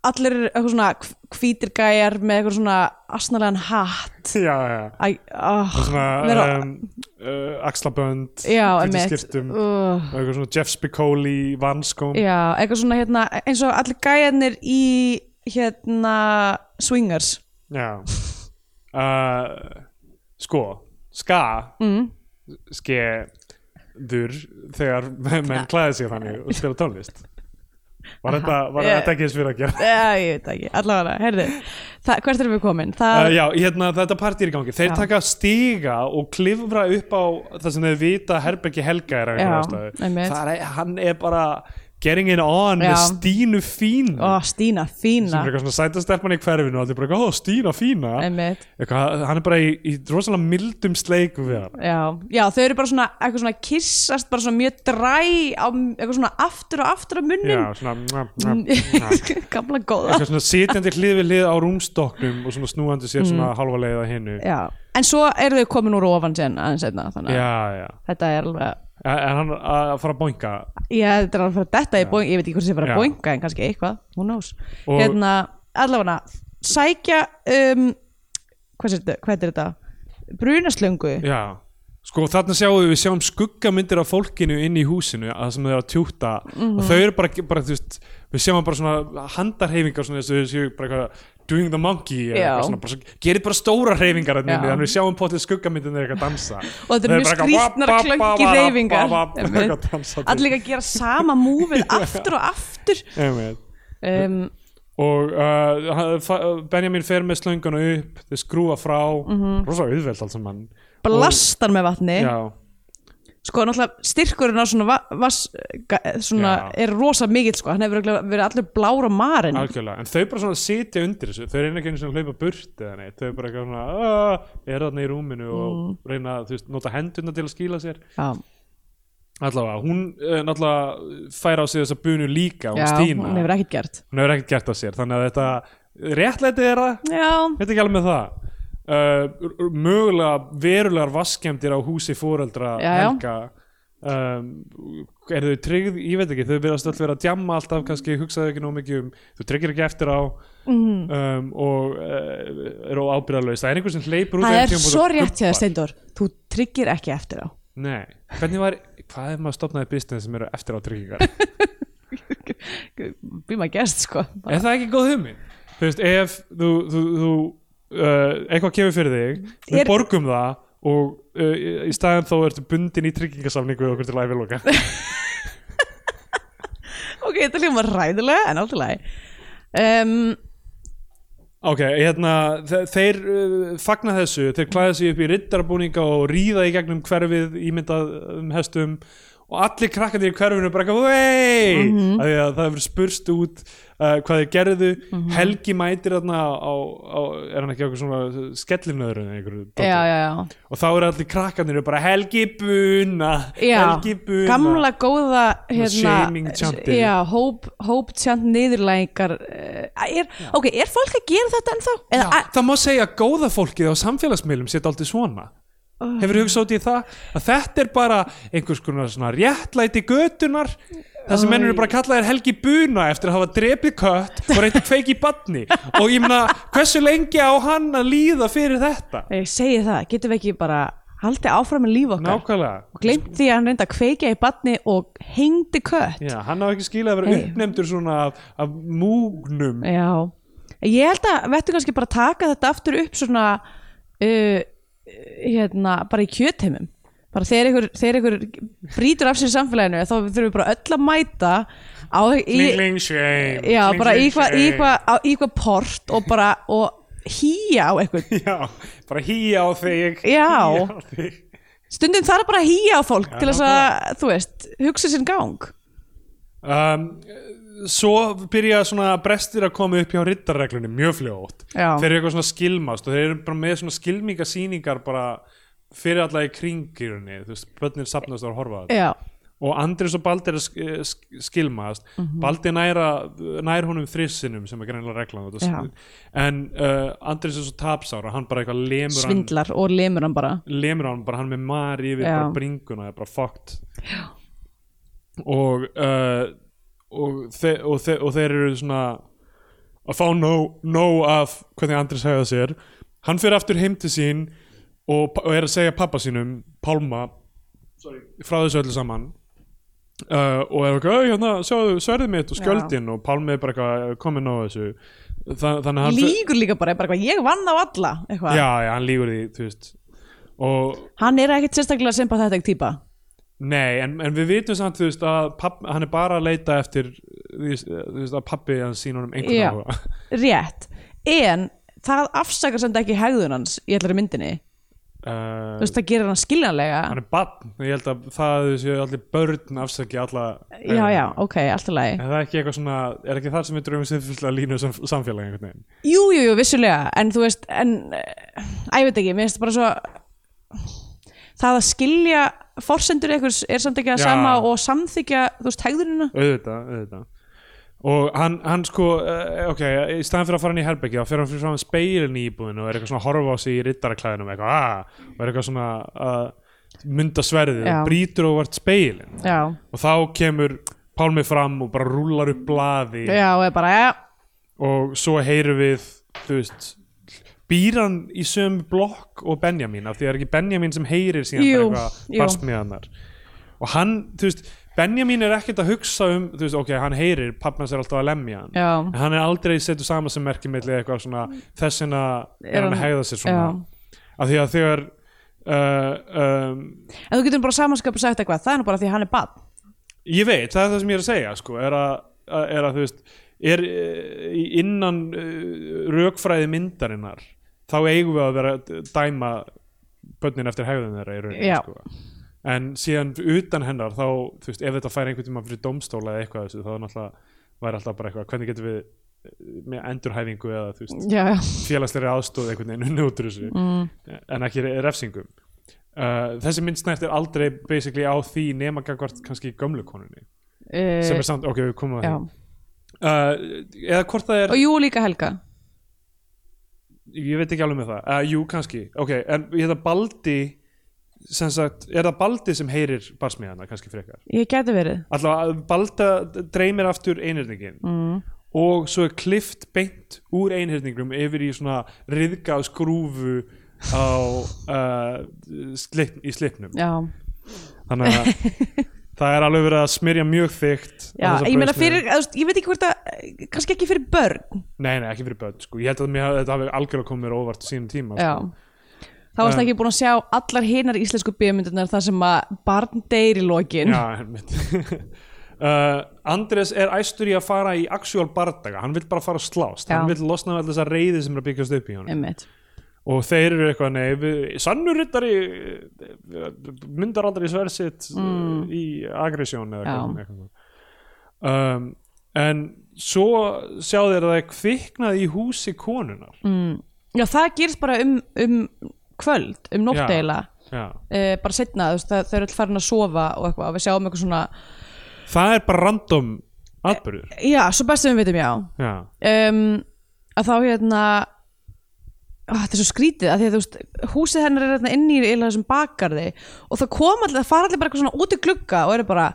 Speaker 3: allir eru eitthvað svona hv- hvítir gæjar með eitthvað svona asnalegan hatt
Speaker 2: já, já
Speaker 3: Æ, oh,
Speaker 2: svona
Speaker 3: vera,
Speaker 2: um, uh, axlabönd
Speaker 3: já,
Speaker 2: hvítum
Speaker 3: einmitt.
Speaker 2: skyrtum.
Speaker 3: Ugh.
Speaker 2: og eitthvað svona Jeff Spicoli vanskóm
Speaker 3: já, eitthvað svona hérna eins og allir gæjarnir í hérna swingers
Speaker 2: Já uh, Sko, ska
Speaker 3: mm.
Speaker 2: skeður þegar menn klæði sér þannig og spila tónlist Var þetta, var
Speaker 3: Ég-
Speaker 2: þetta ekki eins fyrir að gera?
Speaker 3: Já, ég veit það ekki, allavega, heyrðu það, hvert erum við komin? Það,
Speaker 2: Uh, já, hérna þetta partýr í gangi Þeir
Speaker 3: Já.
Speaker 2: taka stiga og klifra upp á það sem þeir vita herbergi helga er af einhverju
Speaker 3: Já,
Speaker 2: ástæðu.
Speaker 3: einmitt.
Speaker 2: Það er, hann er bara getting it on með
Speaker 3: Já.
Speaker 2: Stínu fín
Speaker 3: ó, Stína,
Speaker 2: sem
Speaker 3: fína
Speaker 2: er eitthvað svona sætastelpan í hverfinu og allir bara, ó, Stína fína
Speaker 3: einmitt,
Speaker 2: eitthvað, hann er bara í, í rosalega mildum sleikum við hann
Speaker 3: já, já, þau eru bara svona eitthvað svona kissast, bara svona mjög dræ á eitthvað svona aftur og aftur á munnin
Speaker 2: já, svona, mna, mna,
Speaker 3: [laughs]
Speaker 2: mna.
Speaker 3: gamla góða
Speaker 2: eitthvað svona sitjandi hlið við hlið á rúmstokknum og svona snúandi sér svona halva leið að hinnu já,
Speaker 3: já. en svo eru þau komin úr ofan sen aðeins einna, þannig að
Speaker 2: já,
Speaker 3: þetta er alveg
Speaker 2: en en hann að fara að boinga
Speaker 3: já, þetta er alveg fyrir þetta, ég, boing, ég veit ekki hvort það er fyrir
Speaker 2: Já.
Speaker 3: að boinga en kannski eitthvað, who knows
Speaker 2: Og-
Speaker 3: hérna, allavega, sækja um, hvað er þetta, hvað er þetta brunaslöngu
Speaker 2: já, sko þarna sjáum við við sjáum skuggamyndir af fólkinu inn í húsinu að sem þau eru að tjúta
Speaker 3: Mhm.
Speaker 2: og þau eru bara, bara þú veist, við sjáum bara svona handarhefingar svona þess að þau séu bara eitthvað doing the monkey eða
Speaker 3: Já.
Speaker 2: eitthvað svona, bara, svona- gerir bara stóra reyfingar
Speaker 3: Já.
Speaker 2: þannig við sjáum potið skuggamyndin er eitthvað að dansa
Speaker 3: [laughs] og þetta er mjög skrýtnar klöngi reyfingar Einmitt. allir
Speaker 2: allir
Speaker 3: líka að gera sama múfið aftur og
Speaker 2: [laughs]
Speaker 3: aftur
Speaker 2: Einmitt.
Speaker 3: um,
Speaker 2: Eh, og uh, hann- fa- Benjamin fer með slönguna upp þau skrúa frá
Speaker 3: Mhm.
Speaker 2: rosa auðvelt alls að mann
Speaker 3: blastar með vatni
Speaker 2: já,
Speaker 3: sko náttúrulega styrkurinn á svona, va vas, ga- svona
Speaker 2: Já.
Speaker 3: er rosa mikill sko, hann hefur örugglega verið allir blár á marinn
Speaker 2: algjörlega, en þau bara svona sitja undir þessu þau reyna ekki einu sinni að hlaupa burt eða neitt þau bara eitthvað svona, "Ah," eru þarna í rúminu og
Speaker 3: Mm.
Speaker 2: reyna að, þú veist, nota hendurna til að skýla sér
Speaker 3: já,
Speaker 2: allavega, hún uh, náttúrulega fær á sig þessa bunu líka, hún
Speaker 3: já
Speaker 2: Stína
Speaker 3: hún hefur ekkert gert
Speaker 2: hún hefur ekkert gert það sér, þannig að þetta réttlæti er það
Speaker 3: já,
Speaker 2: Þetta er ekki alveg með það uh, Mögulega verulegar vaskemdir á húsi fóreldra
Speaker 3: Já, já.
Speaker 2: Helga um, Er þau tryggð, ég veit ekki Þau verðast öll verið að djamma alltaf kannski hugsaðu ekki nóg mikið um Þú tryggir ekki eftir á
Speaker 3: Mhm.
Speaker 2: um, og uh, eru ábyrðarlaus Það er einhver sem hleypur út á
Speaker 3: það
Speaker 2: einum
Speaker 3: er
Speaker 2: tímapunkti
Speaker 3: svo
Speaker 2: og
Speaker 3: rétt hjá þér,
Speaker 2: gubbar.
Speaker 3: Steindor þú tryggir ekki eftir á
Speaker 2: Nei, hvernig var, hvað ef maður stopnaði business sem eru eftir á tryggingar?
Speaker 3: býma gæst sko
Speaker 2: er það ekki góð hugmynd? Þú veist, ef þú, þú, þú uh, eitthvað kemur fyrir þig, við
Speaker 3: Er-
Speaker 2: borgum það og uh, í- í staðan þó ertu bundin í tryggingasamningu við okkur til
Speaker 3: [laughs]
Speaker 2: æfiloka
Speaker 3: ok, þetta hljóma ræðilega en alltaf læg um,
Speaker 2: Ok, hérna, þe- þeir uh, fagna þessu, þeir klæða sig upp í riddarbúninga og ríða í gegnum hverfið ímyndað um hestum og allir krakkandi í hverfinu bara eitthvað vei, mm
Speaker 3: Mhm.
Speaker 2: því að það hefur spurst út uh, hvað þeir gerðu
Speaker 3: Mhm.
Speaker 2: Helgi mætir þarna á, á er hann ekki okkur svona skellinöður en einhverju dóti?
Speaker 3: já, já, já
Speaker 2: og þá eru allir krakkanir bara helgi buna
Speaker 3: já,
Speaker 2: helgi buna
Speaker 3: gamla góða hérna,
Speaker 2: shaming chantið.
Speaker 3: já, hóp, hóp tjant niðurlægingar uh, er, ok, er fólk að gera þetta ennþá?
Speaker 2: Já,
Speaker 3: Eða,
Speaker 2: það má segja að góða fólkið á samfélagsmiðlum sétt aldrei svona hefur hugsað út í það að þetta er bara einhvers konar svona réttlæti götunar það sem mennur eru bara að kalla þér helgi buna eftir að hafa drepið kött og reyndi að kveiki í badni og ég meina hversu lengi á hann að líða fyrir þetta
Speaker 3: að, ég segi það, getum við ekki bara haldið áfram með líf okkar
Speaker 2: nákvæmlega
Speaker 3: og glemt því að hann reyndi að kveikja í batni og hengdi kött
Speaker 2: Já, hann á ekki skilað að vera
Speaker 3: Hey.
Speaker 2: uppnefndur svona af, af múgnum
Speaker 3: já, ég held að við ættum kannski bara að taka þetta aftur upp svona uh, hérna, bara í kjötheimum bara þegar ykkur, þegar ykkur brýtur af sér í samfélaginu þá þurfum við bara öll að mæta á, í,
Speaker 2: Kling, shame
Speaker 3: Já,
Speaker 2: Kling,
Speaker 3: bara í
Speaker 2: kling,
Speaker 3: hvað í
Speaker 2: shame.
Speaker 3: hva, á- í hva port og bara og hýja á einhvern
Speaker 2: [laughs] Já, bara hýja á þig
Speaker 3: Já.
Speaker 2: [laughs] hýja á þig.
Speaker 3: stundum þarf bara að hýja á fólk
Speaker 2: Já,
Speaker 3: til þess að, þú veist, hugsa sinn gang
Speaker 2: Um, Svo byrja svona brestir að koma upp hjá riddarreglunum mjög fljótt
Speaker 3: Já.
Speaker 2: Þeir eru eitthvað svona skilmast og þeir eru bara með svona skilmingasýningar bara fyrir alla í kringirunni Þú veist, börnin sapnast og horfa á þetta
Speaker 3: Já,
Speaker 2: Og Andrés og Baldi er að sk- eh, sk- skilmast
Speaker 3: Mhm.
Speaker 2: Baldi næra, nær honum þrissinum sem er greinlega reglan á þetta.
Speaker 3: Já.
Speaker 2: En uh, Andrés er svo tapsára, hann bara eitthvað lemur hann
Speaker 3: svindlar og lemur hann bara
Speaker 2: lemur á hann bara hann með mar yfir
Speaker 3: Já.
Speaker 2: bara bringuna, er bara fucked og uh, og, þe og, þe og þeir eru svona að fá nóg, nóg af hvernig Andris hegða sér hann fyrir aftur heim til sín og, og er að segja pappa sínum Pálma Sorry. frá þessu öllu saman uh, og er eitthvað, "Æ, hérna, sjáðu sverðið mitt og skjöldin og Pálmi er bara eitthvað komin á þessu Þa, þannig að hann fer-
Speaker 3: líkur líka bara, bara eitthvað, ég vann á alla eitthvað.
Speaker 2: já, já, hann lígur því, þú veist og
Speaker 3: hann er ekkert sérstaklega sympathetic típa
Speaker 2: Nei, en, en við vitum samt þú veist, að papp, hann er bara að leita eftir þú veist, þú veist, að pappi hann sín honum
Speaker 3: Já.
Speaker 2: einhvern áhuga [laughs]
Speaker 3: rétt, en það afsakar sem þetta ekki hegðun hans í allari myndinni þú
Speaker 2: uh,
Speaker 3: veist, það gerir hann skiljanlega
Speaker 2: Hann er barn, ég held að það séu allir börn afsaki alla
Speaker 3: já, já, ok, allt í lagi
Speaker 2: Er það ekki eitthvað svona, er ekki þar sem við draugum sinnfullega línu sem samfélagi einhvern veginn?
Speaker 3: Jú, jú, jú, vissulega, en þú veist en, eh, æ, ég veit ekki, mér finnst bara svo það að skilja forsendur einhvers er samt ekki að
Speaker 2: Já.
Speaker 3: sama og samþykja, þú veist, hegðunina
Speaker 2: Auðvitað, auðvitað Og hann, hann sko, uh, ok, í staðan fyrir að fara hann í herbergi þá fyrir hann fyrir fram speilin í íbúðinu og er eitthvað svona að horfa á sig í rittaraklæðinum eitthvað, aaa, og er eitthvað svona að mynda sverðið
Speaker 3: Já.
Speaker 2: og brýtur og vart speilin
Speaker 3: Já,
Speaker 2: og þá kemur Pálmi fram og bara rúlar upp blaði
Speaker 3: já, og er bara, já,
Speaker 2: og svo heyrum við þú veist býran í sömu blokk og Benjamin af því það er ekki Benjamin sem heyrir síðan
Speaker 3: Jú,
Speaker 2: bara eitthvað
Speaker 3: jú.
Speaker 2: barsmiðanar og hann, þú veist, Benjamin er ekkert að hugsa um, þú veist, ok, hann heyrir pappans er alltaf að lemja hann
Speaker 3: já
Speaker 2: en hann er aldrei setur sama sem merki milli eitthvað svona þess vegna
Speaker 3: Er
Speaker 2: er hann að
Speaker 3: hann-
Speaker 2: hegða sér svona af því að þegar uh, um,
Speaker 3: En þú getur bara samanskapu sagt eitthvað, það er nú bara því að hann er bann
Speaker 2: Ég veit, það er það sem ég er að segja sko, er, að, að- er að þú veist er eh, í- innan eh, rökfræði myndarinnar þá eigum við að vera að dæma börnin eftir hegðun þeirra í rauninni
Speaker 3: Já.
Speaker 2: sko. en síðan utan hennar þá, þú veist, ef þetta fær einhvern tíma fyrir dómstóla eða eitthvað af þessu, þá er náttúrulega væri alltaf bara eitthvað, hvernig getum við eh, með endurhæfingu eða þú veist
Speaker 3: Já, já,
Speaker 2: félagsleiri aðstóð einhvern veginn unni út úr þessu en ekki re- refsingum uh, þessi mynd snert er aldrei basically á því nema gangvart kannski gömlu konunni sem
Speaker 3: e,
Speaker 2: er samt, ok við komum að
Speaker 3: já.
Speaker 2: því uh, eða hvort það er,
Speaker 3: Og jú, líka Helga
Speaker 2: ég veit ekki alveg með það uh, jú kannski, ok, en ég þetta Baldi sem sagt, er það Baldi sem heyrir barsmiðana kannski frekar
Speaker 3: Ég geti verið
Speaker 2: allavega Balda dreymir aftur einhyrningin mm. og svo er klift beint úr einhyrningum yfir í svona riðga og skrúfu á [laughs] uh, slip, í slipnum
Speaker 3: Já,
Speaker 2: þannig að
Speaker 3: [laughs]
Speaker 2: það er alveg verið að smyrja mjög þygt á
Speaker 3: já
Speaker 2: þessa
Speaker 3: ég meina
Speaker 2: brauðsneið.
Speaker 3: fyrir, þú veist, ég veit ekki hvort að kannski ekki fyrir börn
Speaker 2: nei, nei, ekki fyrir börn, sko, ég held að mér, hafi- þetta hafi algjörlega komið mér á óvart á sínum tíma
Speaker 3: Já
Speaker 2: sko.
Speaker 3: Þá varst
Speaker 2: Um,
Speaker 3: ekki búin að sjá allar hinar íslensku bíómyndunar þar sem að barn deyr í lokin
Speaker 2: já, einmitt [laughs] Uh, Andres er æstur í að fara í actual bardaga, hann vill bara fara að slást
Speaker 3: Já.
Speaker 2: hann vill losna með alltaf þessa reyði sem er að byggjast upp í honum
Speaker 3: Einmitt.
Speaker 2: og þeir eru eitthvað nei, við, sannur rittari myndar aldrei sversitt mm. í agressjón eða
Speaker 3: Já.
Speaker 2: eitthvað, eitthvað. Um, en svo sjá þeir að það er kviknað í húsi konunar mm.
Speaker 3: Já, það gerist bara um, um kvöld, um nótt
Speaker 2: Já.
Speaker 3: eiginlega
Speaker 2: já,
Speaker 3: e, bara setna, þú veist, það, þau eru alltaf farin að sofa og eitthvað, og við sjáum eitthvað svona
Speaker 2: það er bara random atbyrður
Speaker 3: Já, svo best sem við veitum, já
Speaker 2: já,
Speaker 3: um, að þá hérna á, þetta er svo skrítið að því að þú veist húsið hennar er hérna inn í eða þessum bakarði og það kom allir, það fara allir bara eitthvað svona út í glugga og eru bara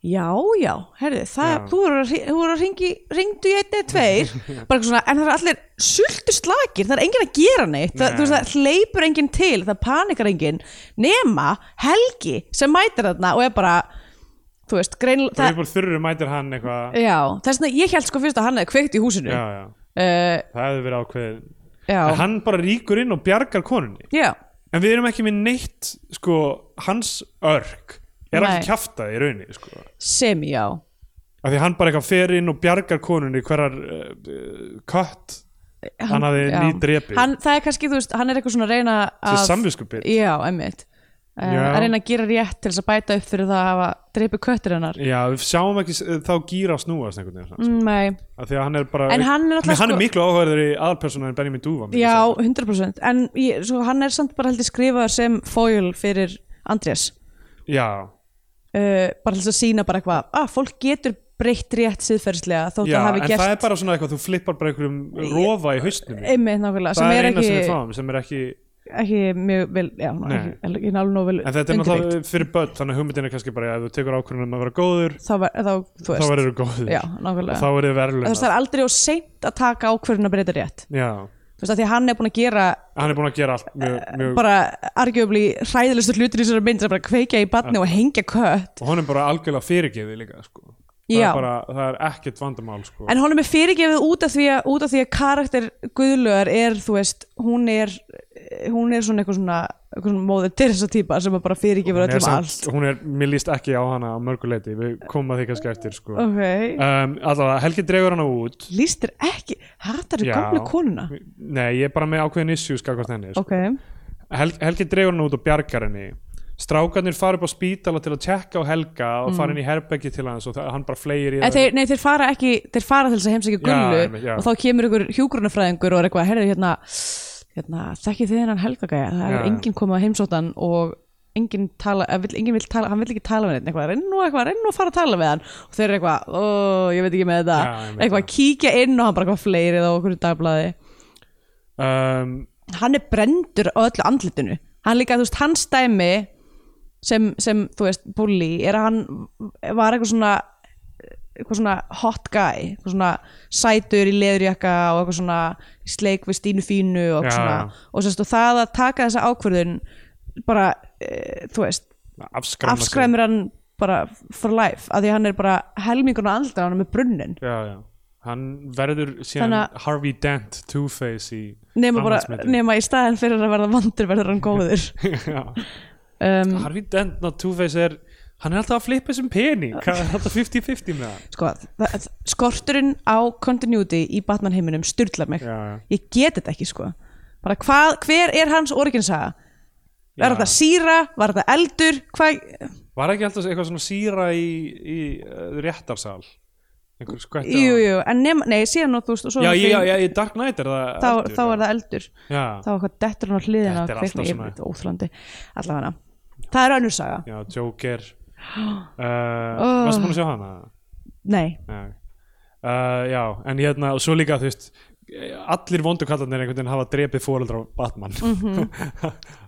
Speaker 3: já, já, herði, það,
Speaker 2: Já.
Speaker 3: þú voru að, hri- þú voru að ringi, ringdu í einni eða
Speaker 2: [laughs]
Speaker 3: tveir bara eitthvað svona, en það er allir sultu slakir, það er enginn að gera neitt það,
Speaker 2: Nei.
Speaker 3: þú veist, það hleypur enginn til, það panikar enginn nema Helgi sem mætir þarna og er bara þú veist,
Speaker 2: það
Speaker 3: greinlega
Speaker 2: er bara þurru mætir hann eitthvað
Speaker 3: Já, þess vegna ég held sko fyrst að hann hefði kveikt í húsinu
Speaker 2: já, já,
Speaker 3: uh,
Speaker 2: það hefði verið ákveðin
Speaker 3: Já,
Speaker 2: en hann bara ríkur inn og bjargar konunni
Speaker 3: já,
Speaker 2: en við erum ekki með neitt sko, hans örk er
Speaker 3: Nei.
Speaker 2: allir kjaftaði í rauninni sko.
Speaker 3: semi já
Speaker 2: af því hann bara eitthvað fer inn og bjargar konunni hverjar uh, kött hann hafði
Speaker 3: Já.
Speaker 2: nýdrepi
Speaker 3: hann, Það er kannski, þú veist, hann er eitthvað svona að reyna
Speaker 2: til
Speaker 3: að
Speaker 2: samviskupið
Speaker 3: Já, emmitt uh,
Speaker 2: Já.
Speaker 3: Að reyna að gera rétt til þess að bæta upp fyrir það að hafa dreipi köttur hennar
Speaker 2: já, við sjáum ekki s- eh, þá gýra að snúast einhvern veginn,
Speaker 3: mm, Nei,
Speaker 2: af því að hann er bara
Speaker 3: En hann er alltaf
Speaker 2: Nei, hann er
Speaker 3: sko-
Speaker 2: miklu áhverður í aðalpersónu en Benjamin Dúfa myndi
Speaker 3: já,
Speaker 2: ég
Speaker 3: 100% En ég, svo, hann er samt bara heldur skrifaður sem foil fyrir Andrés
Speaker 2: segja. já,
Speaker 3: uh, Bara til þess að sína bara eitthvað að ah, fólk getur breytt rétt síðferðslega þótt
Speaker 2: já en
Speaker 3: að hafi gert
Speaker 2: það er bara svona eitthvað þú flippar bara einhverjum rofa í haustnum
Speaker 3: einmitt
Speaker 2: það
Speaker 3: nákvæmlega sem
Speaker 2: er eina
Speaker 3: er ekki
Speaker 2: sem við fáum sem er ekki
Speaker 3: ekki mjög vel já, hún var
Speaker 2: Nei.
Speaker 3: ekki, ekki, ekki alveg nóg vel
Speaker 2: En þetta er
Speaker 3: undirbyggt.
Speaker 2: náttúrulega fyrir börn þannig að hugmyndin er kannski bara að ef þú tekur ákvörðunum um að vera góður
Speaker 3: þá, var, þá, þú
Speaker 2: þá
Speaker 3: veist
Speaker 2: verður þú góður
Speaker 3: já,
Speaker 2: og
Speaker 3: nákvæmlega
Speaker 2: þá verður þú
Speaker 3: Þú veist,
Speaker 2: verðlun
Speaker 3: það er aldrei og seint að taka ákvörðun að breyta rétt
Speaker 2: Já,
Speaker 3: þú veist að því að hann er búin að gera
Speaker 2: hann er búin að gera allt mjög, mjög
Speaker 3: Eh, bara argjöfli hræðilegustu hlutur í þessari mynd að bara kveikja í barni og hengja kött
Speaker 2: og hann er bara algjörlega fyrirgeði líka sko. það,
Speaker 3: Já.
Speaker 2: er bara, það er ekkert vandamál sko.
Speaker 3: en honum er fyrirgefið út af því að, út af því að karakter Guðlögar er þú veist, hún er hún er svona eitthvað svona, eitthvað svona móður til þessa típa sem er bara fyrirgefur
Speaker 2: hún, er
Speaker 3: öllum
Speaker 2: samt,
Speaker 3: um allt
Speaker 2: hún er, mér líst ekki á hana á mörgu leiti, við komum að því kannski eftir sko. um,
Speaker 3: ok,
Speaker 2: allavega, Helgi dregur hana út
Speaker 3: lístir ekki hattar þú
Speaker 2: Já.
Speaker 3: gamlu konuna
Speaker 2: nei, ég er bara með ákveðin issues skakvart henni sko.
Speaker 3: ok,
Speaker 2: Hel Helgi dregur hann út og bjargar henni strákarnir fara upp á spítala til að tjekka á Helga og fara inn í herbeggi til hans og það- hann bara fleir í
Speaker 3: Mm. en þeir, nei, þeir fara ekki þeir fara til þess að heimsækja Gullu
Speaker 2: einmitt, já.
Speaker 3: og þá kemur ykkur hjúgrunafræðingur og er eitthvað, herðu hérna hérna, þekki þið hennan helgagæja það
Speaker 2: Já.
Speaker 3: er enginn komið á heimsóttan og enginn tala, eða vill, enginn vill tala hann vill ekki tala við henn, eitthvað, reynu nú eitthvað, reynu nú að fara að tala við hann og þeir eru eitthvað, ó, ég veit ekki með þetta
Speaker 2: Já, einmitt,
Speaker 3: eitthvað, kíkja inn og hann bara eitthvað fleirið á okkur dagblaði
Speaker 2: um,
Speaker 3: hann er brendur á öllu andlitinu hann líka, þú veist, hans dæmi sem, sem þú veist, bully er að hann var eitthvað svona eitthvað svona hot guy eitthvað svona sætur í leðurjakka og eitthvað svona í sleik við stínu fínu
Speaker 2: Já,
Speaker 3: og, eitthvað svona,
Speaker 2: já.
Speaker 3: og sérst, og það að taka þessa ákvörðun bara, e, þú veist
Speaker 2: afskræma sig.
Speaker 3: afskræmir hann bara for life, af því að hann er bara helmingun á andlitinu hann er með brunnin
Speaker 2: já, já. hann verður síðan
Speaker 3: Þannig að-
Speaker 2: Harvey Dent Two-Face í
Speaker 3: nema, bara,
Speaker 2: framhaldsmyndinni.
Speaker 3: nema í staðin fyrir að verða vandur verður hann
Speaker 2: [laughs]
Speaker 3: góður
Speaker 2: Já.
Speaker 3: um,
Speaker 2: Harvey Dent og Two-Face er hann er alltaf að flippa sem pening hann er alltaf 50-50 með það
Speaker 3: sko, það- það- skorturinn á continuity í Batman heiminum styrlar mig
Speaker 2: Já, já.
Speaker 3: ég get þetta ekki sko bara hvað, hver er hans orginsaga var
Speaker 2: Já.
Speaker 3: þetta síra, var þetta eldur hvað,
Speaker 2: var ekki alltaf eitthvað svona síra í, í uh, réttarsal einhver skvætti
Speaker 3: jú, jú, en nema, nei, síðan og þú veist, og svo
Speaker 2: já,
Speaker 3: er
Speaker 2: já,
Speaker 3: þeim-
Speaker 2: já, í Dark Knight er það
Speaker 3: þá,
Speaker 2: eldur,
Speaker 3: þá
Speaker 2: já.
Speaker 3: er það eldur
Speaker 2: já.
Speaker 3: þá er eitthvað dettur hann á hliðina
Speaker 2: Þetta er alltaf
Speaker 3: kveikna, ég
Speaker 2: svona.
Speaker 3: veit, óþlandi, allavega það er önnur saga,
Speaker 2: Já,
Speaker 3: [gasps]
Speaker 2: Joker uh,
Speaker 3: Oh.
Speaker 2: Varstu búin að sjá hana?
Speaker 3: nei
Speaker 2: Nei. Uh, já, en hérna og svo líka þú veist allir vondu kallarnir einhvern veginn hafa drepið fóreldra á Batman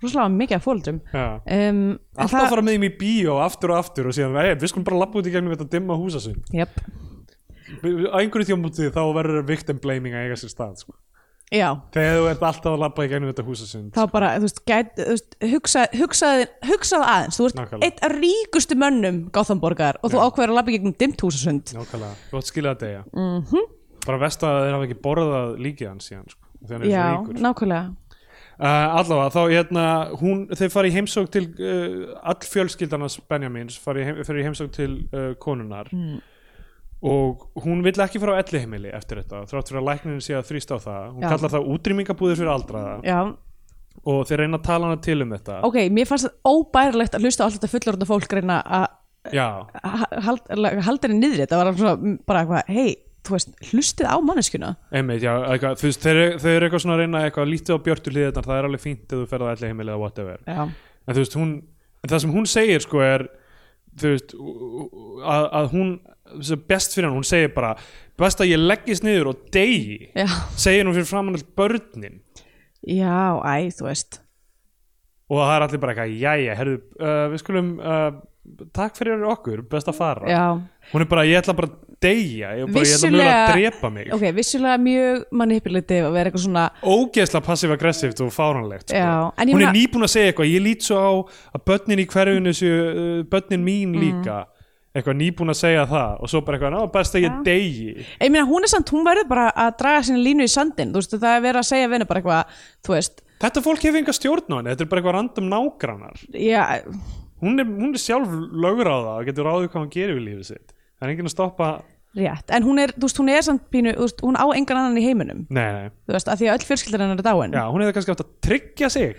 Speaker 3: rosalega mikið af fóldrum
Speaker 2: [laughs] Já.
Speaker 3: um, Mhm. en
Speaker 2: Alltaf fara með þeim í bíó aftur og aftur og síðan, hey, við skulum bara labba út í gegnum þetta dimma húsa sinn
Speaker 3: jöp,
Speaker 2: Á einhverju tjómbúti þá verður victim blaming að eiga sér stað sko.
Speaker 3: já
Speaker 2: Þegar þú ert alltaf að labba í gegnum þetta húsa sinn
Speaker 3: þá bara, þú veist, gæt, þú veist hugsa, hugsaði, hugsaði aðeins þú ert
Speaker 2: Nákvæmlega.
Speaker 3: eitt af ríkustu mönnum Gothenburgar og þú ákveður að labba í gegnum dimt húsasund
Speaker 2: Nákvæmlega, þú átt skilja að deyja mm
Speaker 3: Mhm.
Speaker 2: -hmm. Bara vest að þeir hafa ekki borðað líkið hans síðan sko, þegar hann er
Speaker 3: já,
Speaker 2: svo ríkur
Speaker 3: nákvæmlega
Speaker 2: Uh, allavega, þá hérna hún, þeir fara í heimsók til uh, all fjölskyldarnas Benjamins fara í, heim, fara í heimsók til uh, konunar
Speaker 3: Hmm.
Speaker 2: og hún vill ekki fara á elli heimili eftir þetta þrátt fyrir að læknirinn sé að þrýsta á það hún
Speaker 3: Já.
Speaker 2: kallar það útrýmingabúðir fyrir aldraða
Speaker 3: já,
Speaker 2: og þeir reyna að tala hana til um þetta
Speaker 3: ok, mér fannst það óbærilegt að hlusta á allt þetta fullorðna fólk reyna að
Speaker 2: Já,
Speaker 3: að hald- að halda henni niðri þetta var alveg svona, mm, bara eitthvað, hei þú veist, hlustið á manneskuna
Speaker 2: einmitt, já, eitthvað, þú veist, þeir, þeir eru eitthvað svona að reyna eitthvað lítið á björtu hliðarnar, það er alveg fínt ef þú ferð á elli heimili eða whatever
Speaker 3: já,
Speaker 2: en þú veist hún en það sem hún segir sko er þú veist að, að hún sem best fyrir hann, hún segir bara best að ég leggist niður og degi
Speaker 3: já,
Speaker 2: segir hún fyrir framann all börnin
Speaker 3: já, æ, þú veist
Speaker 2: og það er allir bara eitthvað, jæja, herðu uh, við skulum, uh, takk fyrir okkur best að fara,
Speaker 3: já,
Speaker 2: hún er bara, ég ætla bara að deyja, ég, bara, ég ætla mjög að drepa mig
Speaker 3: ok, vissulega mjög manipulativ að vera eitthvað svona
Speaker 2: ógeðslega passiv-aggressivt og fáranlegt sko.
Speaker 3: Já, en ég
Speaker 2: hún er
Speaker 3: meina-
Speaker 2: nýbúin að segja eitthvað ég lít svo á að börnin í hverfinu séu uh, börnin
Speaker 3: Mm.
Speaker 2: mín líka eitthvað nýbúin að segja það og svo bara eitthvað, ná best að ég degi
Speaker 3: Ég meina, hún er samt, hún verður bara að draga sinni línu í sandin, þú veist, það er verið að segja vinna bara eitthvað, þú veist,
Speaker 2: þetta fólk hefur enga stjórn á henni, þetta er bara eitthvað random nágrannar
Speaker 3: já,
Speaker 2: hún er, hún er sjálf lögráða og getur ráðið hvað hún gerir við lífið sitt það er enginn að stoppa,
Speaker 3: rétt, en hún er, þú veist, hún er samt pínu, þú veist, hún á engan annan í heiminum,
Speaker 2: nei, nei
Speaker 3: þú veist, að því að öll fjölskyldar hennar er dáin. Ah,
Speaker 2: já, hún hefur kannski átt að tryggja
Speaker 3: [laughs]
Speaker 2: sig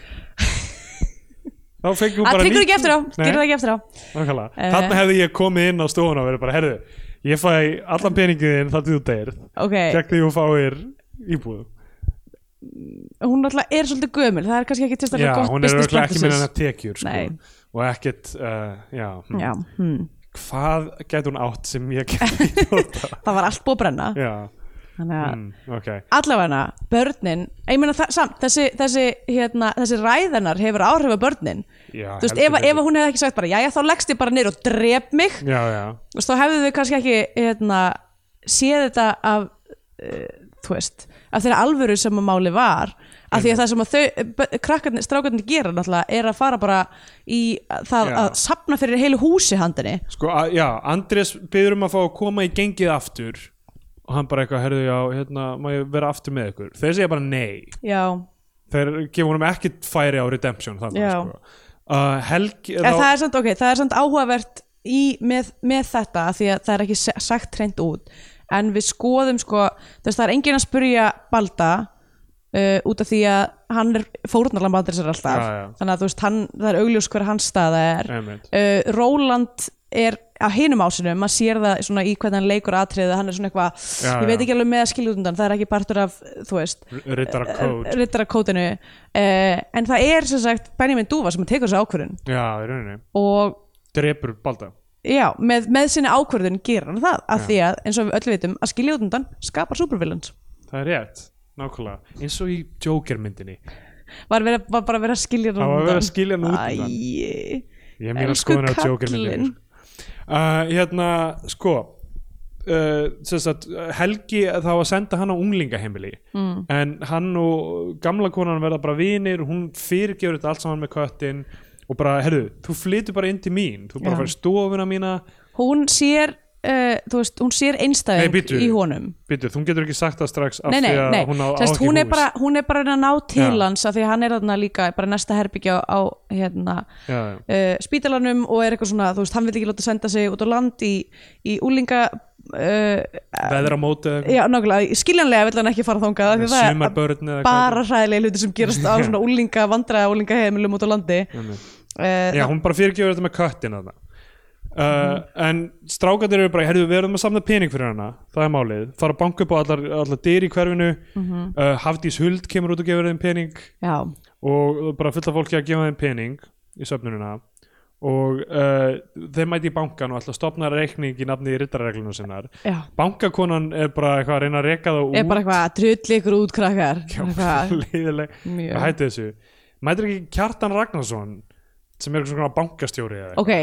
Speaker 2: þá fengur hún
Speaker 3: Það
Speaker 2: bara
Speaker 3: tryggur
Speaker 2: nýtt-
Speaker 3: ekki eftir á,
Speaker 2: Nei.
Speaker 3: gerir það ekki eftir á.
Speaker 2: Nákvæmlega,
Speaker 3: Eh.
Speaker 2: þarna hefði ég komið inn á stofuna og verið bara, herðu, ég fæ allan peningið þinn þar til þú deyr
Speaker 3: Ok,
Speaker 2: gegn því þú fáir íbúð
Speaker 3: hún alltaf er svolítið gömul, það er kannski ekki
Speaker 2: Já,
Speaker 3: tilstæðan gott
Speaker 2: hún er
Speaker 3: business
Speaker 2: örugglega ekki með hennar
Speaker 3: practices.
Speaker 2: tekjur sko.
Speaker 3: Nei.
Speaker 2: og ekkert, uh, já, hm.
Speaker 3: Já, hm.
Speaker 2: hvað getur hún átt sem ég getur [laughs]
Speaker 3: það var allt búið að brenna.
Speaker 2: Já, Hmm,
Speaker 3: þannig að
Speaker 2: ok,
Speaker 3: allavega börnin ég meina þa samt, þessi, þessi, hérna, þessi ræðanar hefur áhrif á börnin
Speaker 2: Já,
Speaker 3: þú veist,
Speaker 2: heldur
Speaker 3: ef,
Speaker 2: betur.
Speaker 3: ef hún hefði ekki sagt bara jæja, þá leggst ég bara niður og drep mig
Speaker 2: já, já
Speaker 3: þú veist, þá hefðu þau kannski ekki hérna, séð þetta af uh, þú veist, af þeirra alvöru sem að máli var af því að það sem að þau, eh, bö- krakkarnir, strákarnir gera náttúrulega er að fara bara í það
Speaker 2: Já.
Speaker 3: að sapna fyrir heilu húsi handinni
Speaker 2: Sko, a- já, Andrés byður um að fá að koma í gengið aftur og hann bara eitthvað, herðu, já, hérna, má ég vera aftur með ykkur? Þeir segja bara nei.
Speaker 3: já,
Speaker 2: Þeir gefa honum ekki færi á redemption þannig,
Speaker 3: Já.
Speaker 2: sko. Uh, helgi,
Speaker 3: en það er samt, ok, það er samt áhugavert í, með, með þetta af því að það er ekki se- sagt hreint út en við skoðum sko þess, það er enginn að spurja Balda uh, út af því að hann er fórnarlamb aldrei sér alltaf
Speaker 2: Já, já.
Speaker 3: þannig að þú veist, hann, það er augljós hver hans staða er
Speaker 2: Einmitt.
Speaker 3: uh, Róland er á hinum ásinum, maður sér það svona í hvernig hann leikur atriðið, hann er svona eitthvað
Speaker 2: Já,
Speaker 3: ég
Speaker 2: já.
Speaker 3: veit ekki alveg með að skilja út undan, það er ekki partur af þú veist, Eh,
Speaker 2: Rittara Code.
Speaker 3: rittarakótinu uh, en það er sem sagt Benjamin Dúfa sem tekur þessu ákvörðun
Speaker 2: Já, í rauninni.
Speaker 3: og
Speaker 2: Drepur Balda.
Speaker 3: já, með, með sinni ákvörðun gerir hann það af því að eins og við öll vitum að skilja út undan skapar supervillains
Speaker 2: Það er rétt, nákvæmlega. Eins og í Joker myndinni.
Speaker 3: var, vera, var bara að vera að skilja hann
Speaker 2: Það var verið að
Speaker 3: undan
Speaker 2: skilja hann út undan.
Speaker 3: Æi.
Speaker 2: Ég hef mína
Speaker 3: Elsku
Speaker 2: skoðunar á Joker myndinni.
Speaker 3: kallinn.
Speaker 2: Uh, hérna, sko, uh, sem sagt, Helgi þá að senda hann á unglingaheimili. Mm. En hann og gamla konan verða bara vinir, hún fyrirgefur þetta allt saman með köttin og bara, herru, þú flytur bara inn til mín. Þú bara
Speaker 3: Já.
Speaker 2: farið stofuna mína.
Speaker 3: hún sér uh, þú veist, hún sér einstæðing
Speaker 2: Nei, bíddu.
Speaker 3: í honum
Speaker 2: Býtu, þú getur ekki sagt það strax af
Speaker 3: Nei, nei,
Speaker 2: því að
Speaker 3: nei,
Speaker 2: hún á, á
Speaker 3: Sest,
Speaker 2: ekki
Speaker 3: hún, er
Speaker 2: hús.
Speaker 3: bara, hún er bara að reyna að ná til
Speaker 2: Já.
Speaker 3: hans af því að hann er þarna líka bara næsta herbyggja á, á hérna,
Speaker 2: Já, já.
Speaker 3: uh, spítalanum og er eitthvað svona, þú veist, hann vil ekki láta senda sig út á land í, í úlinga uh,
Speaker 2: veðra móti eða
Speaker 3: Já, nákvæmlega, skiljanlega vill hann ekki fara þangað af því það
Speaker 2: Sumar
Speaker 3: er
Speaker 2: börn eða
Speaker 3: bara hræðilega hluti sem
Speaker 2: [laughs]
Speaker 3: gerast á svona úlinga vandræða úlinga heimilum út á landi
Speaker 2: Einmitt.
Speaker 3: uh,
Speaker 2: Já, hún bara fyrirgefur þetta með köttin þarna. Uh, En strákandir eru bara, herðu, við erum að samna pening fyrir hana Það er málið, fara að banka upp á allar, allar dyr í hverfinu
Speaker 3: Mhm.
Speaker 2: uh, Hafdís Huld kemur út og gefur þeim pening
Speaker 3: já,
Speaker 2: Og bara fullt af fólki að gefa þeim pening í söfnununa Og uh, þeim mæti í bankan og ætla að stopna reikning í nafni í rittarareglunum sinnar
Speaker 3: já
Speaker 2: Bankakonan er bara eitthvað að reyna að reka það út
Speaker 3: er bara eitthvað, drulli ykkur út krakkar
Speaker 2: [laughs]
Speaker 3: eitthvað,
Speaker 2: leiðileg
Speaker 3: Mjög.
Speaker 2: hætti þessu mætir ekki Kjartan Ragnarsson sem er svona bankastjóri eða
Speaker 3: ok,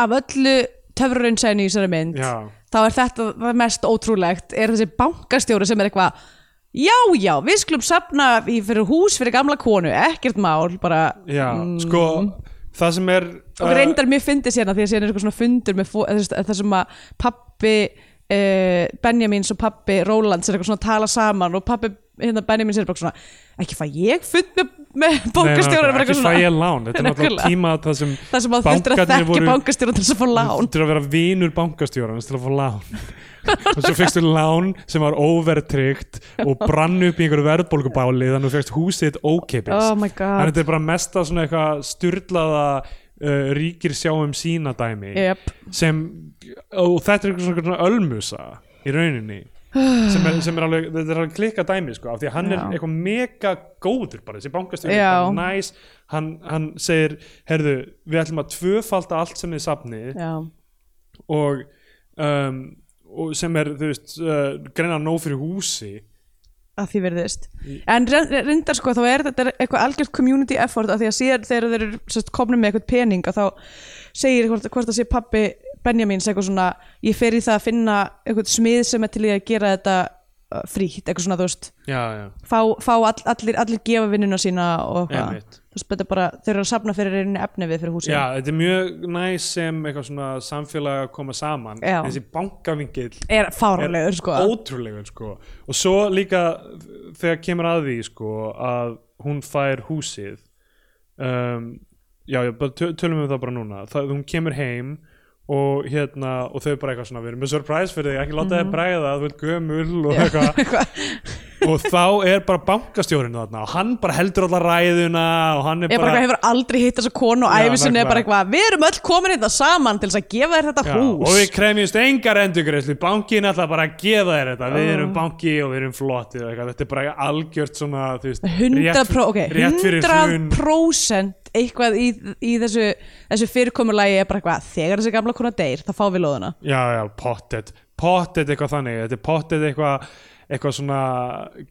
Speaker 3: af öllu töfrurinnsæðinu í þessari mynd
Speaker 2: Já.
Speaker 3: þá er þetta það mest ótrúlegt er þessi bankastjóri sem er eitthvað já, já, við skulum safna í fyrir hús fyrir gamla konu, ekkert mál bara,
Speaker 2: já, sko það sem er uh,
Speaker 3: og Mm. reyndar mjög fyndið sérna því að sérna er eitthvað svona fundur með fó- eða þú veist, það sem að pappi uh, Benjamins og pappi Rólands er eitthvað svona að tala saman og pappi hérna Benjamins er bara svona ekki fæ ég fund með, með bókastjóra
Speaker 2: ekki fæja lán þetta er náttúrulega tíma það
Speaker 3: [laughs]
Speaker 2: sem
Speaker 3: það sem að þurftur að
Speaker 2: bankarnir
Speaker 3: þekkja voru... bókastjóra til þess að fá lán
Speaker 2: til að vera vinur bankastjórans til að fá lán
Speaker 3: [laughs]
Speaker 2: og svo fegstu lán sem var overtryggt og brann upp í einhverju verðbólgubáli þannig að þú fegst húsið þitt ókeipis
Speaker 3: Oh my god.
Speaker 2: þannig að þetta er bara mesta svona eitthvað styrlaða uh, ríkir sjáum sína dæmi
Speaker 3: Jep.
Speaker 2: sem, og þetta er einhver svona, svona ölmusa í rauninni sem er, sem er alveg, þetta er alveg klikka dæmi sko, af því að hann er
Speaker 3: Já.
Speaker 2: eitthvað mega góður bara, þessi bankastjóri er
Speaker 3: Já.
Speaker 2: bara næs hann, hann segir, herðu við ætlum að tvöfalda allt sem þið sapnið
Speaker 3: já,
Speaker 2: og, um, og sem er þú veist, uh, greina nóg fyrir húsi
Speaker 3: að því verðist en re- re- reyndar sko þá er þetta eitthvað algjört community effort að því að síðan þegar þeir eru sérst, komnum með eitthvað pening að þá segir hvort, hvort að sé pappi Benjamins eitthvað svona ég fer í það að finna eitthvað smið sem er til í að gera þetta uh, frítt eitthvað svona þú veist
Speaker 2: já, já,
Speaker 3: fá, fá all, allir, allir gefa vinnuna sína og eitthvað
Speaker 2: Einmitt.
Speaker 3: þú veist þetta er bara þeir eru að safna fyrir einu efni við fyrir húsin
Speaker 2: já, þetta er mjög næs sem eitthvað svona samfélag að koma saman
Speaker 3: Já.
Speaker 2: þessi bankavingill
Speaker 3: er fáralegur sko
Speaker 2: ótrúlegur sko og svo líka þegar kemur að því sko að hún fær húsið um, já, já, bara töl- tölum við það bara núna það, hún kemur heim og hérna, og þau bara eitthvað svona við erum með surprise fyrir þig, ekki láta
Speaker 3: Mhm.
Speaker 2: þig bræða þú ert gömul og
Speaker 3: [laughs]
Speaker 2: eitthvað og þá er bara bankastjórinn þarna og hann bara heldur alla ræðuna og hann er
Speaker 3: Ég bara,
Speaker 2: bara,
Speaker 3: bara hefur aldrei hitt þessa konu og
Speaker 2: Já,
Speaker 3: æfisinni er
Speaker 2: nákvæmlega.
Speaker 3: bara eitthvað, við erum öll komin hérna saman til þess að gefa þér þetta
Speaker 2: Já,
Speaker 3: hús
Speaker 2: og við kremjumst engar endurgreyslu bankin ætla bara að gefa þér þetta við
Speaker 3: Ah.
Speaker 2: erum banki og við erum flottir og eitthvað. þetta er bara algjört svona þú veist,
Speaker 3: 100%,
Speaker 2: rétt,
Speaker 3: pró, okay,
Speaker 2: rétt fyrir hrun
Speaker 3: 100% eitthvað í, í þessu, þessu fyrirkomulagi er bara eitthvað þegar þessi gamla kona deyr, þá fá við lóðuna
Speaker 2: já já, pottet, pottet eitthvað þannig þetta er pottet eitthvað eitthvað svona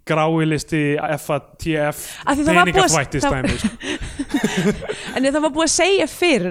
Speaker 2: gráilisti FATF
Speaker 3: Af því það var búið að- það-
Speaker 2: dæmi
Speaker 3: [laughs]
Speaker 2: sko.
Speaker 3: En það var búið að segja fyrr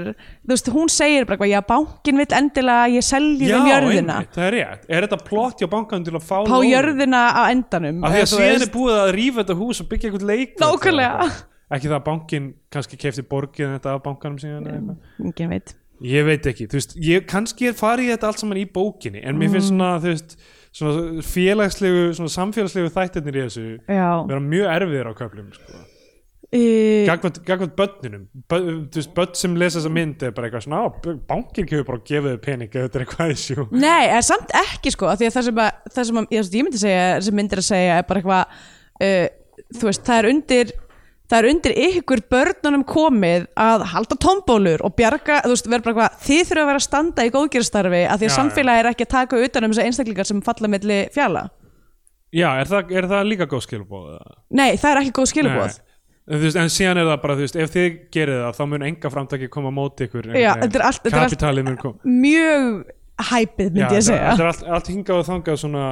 Speaker 3: Þú veist, hún segir bara eitthvað Já, bankin vill endilega að ég selji
Speaker 2: Já,
Speaker 3: þeim jörðina
Speaker 2: einmitt, það er rétt Er þetta plott hjá bankan til að fá
Speaker 3: Pá
Speaker 2: lóðina?
Speaker 3: jörðina á endanum
Speaker 2: Af því að
Speaker 3: eða þú
Speaker 2: síðan
Speaker 3: veist.
Speaker 2: er búið að rífa þetta hús og byggja eitthvað leik
Speaker 3: Nákvæmlega.
Speaker 2: Ekki það að bankin kannski kefti borgið þetta af bankanum síðan eða eitthvað
Speaker 3: Enginn veit
Speaker 2: Ég veit ekki, þú veist, ég kannski er farið í þetta allt saman í bókinni, en mér
Speaker 3: Mm.
Speaker 2: finnst svona, þú veist, svona félagslegu, svona samfélagslegu þættirnir í þessu
Speaker 3: Já
Speaker 2: vera mjög erfiðir á köflum, sko.
Speaker 3: uh,
Speaker 2: Gagvart, gagvart börnunum, Bö, þú veist, börn sem lesa þessa mynd er bara eitthvað svona, á, bankin kefur bara að gefa þau pening ef þetta er eitthvað issue.
Speaker 3: [laughs] Nei, eða samt ekki sko af Því að það sem, að, það sem að, ég, ég myndi segja sem myndir að segja er bara eitthvað uh, Þú veist, það er undir Það er undir ykkur börnunum komið að halda tombólur og bjarga, þú veist, vera bara hvað, þið þurfa að vera að standa í góðgerðstarfi að því að
Speaker 2: Já, já.
Speaker 3: samfélagi er ekki að taka utan um þessar einstaklingar sem falla milli fjala.
Speaker 2: Já, er það, er það líka góð skilbóð?
Speaker 3: Nei, það er ekki góð skilubóð.
Speaker 2: En, þú veist, en síðan er það bara, þú veist, ef þið gerið það, þá mun enga framtaki koma á móti ykkur.
Speaker 3: Já, þetta er allt- þetta er allt-
Speaker 2: Kapitalið mun koma.
Speaker 3: mjög hæpið myndi
Speaker 2: Já,
Speaker 3: ég segja
Speaker 2: þetta er allt, allt hingað og þangað svona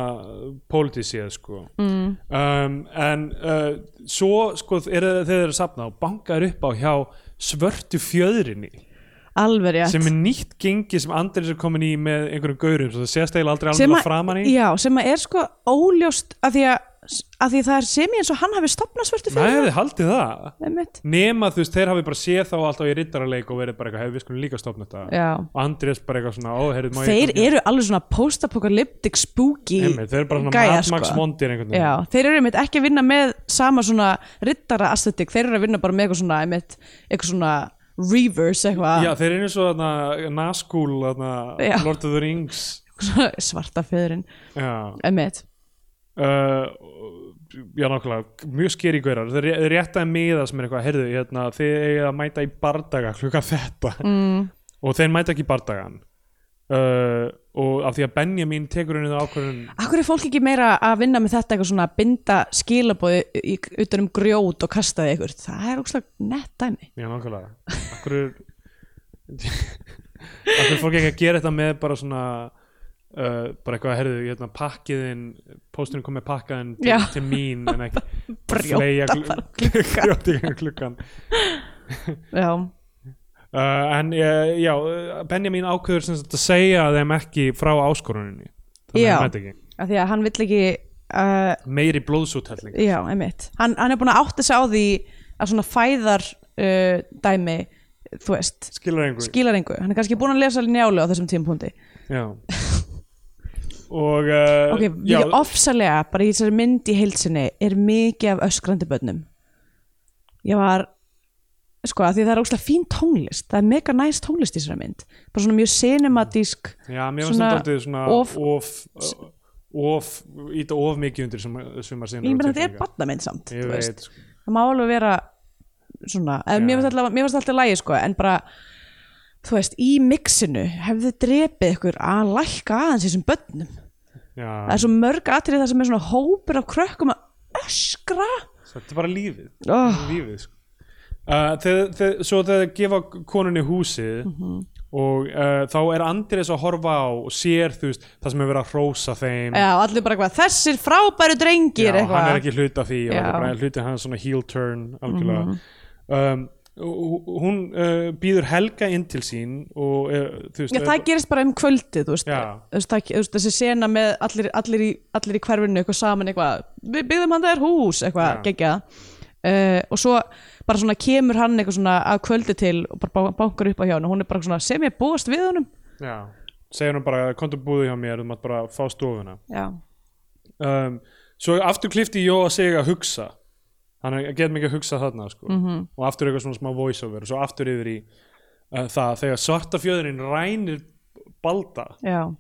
Speaker 2: pólitísið sko mm. um, en uh, svo sko er, þegar þeir eru safnað og bankar upp á hjá svörtu fjöðrinni
Speaker 3: alveg rétt
Speaker 2: sem er nýtt gengi sem Andris er komin í með einhverjum gaurum svo það sést eiginlega aldrei
Speaker 3: Sem
Speaker 2: alveg
Speaker 3: að-
Speaker 2: framan í
Speaker 3: já, sem að er sko óljóst af því að, að, því að það er sem ég eins og hann hafi stopnað svörtu
Speaker 2: Nei,
Speaker 3: fyrir
Speaker 2: þið haldið það
Speaker 3: Einmitt.
Speaker 2: nema þú veist, þeir hafi bara séð þá alltaf í riddaraleik og verið bara eitthvað, hefur við skulum líka stopna þetta
Speaker 3: Já.
Speaker 2: og Andrés bara eitthvað svona, ó, heyrðu, má ég
Speaker 3: þeir
Speaker 2: koma?"
Speaker 3: eru alveg svona post-apokalyptic spooky
Speaker 2: Einmitt, þeir eru bara svona
Speaker 3: gæjar,
Speaker 2: Mad Max
Speaker 3: sko.
Speaker 2: vondir einhvern veginn.
Speaker 3: Já, þeir eru einmitt ekki að vinna með sama svona rittara aesthetic, þeir eru að vinna bara með eitthvað svona, einmitt, eitthvað svona reverse eitthvað,
Speaker 2: Já, þeir eru eins og þarna Nazgul, þarna
Speaker 3: Ah. Já.
Speaker 2: Lord of the Rings
Speaker 3: svona [laughs] svarta föðurinn
Speaker 2: Já,
Speaker 3: einmitt,
Speaker 2: uh, já nákvæmlega, mjög skeri gaurar þeir ré- þeir réttaði miða sem er eitthvað heyrðu, hérna, þið eigið að mæta í bardaga klukka þetta mm. og þeir mæta ekki í bardagan uh, og af því að Benjamin tekur henni það ákvörðun
Speaker 3: Akkur er fólk ekki meira að vinna með þetta eitthvað svona að binda skilabóði utan um grjót og kasta því ykkur? Það er ógslag nett dæmi.
Speaker 2: já nákvæmlega, akkur akkur fólk ekki að gera þetta með bara svona Uh, bara eitthvað, heyrðu, hérna, pakkiðin pósturinn kom með pakkaðin til,
Speaker 3: Já.
Speaker 2: til mín en ekki
Speaker 3: [laughs] Brjóta
Speaker 2: þarf [laughs] klukkan, klukkan.
Speaker 3: Já,
Speaker 2: Uh, en uh, já, uh, Benjamin ákveður sem sagt að segja þeim ekki frá áskoruninni þannig
Speaker 3: Já.
Speaker 2: að mæta ekki
Speaker 3: af því að hann vill ekki, uh,
Speaker 2: meiri blóðsúthelling
Speaker 3: já, einmitt. Hann, hann er búin að átta sig á því að svona fæðar uh, dæmi, þú veist,
Speaker 2: skilur einhver
Speaker 3: skilar engu. Hann er kannski búin að lesa njálu á þessum tímpúndi.
Speaker 2: já.
Speaker 3: [laughs]
Speaker 2: og uh,
Speaker 3: Ok,
Speaker 2: já,
Speaker 3: við ofsalega, bara í þessari mynd í heilsinni, er mikið af öskrandi börnum. Ég var, sko, af því það er ógslag fín tónlist, það er mega næst tónlist í þessari mynd. Bara svona mjög cinematísk,
Speaker 2: já, mér finnst
Speaker 3: svona
Speaker 2: þetta aldrei svona
Speaker 3: of-
Speaker 2: of of, uh, of íta of mikið undir sem, sem að sinna
Speaker 3: ég meina þetta er barnamynd samt,
Speaker 2: ég
Speaker 3: þú veist.
Speaker 2: veit, sko.
Speaker 3: Það má alveg vera svona, eða
Speaker 2: Já.
Speaker 3: mér finnst alltaf, mér finnst alltaf lægi, sko, en bara, þú veist, í mixinu hefði drepið ykkur að lækka aðeins í þessum börnum.
Speaker 2: já,
Speaker 3: Það er svo mörg atrið það sem er svona hópur af krökkum að öskra.
Speaker 2: þetta er bara lífið
Speaker 3: Oh.
Speaker 2: lífið sko. uh, þeir, þeir, svo þegar þeir gefa konunni húsið
Speaker 3: Mhm.
Speaker 2: og uh, þá er Andrés að horfa á og sér þú veist það sem er verið að hrósa þeim
Speaker 3: Já, allir bara eitthvað, þessir frábæru drengir
Speaker 2: Mm. Já,
Speaker 3: eitthvað.
Speaker 2: hann er ekki hluti af því og
Speaker 3: Já. Mhm.
Speaker 2: þetta er bara hluti hann svona heel turn algjörlega um, og hún uh, býður Helga inn til sín og uh, þú veist
Speaker 3: Já,
Speaker 2: er
Speaker 3: það gerist bara um kvöldið, þú veist,
Speaker 2: Já.
Speaker 3: þú veist, það, þú veist þessi sena með allir, allir, í, allir í hverfinu eitthvað saman eitthvað, við byggðum hann þær hús eitthvað,
Speaker 2: Já.
Speaker 3: geggjað uh, og svo bara svona kemur hann eitthvað svona að kvöldi til og bara bá- bankar upp á hjá hann og hún er bara svona sem ég búast við honum
Speaker 2: já, segir hún bara kontum búði hjá mér, þú mátt bara fá stofuna
Speaker 3: Já,
Speaker 2: um, svo aftur klifti Jó að segja að hugsa hann er- getur mikið að hugsa þarna sko. -hmm. og aftur eitthvað svona smá voiceover og svo aftur yfir í uh, það þegar svarta fjöðurinn rænir balda
Speaker 3: já,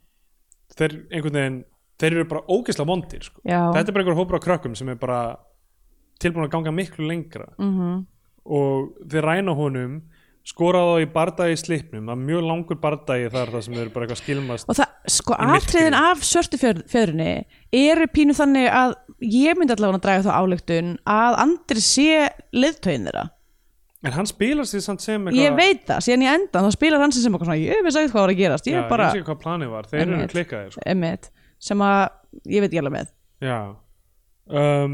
Speaker 2: þeir einhvern veginn þeir eru bara ógeðslega vondir sko.
Speaker 3: já
Speaker 2: þetta er bara einhver hópur á krökkum sem er bara tilbúin að ganga miklu lengra -hmm. og þeir ræna honum skora þá í bardagi í slipnum það er mjög langur bardagi þar það sem þeir eru bara eitthvað að skilmast
Speaker 3: Og það, sko,
Speaker 2: myrkrinu.
Speaker 3: atriðin af svörtu fjörunni eru pínu þannig að ég myndi allavega að draga þá álíktun að Andri sé liðtögin þeirra
Speaker 2: en hann spilar sér samt sem eitthvað
Speaker 3: Ég veit það, síðan í endan þá spilar hann sig sem eitthvað svona, ég veist ekki hvað var að gerast ég
Speaker 2: já,
Speaker 3: er bara,
Speaker 2: ég sé hvað planið var, þeir eru
Speaker 3: Einmitt.
Speaker 2: klikkaðir sko.
Speaker 3: emmitt sem að, ég veit ekki alveg með
Speaker 2: Já, um,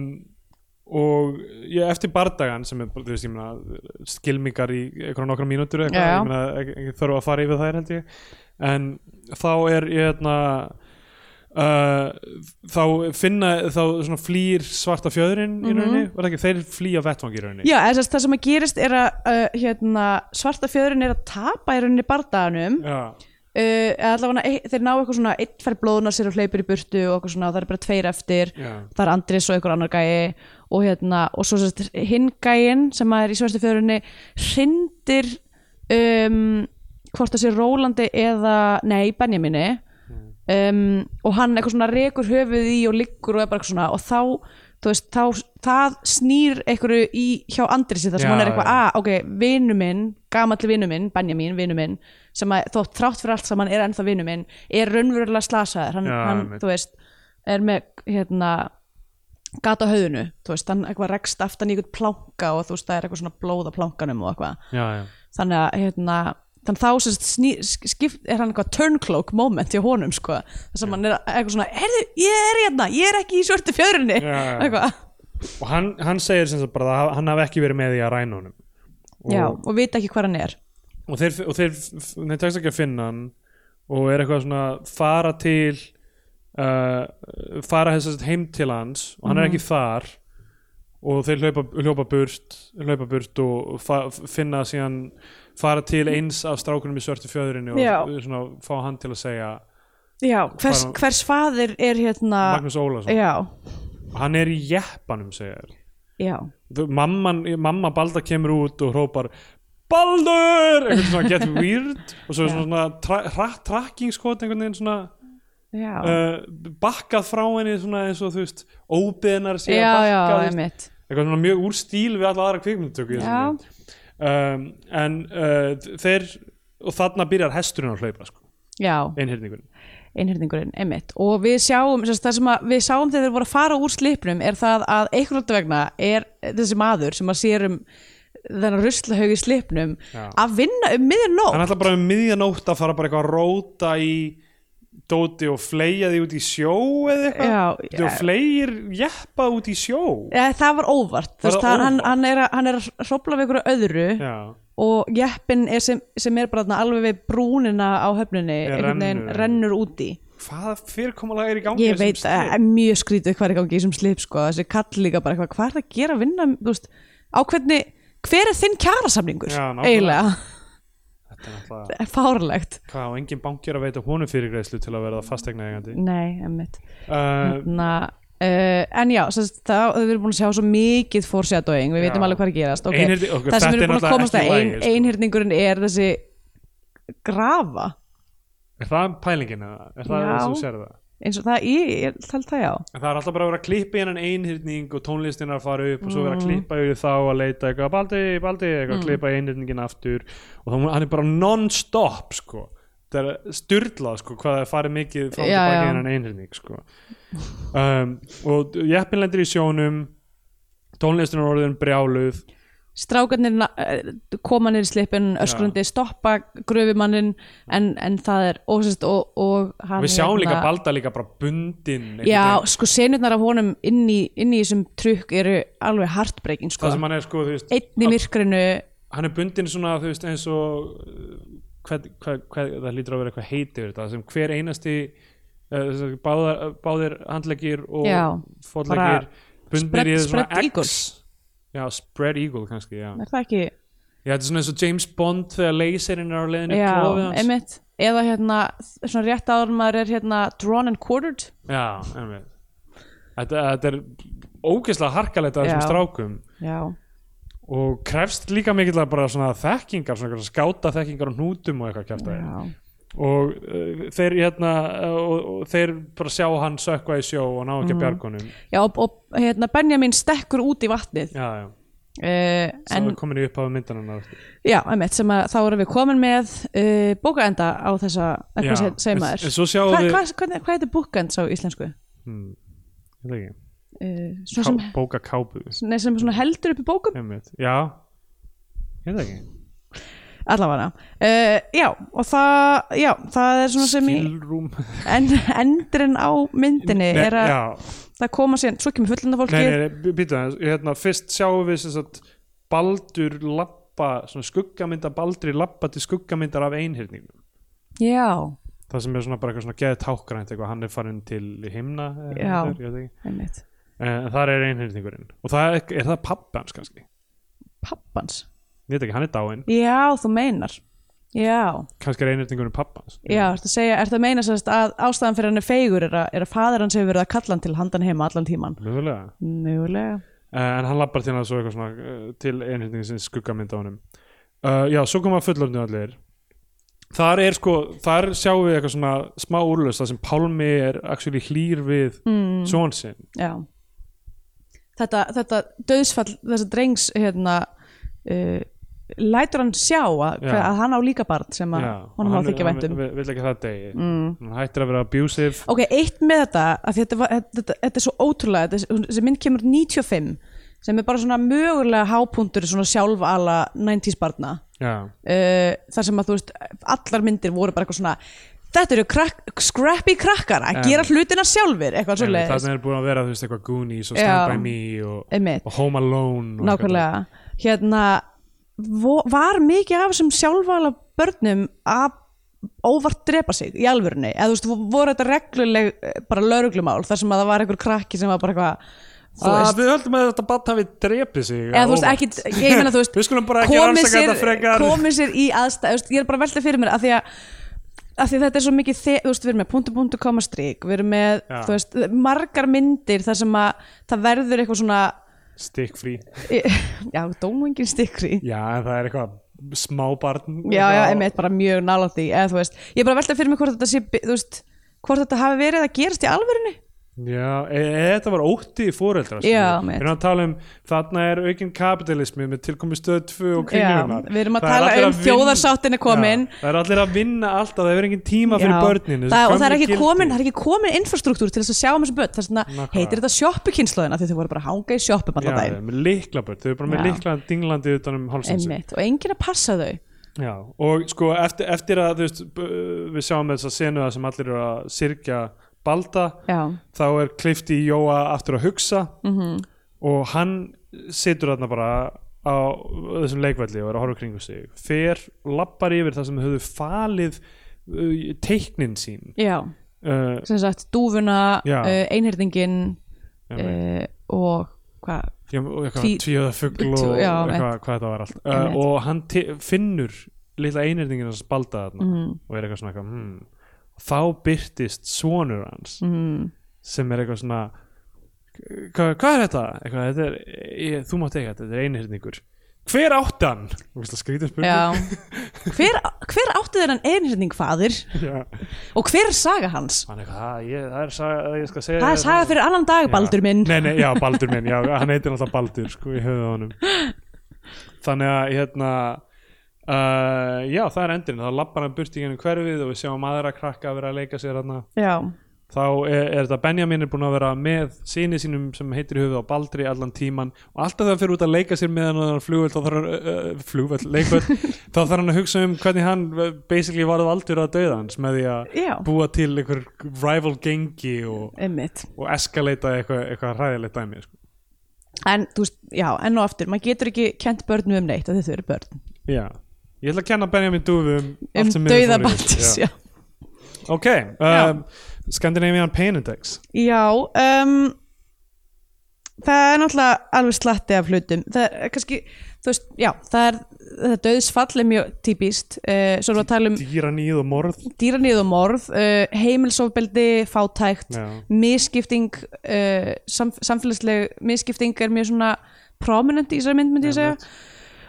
Speaker 2: og ég, eftir bardagan sem er, bara, þú veist, ég meina skilmingar í einhverja nokkra mínútur eða eitthvað,
Speaker 3: Já.
Speaker 2: ég meina, ekki- ekki þörf að fara yfir þær held ég en þá er ég hérna Uh, þá finna þá svona flýr svarta fjöðrin í rauninni,
Speaker 3: Mhm.
Speaker 2: var það ekki, þeir flýja vettvang í rauninni
Speaker 3: Já, eða sem sagt, það sem að gerist er að uh, hérna, svarta fjöðurinn er að tapa í rauninni bardaganum uh,
Speaker 2: Já.
Speaker 3: eða allavega e- þeir ná eitthvað svona einn fær blóðuna sér og hleypur í burtu og eitthvað svona og það er bara tveir eftir
Speaker 2: Já.
Speaker 3: það er Andris og einhver annar gæi og, hérna, og svo sérst, hinn gæin sem að er í svarta fjöðurinni hrindir um, hvort það sé Rólandi eða nei, Benjamini um, og hann eitthvað svona rekur höfuð í og liggur og er bara eitthvað svona og þá, þú veist, þá, það snýr einhverju í hjá Andrisi þar sem
Speaker 2: Já,
Speaker 3: hann er eitthvað,
Speaker 2: já.
Speaker 3: að, ok, vinnu minn gamalli vinnu minn, Benjamin, vinnu minn sem að þótt þrátt fyrir allt saman er ennþá vinnu minn er raunverulega slasaður hann,
Speaker 2: Já,
Speaker 3: hann
Speaker 2: einmitt.
Speaker 3: þú veist, er með hérna, gata höfðinu þú veist, hann eitthvað rekst aftan í eitthvað plánka og þú veist, það er eitthvað svona blóð á plánkanum og eitthvað
Speaker 2: Já, já.
Speaker 3: þannig að hérna þannig að þá sem sagt sný, skipt, er hann eitthvað turncloak moment hjá honum sko þess að hann er eitthvað svona heyrðu, ég er hérna, ég er ekki í svörtu fjöðrinni
Speaker 2: Já, já.
Speaker 3: eitthvað,
Speaker 2: og hann, hann segir sem sagt bara að hann hafi ekki verið með í að ræna honum og,
Speaker 3: já, og vita ekki hvað hann er
Speaker 2: og þeir, og þeir, þeir tekst ekki að finna hann og er eitthvað svona fara til uh, fara þess að heim til hans og hann er
Speaker 3: Mhm.
Speaker 2: ekki þar og þeir hlaupa, hljópa burt hlaupa burt og fa, finna síðan fara til eins af strákunum í svörtu fjöðrinni og
Speaker 3: Já.
Speaker 2: svona, fá hann til að segja
Speaker 3: já, hvers,
Speaker 2: Hvað-
Speaker 3: hvers faðir er hérna
Speaker 2: Magnús Ólason,
Speaker 3: já,
Speaker 2: hann er í jeppanum segja þér
Speaker 3: já,
Speaker 2: Þú- mamman, mamma Balda kemur út og hrópar Baldur einhvern svona get weird og svo er svona tra tra tracking skot einhvern veginn svona
Speaker 3: já
Speaker 2: uh, bakkað frá henni svona eins og þú veist óbeðnar sé
Speaker 3: já,
Speaker 2: að
Speaker 3: já,
Speaker 2: bakka þú veist,
Speaker 3: einmitt
Speaker 2: eitthvað svona mjög úr stíl við alla aðra kvikmyndtöku í þessum
Speaker 3: Já.
Speaker 2: mynd. um, en uh, þeir og þarna byrjar hesturinn að hlaupa sko,
Speaker 3: já,
Speaker 2: einhyrningurinn
Speaker 3: einhyrningurinn, einmitt og við sjáum, sem sagt, það sem að við sáum þegar þeir voru að fara úr slipnum er það að einhvern vegna er þessi maður sem að sér um þennan ruslahaug í slipnum
Speaker 2: Já.
Speaker 3: að vinna um miður nótt
Speaker 2: hann ætla bara um miðjanótt að fara bara eitthvað að róta í dóti og fleia því út í sjó eða eitthvað
Speaker 3: Já,
Speaker 2: Þú
Speaker 3: já.
Speaker 2: fleir jeppa út í sjó
Speaker 3: ja, það var óvart,
Speaker 2: Var
Speaker 3: það
Speaker 2: það
Speaker 3: það, hann,
Speaker 2: óvart?
Speaker 3: hann, er að, hann er að hrópla við einhverju öðru
Speaker 2: já,
Speaker 3: og jeppin er sem, sem er bara þarna alveg við brúnina á höfninni
Speaker 2: Ég
Speaker 3: einhvern veginn
Speaker 2: rennur.
Speaker 3: rennur úti
Speaker 2: hvað fyrirkomulega er í gangi
Speaker 3: ég veit að er mjög skrítið hvað er í gangi í þessum slip sko, þessi kall líka bara eitthvað, hvað er það að gera að vinna þú veist, á hvernig, hver er þinn kjarasamningur
Speaker 2: Já, nákvæmlega.
Speaker 3: eiginlega, [laughs]
Speaker 2: þetta er náttúrulega
Speaker 3: Það er fárlegt
Speaker 2: hvað og engin banki er að veita honum fyrirgreislu til að verða fastegna eigandi
Speaker 3: nei, emmitt
Speaker 2: uh,
Speaker 3: uh, en já, sem sagt, þá við erum búin að sjá svo mikið foreshadowing, við
Speaker 2: Já.
Speaker 3: veitum alveg hvað er að gerast okay.
Speaker 2: Einhyrni- ok,
Speaker 3: það
Speaker 2: þetta
Speaker 3: sem við
Speaker 2: er
Speaker 3: erum búin að
Speaker 2: náttúrulega
Speaker 3: komast
Speaker 2: ekki í
Speaker 3: að ein,
Speaker 2: lagi, sko.
Speaker 3: einhyrningurinn er þessi grafa
Speaker 2: er það pælingin eða? er það
Speaker 3: Já.
Speaker 2: það sem þú sér það?
Speaker 3: eins og það, ég, ég held það já
Speaker 2: En það er alltaf bara að vera að klippa í hennan einhyrning og tónlistin er að fara upp og svo vera
Speaker 3: Mm.
Speaker 2: að klippa yfir þá að leita eitthvað baldi, baldi, eitthvað mm. klippa í einhyrningin aftur og þá, hann er bara non-stop sko. það er styrlað sko, hvað það er farið mikið frá
Speaker 3: Já,
Speaker 2: til baki
Speaker 3: já.
Speaker 2: hennan einhyrning sko. um, og jeppin lendir í sjónum tónlistin er orðin brjáluð
Speaker 3: strákarnir na- eh, koma niður í slipin öskrandi, stoppa gröfumannin en, en það er ósist og, og hann
Speaker 2: við sjáum
Speaker 3: hérna-
Speaker 2: líka balda líka bara bundin einhvern
Speaker 3: Já,
Speaker 2: veginn.
Speaker 3: sko senurnar af honum inn í, inn í þessum trukk eru alveg hartbreyking sko.
Speaker 2: það sem hann er sko, þú veist,
Speaker 3: einn í myrkrinu
Speaker 2: hann er bundin svona þú veist eins og uh, hvað, hvað, hvað, það lítur að vera eitthvað heiti yfir þetta sem hver einasti uh, báðar, báðir handleggir
Speaker 3: Já,
Speaker 2: og fótleggir
Speaker 3: spread-
Speaker 2: bundnir í svona
Speaker 3: spread
Speaker 2: X
Speaker 3: eagles.
Speaker 2: já, spread eagle kannski já.
Speaker 3: er það ekki
Speaker 2: já, þetta er svona eins og James Bond þegar laserinn er á leiðinu í klofið
Speaker 3: Já,
Speaker 2: hans
Speaker 3: einmitt eða hérna, svona rétt áður en maður er hérna drawn and quartered
Speaker 2: já, einmitt þetta, þetta er ógeðslega harkalegt að
Speaker 3: Já.
Speaker 2: þessum strákum
Speaker 3: Já,
Speaker 2: og krefst líka mikill bara svona þekkingar, svona einhverjar skáta þekkingar og hnútum og eitthvað kjartaði
Speaker 3: já,
Speaker 2: og uh, þeir hérna uh, og, og þeir bara sjá hann sökva í sjó og ná
Speaker 3: Mm.
Speaker 2: ekki að bjargunum
Speaker 3: já og, og hérna Benjamin stekkur út í vatnið
Speaker 2: já, já,
Speaker 3: uh,
Speaker 2: en,
Speaker 3: en,
Speaker 2: það er komin í upphafi myndanana
Speaker 3: já, einmitt, sem að þá erum við komin með uh, bókaenda á þessa eh,
Speaker 2: Já,
Speaker 3: hvað seg- segir
Speaker 2: en-
Speaker 3: maður
Speaker 2: en svo sjáum
Speaker 3: Hva-
Speaker 2: við- Hmm,
Speaker 3: hvað- hvernig- Hvað heitir bókaend sá íslensku?
Speaker 2: Ká,
Speaker 3: Uh, svona sem,
Speaker 2: bóka kápu
Speaker 3: nei, sem svona heldur upp í bókum
Speaker 2: einmitt. já, ég veit það ekki
Speaker 3: allavega uh, já, og það, já, það er svona sem í
Speaker 2: Skilrúm
Speaker 3: en, endurinn á myndinni er að
Speaker 2: Já,
Speaker 3: það koma síðan, svo kemur fullenda fólki
Speaker 2: Nei, nei, nei, býta aðeins, hérna, fyrst sjáum við sem sagt Baldur lappa, svona skuggamynda Baldri lappa til skuggamyndar af einhyrningnum
Speaker 3: já,
Speaker 2: það sem er svona bara eitthvað svona geðið tákgrænt eitthvað, hann er farin til himna eh,
Speaker 3: Já.
Speaker 2: er, ég veit ekki.
Speaker 3: einmitt
Speaker 2: Eh, en þar er einhyrningurinn og það er, er það pappi hans kannski ég
Speaker 3: pappans,
Speaker 2: veit ekki, hann er dáinn,
Speaker 3: já þú meinar já,
Speaker 2: kannski er einhyrningurinn pappi hans
Speaker 3: já, ertu að segja, ertu að meina sérst að ástæðan fyrir hann er feigur er að, er að faðir hans hefur verið að kalla hann til handan heima allan tíman
Speaker 2: Mögulega.
Speaker 3: mjögulega,
Speaker 2: Eh, en hann lappar til hann svo eitthvað svona eh, til einhyrningi sem skuggamynda á honum uh, já, svo koma fullorðinu allir þar er sko, þar sjáum við eitthvað svona smá úrlaust það sem Pálmi er actually hlýr við
Speaker 3: Hmm.
Speaker 2: mm. svon sinn
Speaker 3: já þetta, þetta döðsfall þessa drengs hérna uh, lætur hann sjá að,
Speaker 2: Já.
Speaker 3: hve- að hann á líka barn sem að
Speaker 2: Já,
Speaker 3: honum á
Speaker 2: hann-
Speaker 3: þykja um. Hmm.
Speaker 2: hann
Speaker 3: væntum
Speaker 2: vill- vill ekki að það degi mm. hann hættir að vera abusive
Speaker 3: Ok, eitt með þetta, að þetta, var, þetta, þetta er svo ótrúlega, þetta, þessi mynd kemur 95 sem er bara svona mögulega hápuntur svona sjálfala 90s barna
Speaker 2: já,
Speaker 3: uh, þar sem að þú veist, allar myndir voru bara eitthvað svona þetta eru krak, scrappy krakkar að
Speaker 2: En-
Speaker 3: gera hlutina sjálfir, eitthvað svo leiðis
Speaker 2: þannig er búin að vera þú veist eitthvað Goonies og
Speaker 3: Já.
Speaker 2: Stand By Me og,
Speaker 3: Einmitt.
Speaker 2: og Home Alone og
Speaker 3: Nákvæmlega, hérna vo, var mikið af þessum sjálfala börnum að óvart drepa sig í alvörunni eða þú veist, vo- voru þetta regluleg eh, bara lauruglumál þar sem að það var einhver krakki sem var bara eitthvað þú
Speaker 2: eitthvað. að
Speaker 3: veist,
Speaker 2: Ah, við höldum að þetta batn hafi drepið sig
Speaker 3: eða þú veist
Speaker 2: óvart.
Speaker 3: ekki, ég meina þú veist
Speaker 2: [laughs] Við skulum bara ekki
Speaker 3: komið
Speaker 2: rannsaka þetta frekar.
Speaker 3: komið sér í aðstæð, veist, ég er bara að velta fyrir mér að því að að því að þetta er svo mikið, þe- þú veist, við erum með punktu, punktu, koma, strik, við erum með,
Speaker 2: Já.
Speaker 3: þú veist, margar myndir þar sem að það verður eitthvað svona, [laughs]
Speaker 2: stick free
Speaker 3: já, dómungin stikri,
Speaker 2: já, en það er eitthvað smá barn
Speaker 3: já, já,
Speaker 2: og-
Speaker 3: einmitt, bara mjög nála því, eða þú veist, ég er bara að velta fyrir mér hvort þetta sé, bi- þú veist, hvort þetta hafi verið að gerast í alvörunni,
Speaker 2: Já, e e þetta var ótti í fóreldra
Speaker 3: Já,
Speaker 2: Við
Speaker 3: mitt.
Speaker 2: erum að tala um, þarna er aukinn kapitalismi með tilkomi stöð 2 og kringlunar
Speaker 3: Já, við erum að
Speaker 2: Það er
Speaker 3: tala
Speaker 2: allir að
Speaker 3: um
Speaker 2: vinna-
Speaker 3: þjóðarsáttin er komin.
Speaker 2: Já, Það er allir að vinna alltaf, það er engin tíma fyrir
Speaker 3: Já.
Speaker 2: börnin þessi
Speaker 3: það, og það er
Speaker 2: gömlu
Speaker 3: ekki
Speaker 2: gildi.
Speaker 3: komin, það er ekki komin infrastruktúr til þess að sjá um þessu börn, þess vegna
Speaker 2: Nákvæmlega.
Speaker 3: heitir þetta sjoppukynnslóðina því þau voru bara að hanga í sjoppum
Speaker 2: Já,
Speaker 3: allan
Speaker 2: það
Speaker 3: daginn
Speaker 2: er með liklabörn, þau eru bara með
Speaker 3: Já.
Speaker 2: liklaðan dinglandi utan um hálsins
Speaker 3: einmitt, og enginn að passa þau
Speaker 2: Já, og sko eftir, eftir að þú veist, b- við sjáum þess að senu það sem allir eru að sirkja balda
Speaker 3: já,
Speaker 2: þá er klifti í Jóa aftur að hugsa -hmm. og hann situr þarna bara á þessum leikvelli og er að horfa kringu sig fer, lappar yfir það sem höfðu falið uh, teiknin sín
Speaker 3: já,
Speaker 2: uh,
Speaker 3: sem sagt dúfuna,
Speaker 2: Já.
Speaker 3: uh, einhyrningin
Speaker 2: uh,
Speaker 3: uh, og hvað tví-
Speaker 2: tvíða fugl og
Speaker 3: Já,
Speaker 2: eitthvað, hvað þetta var allt
Speaker 3: Einmitt.
Speaker 2: uh, og hann te- finnur litla einhyrningin hans balda þarna
Speaker 3: Mhm.
Speaker 2: og er eitthvað svona eitthvað, hmm. þá byrtist svonur hans
Speaker 3: mm,
Speaker 2: sem er eitthvað svona hva, hvað er þetta? Eitthvað, þetta er, ég, þú mátt eiga þetta, þetta er einhyrningur hver átt hann? Þú veist að skrýta
Speaker 3: já.
Speaker 2: [laughs] spurning
Speaker 3: hver, hver átti þeirra einhyrning faðir
Speaker 2: Já.
Speaker 3: og hver er saga hans
Speaker 2: hann er eitthvað, "Ha, ég, það er saga ég skal segja
Speaker 3: það
Speaker 2: þér
Speaker 3: er saga fyrir annan dag,
Speaker 2: Já.
Speaker 3: Baldur minn
Speaker 2: nei, nei, já, Baldur minn, já, hann heitir alltaf Baldur sko, í höfuð á honum þannig að hérna uh, já, það er endurinn, þá lappar hann burt í hennu hverfið og við sjáum aðra krakka að vera að leika sér hann
Speaker 3: já,
Speaker 2: þá er, er þetta Benjamin er búin að vera með síni sínum sem heitir í höfuð á Baldri allan tíman og alltaf þegar hann fyrir út að leika sér með hann og hann flugvöld, þá þarf hann uh, flugvöld,
Speaker 3: [laughs]
Speaker 2: leikvöld, þá þarf hann að hugsa um hvernig hann eh, basically varð aldur að dauða hans með því að
Speaker 3: Já.
Speaker 2: búa til einhver rival gengi og,
Speaker 3: einmitt
Speaker 2: og eskalata eitthvað, eitthvað hræðilegt dæmi sko.
Speaker 3: en þú veist, já, enn og aftur, maður getur ekki kent börnum um neitt að þau eru börn
Speaker 2: Já, ég ætla að kenna Benjamin Dúfu um, allt
Speaker 3: um
Speaker 2: sem miður
Speaker 3: dauða
Speaker 2: fór í.
Speaker 3: Baldurs, já
Speaker 2: Ok, um, Scandinavian Pain Index
Speaker 3: Já, um, það er náttúrulega alveg slatti af hlutum það er kannski, þú veist, já það er, þetta döðsfall er mjög típist uh, svo erum við að tala um
Speaker 2: Dýranýð og morð
Speaker 3: dýranýð og morð uh, heimilsofbeldi, fátækt
Speaker 2: Já.
Speaker 3: misskipting uh, samf samfélagsleg misskipting er mjög svona prominent í þessari mynd myndi ég segja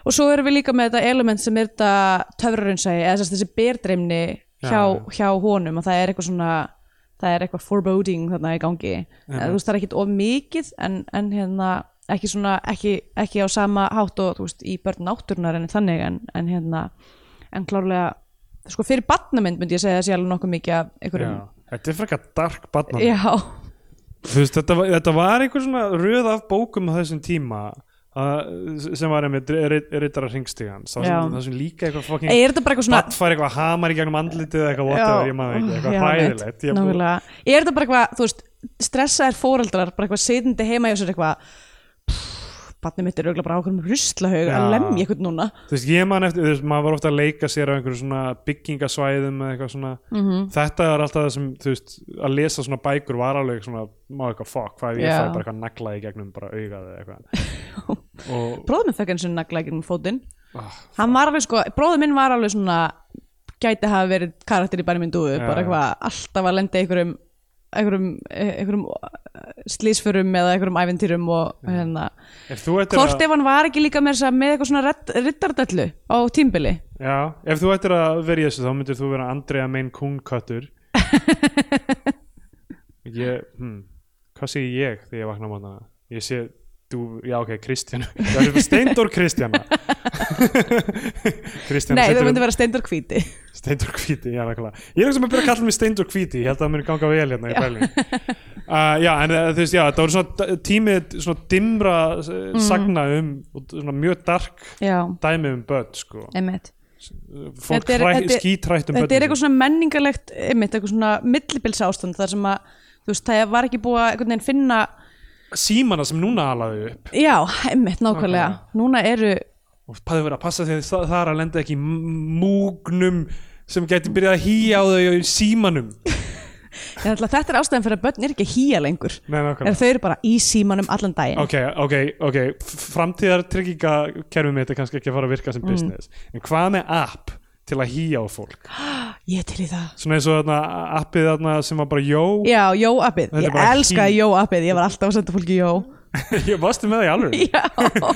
Speaker 3: og svo erum við líka með þetta element sem er þetta töfrarunnsægi eða þess- þessi berdreimni hjá,
Speaker 2: Já.
Speaker 3: hjá honum og það er eitthvað svona það er eitthvað foreboding þarna í gangi eða, þú veist það er ekkit of mikið en, en hérna ekki svona ekki, ekki á sama hátt og þú veist í börn náttúrunar en þannig en, en hérna en klárlega sko fyrir barnamynd myndi ég segja að sé alveg nokkuð mikið af einhverjum
Speaker 2: Já. Þetta er frekar dark barnan
Speaker 3: já,
Speaker 2: Þú veist, þetta, var- þetta var einhver svona röð af bókum á þessum tíma að- sem var einmitt rittara hringstígan
Speaker 3: Já.
Speaker 2: það sem líka eitthvað fucking
Speaker 3: [laughs] er þetta bara eitthvað svona
Speaker 2: Batt fær eitthvað hamar í gegnum andlitið eða eitthvað whatever, ég maður ekki, eitthvað
Speaker 3: já,
Speaker 2: hræðilegt
Speaker 3: einmitt,
Speaker 2: Ég er búin-
Speaker 3: nákvæmlega. er þetta bara eitthvað, þú veist stressaðir fóreldrar, bara eitthvað setjandi heima hjá sér eitthvað barnið mitt er auðvitað bara ákveðum ruslahaug
Speaker 2: Já.
Speaker 3: að lemja eitthvað núna
Speaker 2: Þú veist, ég man eftir, þú veist, maður var ofta að leika sér á einhverjum svona byggingasvæðum eða eitthvað svona,
Speaker 3: Mhm.
Speaker 2: -hmm. þetta er alltaf það sem, þú veist, að lesa svona bækur var alveg svona, má eitthvað fuck, hvað ef ég
Speaker 3: Já.
Speaker 2: fæ bara eitthvað nagla í gegnum bara augað eða eitthvað
Speaker 3: [laughs]
Speaker 2: og,
Speaker 3: bróðum minn fekk eins og nagla ekki um fótinn
Speaker 2: ah,
Speaker 3: hann var alveg sko, bróðum minn var alveg svona gæti hafa verið karakter í bænum minn dúðu, bara
Speaker 2: já.
Speaker 3: eitthvað alltaf að lenda í einhverjum einhverjum, einhverjum eh, slísförum eða einhverjum æventýrum og hérna
Speaker 2: ef þú ættir
Speaker 3: hvort
Speaker 2: að
Speaker 3: ef hann var ekki líka með, með eitthvað svona rittardallu á tímbili
Speaker 2: já, ef þú ættir að vera í þessu þá myndir þú vera Andrea Main
Speaker 3: [laughs]
Speaker 2: Kungköttur ég, hm hvað sé ég þegar ég vakna á mótana ég sé, þú, já ok,
Speaker 3: [laughs]
Speaker 2: Kristjana Steindór Kristjana Kristjana
Speaker 3: Nei,
Speaker 2: situr
Speaker 3: það
Speaker 2: um-
Speaker 3: myndi vera steindur hvíti
Speaker 2: Steindur hvíti, já nákvæmlega Ég er ekki sem að byrja að kalla mig Steindur hvíti Ég held að það muni ganga vel hérna í pæling uh, Já, en uh, þú veist, já, það voru svona tími svona dimra uh,
Speaker 3: Mhm.
Speaker 2: sagna um og svona mjög dark
Speaker 3: Já,
Speaker 2: dæmi um börn, sko
Speaker 3: einmitt
Speaker 2: Fólk
Speaker 3: Þetta er-
Speaker 2: hræ-
Speaker 3: þetta er-
Speaker 2: skítrætt um börn
Speaker 3: Þetta er eitthvað svona menningarlegt einmitt, eitthvað svona millibils ástand þar sem að, þú veist, það var ekki búið að einhvern veginn finna
Speaker 2: Símana sem núna alaði upp
Speaker 3: Já, einmitt, nákvæmlega
Speaker 2: Nákvæmlega.
Speaker 3: Núna eru,
Speaker 2: og paður verið að passa því að það er að lenda ekki í m- múgnum sem gæti byrjað að hýja á þau í símanum
Speaker 3: ég ætla að þetta er ástæðan fyrir að börn er ekki að hýja lengur
Speaker 2: [laughs] Nei, nákvæmlega
Speaker 3: er þau eru bara í símanum allan daginn
Speaker 2: ok, ok, ok framtíðar tryggingakerfið mitt er kannski ekki að fara að virka sem business en hvað með app til að hýja á fólk
Speaker 3: Ég er til í það
Speaker 2: svona eins og þarna appið þarna sem var bara jó,
Speaker 3: Já, jó-appið,
Speaker 2: Þetta er
Speaker 3: ég
Speaker 2: bara
Speaker 3: elskaði
Speaker 2: hý.
Speaker 3: jó-appið Ég var alltaf að senda
Speaker 2: [laughs]
Speaker 3: fólki jó
Speaker 2: [laughs] ég varstu með það í alveg
Speaker 3: Já,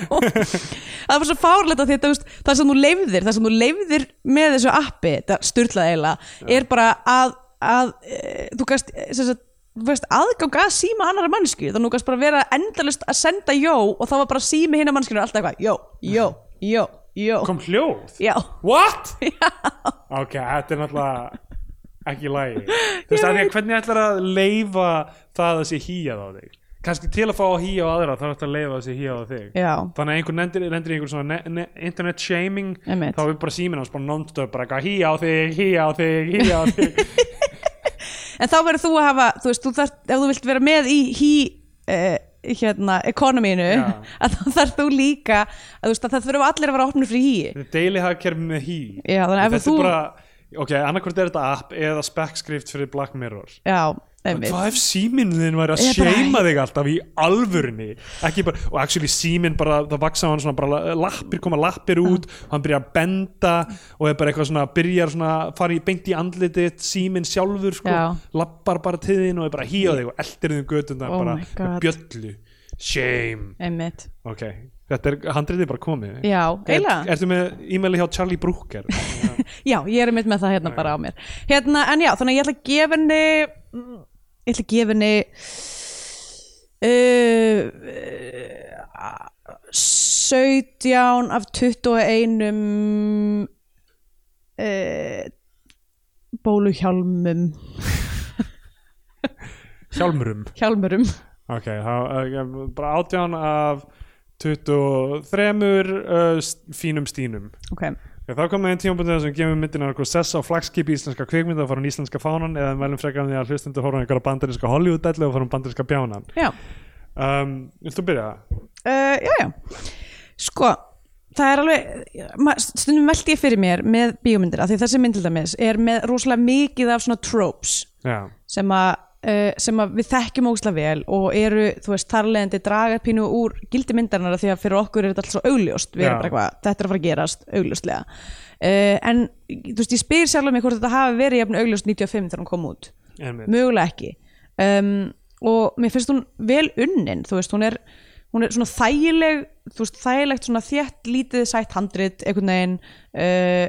Speaker 3: það var svo fárlegt að því að þú veist, það sem þú leifðir, það sem þú leifðir með þessu appi, þetta styrlað eiginlega, er bara að, að e, þú gast, e, sem sagt, þú veist, aðgang að síma annara mannsku, þannig að þú gast bara vera endalust að senda jó og þá var bara sími hinna mannskinu alltaf eitthvað, jó, jó, jó, jó,
Speaker 2: kom hljóð,
Speaker 3: já, [laughs]
Speaker 2: what? ok, þetta er náttúrulega ekki í lagi þú veist, af því að hvernig ætlar að leifa það að sé hýjað á þig kannski til að fá að hýja á aðra þá ætlar að leifa að sé hýjað á þig
Speaker 3: já,
Speaker 2: þannig að einhver lendir, lendir í einhver svona ne- ne- internet shaming
Speaker 3: Einmitt.
Speaker 2: þá er bara síminn hans bara non-stop bara eitthvað hýja á þig, hýja á þig, hýja á þig
Speaker 3: [laughs] en þá verður þú að hafa, þú veist, þú þarft, ef þú vilt vera með í hí, e, hérna, ekonomínu,
Speaker 2: Já.
Speaker 3: [laughs] að þá þarf þú líka, að þú veist, að það þurfa allir að vera opnir fyrir hí.
Speaker 2: þetta er daily hagkerfi með hý
Speaker 3: Já, þannig að ef
Speaker 2: þetta
Speaker 3: þú-
Speaker 2: er bara, ok, annarkvort er þetta app eða spekskrift fyrir Black Mirror
Speaker 3: Já, einmitt
Speaker 2: hvað ef síminn þinn væri að
Speaker 3: Ég bara-
Speaker 2: seima þig alltaf í alvörunni ekki bara, og actually síminn bara það vaksa á hann svona bara lappir koma lappir út og hann byrjar að benda og er bara eitthvað svona, byrjar svona fara í beint í andlitið, síminn sjálfur sko,
Speaker 3: Já.
Speaker 2: lappar bara til þín og er bara að hýja á þig og eldir þig um götuna
Speaker 3: Oh
Speaker 2: bara
Speaker 3: my
Speaker 2: með
Speaker 3: God.
Speaker 2: bjöllu shame,
Speaker 3: Einmitt,
Speaker 2: ok þetta er, handriðið er bara komið
Speaker 3: já,
Speaker 2: Er,
Speaker 3: eiginlega
Speaker 2: ertu með e-maili hjá Charlie
Speaker 3: [laughs]
Speaker 2: Brooker
Speaker 3: Já, ég er einmitt með það hérna bara á mér Hérna, en já, þannig að ég ætla að gefa henni Ég ætla að gefa henni uh, uh, 17 af 21 uh, Bóluhjálmum
Speaker 2: Hjálmurum
Speaker 3: Hjálmurum
Speaker 2: Ok, þá eh, bara átján af 23 uh, s- fínum stínum
Speaker 3: Ok,
Speaker 2: Ok, Þá komum við einn tímabundið sem gefum myndina okkur sessa á flagskipi íslenska kvikmynda og farum íslenska fánan eða við mælum frekar um því að hlustundu horfum á einhverja bandarinska Hollywood-dællu og farum bandarinska bjánan
Speaker 3: já
Speaker 2: um, Viltu byrja?
Speaker 3: uh, já, já sko, það er alveg ma- stundum veldi ég fyrir mér með bíómyndir af því þessi mynd til dæmis er með rosalega mikið af svona tropes
Speaker 2: Já,
Speaker 3: sem að Uh, sem að við þekkjum ógislega vel og eru, þú veist, þarlegandi draga pínu úr gildi myndarinnar af því að fyrir okkur er þetta alltaf svo augljóst, við erum
Speaker 2: Já.
Speaker 3: bara eitthvað þetta er að fara að gerast augljóstlega uh, en, þú veist, ég spyr sjálf mig hvort þetta hafi verið jafn augljóst 95 þegar hún kom út
Speaker 2: en mitt
Speaker 3: mögulega ekki um, og mér finnst hún vel unnin þú veist, hún er, hún er svona þægileg þú veist, þægilegt svona þétt lítið sætt handrit, einhvern veginn uh,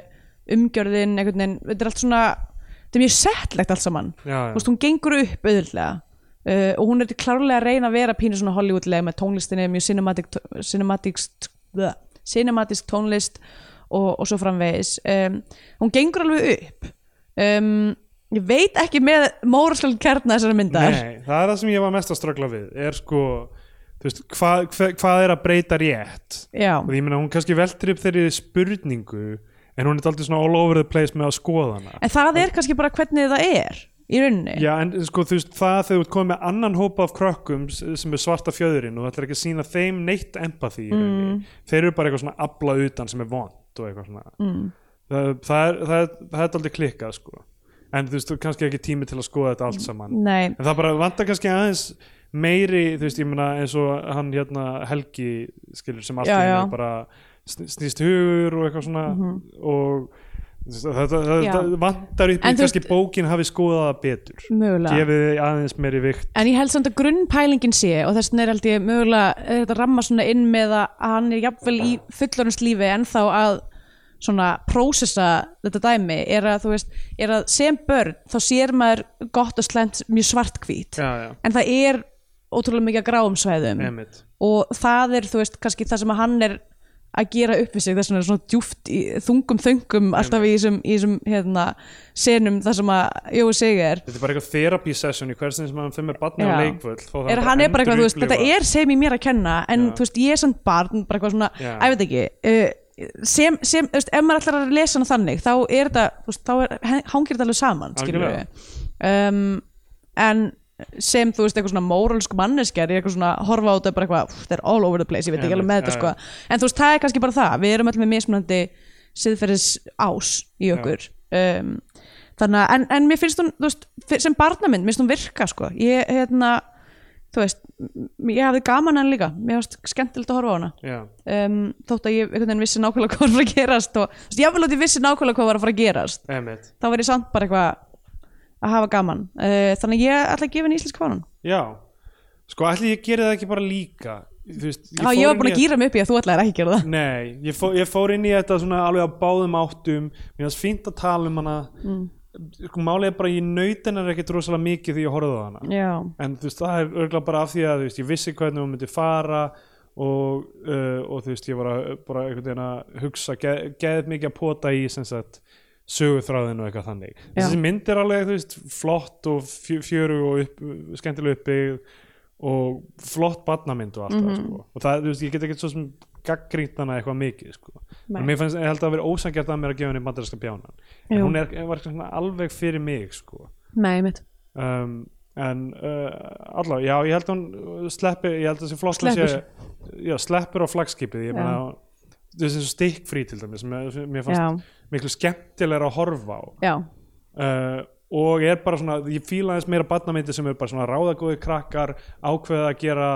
Speaker 3: umgjörðin, einhvern veginn þetta er allt svona, þetta er mjög settlegt allt saman,
Speaker 2: Já, já.
Speaker 3: þú veist, hún gengur upp auðvitað uh, og hún er klárlega að reyna að vera pínu svona Hollywoodlega með tónlistinni mjög cinematic, cinematic, bleh, cinematisk tónlist og, og svo framvegis um, hún gengur alveg upp um, ég veit ekki með móraslega kjarna þessara myndar
Speaker 2: Nei, það er það sem ég var mest að ströggla við er sko þú veist, hvað, hvað, hvað er að breyta rétt
Speaker 3: já,
Speaker 2: og ég meina hún kannski veltir upp þeirri spurningu en hún er daldið svona all over the place með að skoða hana
Speaker 3: en það er kannski bara hvernig það er í rauninni
Speaker 2: Já, en sko þú veist, það þegar þú ert komið með annan hópa af krökkum s- sem er svarta fjöðurinn og þú ætlar ekki að sína þeim neitt empathy mm. þeir eru bara eitthvað svona abla utan sem er vond og eitthvað svona mm. það, það, er, það, er, það er aldrei klikkað sko en þú veist, þú er kannski ekki tími til að skoða þetta allt saman
Speaker 3: Nei,
Speaker 2: en það bara vantar kannski aðeins meiri, þú veist, ég meina eins og hann hérna Helgi skilur sem allt
Speaker 3: Já,
Speaker 2: í einu
Speaker 3: já. Mhm.
Speaker 2: bara sn- snýst hugur og eitthvað svona og þú veist, það, það, það,
Speaker 3: Já.
Speaker 2: það vantar upp í
Speaker 3: En þú
Speaker 2: kannski bókin hafi skoðað það betur
Speaker 3: mögulega
Speaker 2: gefið þið aðeins meiri vikt
Speaker 3: En ég held samt að grunnpælingin sé og þess vegna er held ég mögulega er þetta ramma svona inn með að að hann er jafnvel í fullorðinslífi ennþá að svona prósessa þetta dæmi er að þú veist, er að sem börn þá sér maður gott og slæmt mjög svartkvít
Speaker 2: já, já,
Speaker 3: en það er ótrúlega mikið að gráum svæðum
Speaker 2: emitt
Speaker 3: og það er þú veist kannski það sem að hann er að gera upp við sig þess vegna er svona djúft í þungum þöngum alltaf í þessum, í þessum hérna, senum það sem að Jói Sigur
Speaker 2: þetta er bara eitthvað therapy session í hversin sem hann fyrir með barni á
Speaker 3: Já.
Speaker 2: leikvöld þá þarf
Speaker 3: er,
Speaker 2: bara
Speaker 3: hann er bara eitthvað, þú veist,
Speaker 2: endurupplifa.
Speaker 3: þetta er sem í mér að kenna en
Speaker 2: Já.
Speaker 3: þú veist, ég er samt barn bara eitthvað svona,
Speaker 2: Já.
Speaker 3: að ég veit ekki uh, sem, sem, þú veist, ef maður ætlar að lesa hana þannig þá er þetta, þú veist, þá er, hangir þetta alveg saman, skilur
Speaker 2: Algjörlega.
Speaker 3: við um, en sem, þú veist, eitthvað svona móralsku manneskjar, ég er eitthvað svona að horfa á þetta bara eitthvað, "Úff, þetta er all over the place, ég veit ekki alveg með
Speaker 2: Einmitt, já,
Speaker 3: þetta, sko en þú veist, það er kannski bara það, við erum öll með mismunandi siðferðis ás í okkur um, þannig að, en, en mér finnst hún, þú veist fyr- sem barnamynd, mér finnst hún virka, sko ég, hérna, þú veist m- ég hafði gaman hann líka, mér finnst skemmtilegt að horfa á hana
Speaker 2: já,
Speaker 3: um, þótt að ég einhvern veginn vissi nákvæmlega [laughs] hvað var að fara að gerast og, þú veist, ég að ég vissi nákvæmlega hvað var að fara að gerast
Speaker 2: emitt
Speaker 3: þá var ég samt bara eitthvað að hafa gaman, uh, þannig að ég ætla að gefa henni íslensk kvanan
Speaker 2: já, sko ætli ég geri það ekki bara líka þú veist,
Speaker 3: Já, ég
Speaker 2: fór
Speaker 3: var búin
Speaker 2: inn í-
Speaker 3: að gýra mig upp í að þú ætlaðir ekki að gera það
Speaker 2: Nei, ég, fó, ég fór inn í þetta svona alveg á báðum áttum mér fannst fínt að tala um hana
Speaker 3: Mm.
Speaker 2: sko, málið er bara að ég naut hennar ekkit rosalega mikið því ég horfði á hana
Speaker 3: Já,
Speaker 2: en þú veist, það er örgulega bara af því að þú veist, ég vissi hvernig hún myndi fara og, uh, og þú veist, ég var að bara einhvern veginn að hugsa geð, geðið mikið að pota í sem sagt söguþráðin og eitthvað þannig
Speaker 3: Já.
Speaker 2: þessi mynd er alveg, þú veist, flott og fjö- fjöru og upp, skemmtileg uppbyggð og flott barnamynd og alltaf,
Speaker 3: Mhm.
Speaker 2: sko. og það, þú veist, ég get ekki svo sem gaggrínt hana eitthvað mikið sko.
Speaker 3: Nei.
Speaker 2: en mér fannst, ég held að vera ósangjart að mér að gefa henni bandarinska bjánan, en
Speaker 3: Jú.
Speaker 2: hún er, var svona alveg fyrir mig, sko
Speaker 3: nei, mitt
Speaker 2: um, en uh, allavega, já, ég held að hún uh, sleppi, ég held að þessi flott hún
Speaker 3: Sleppur.
Speaker 2: sé- já, sleppur á flagskipið ég meina, þú veist þessi stikkfrí til dæmis sem ég- sem mér fannst miklu skemmtilega að horfa á
Speaker 3: Já,
Speaker 2: uh, og er bara svona, ég fíla aðeins meira barnamyndi sem er bara svona ráðagóði krakkar ákveða að gera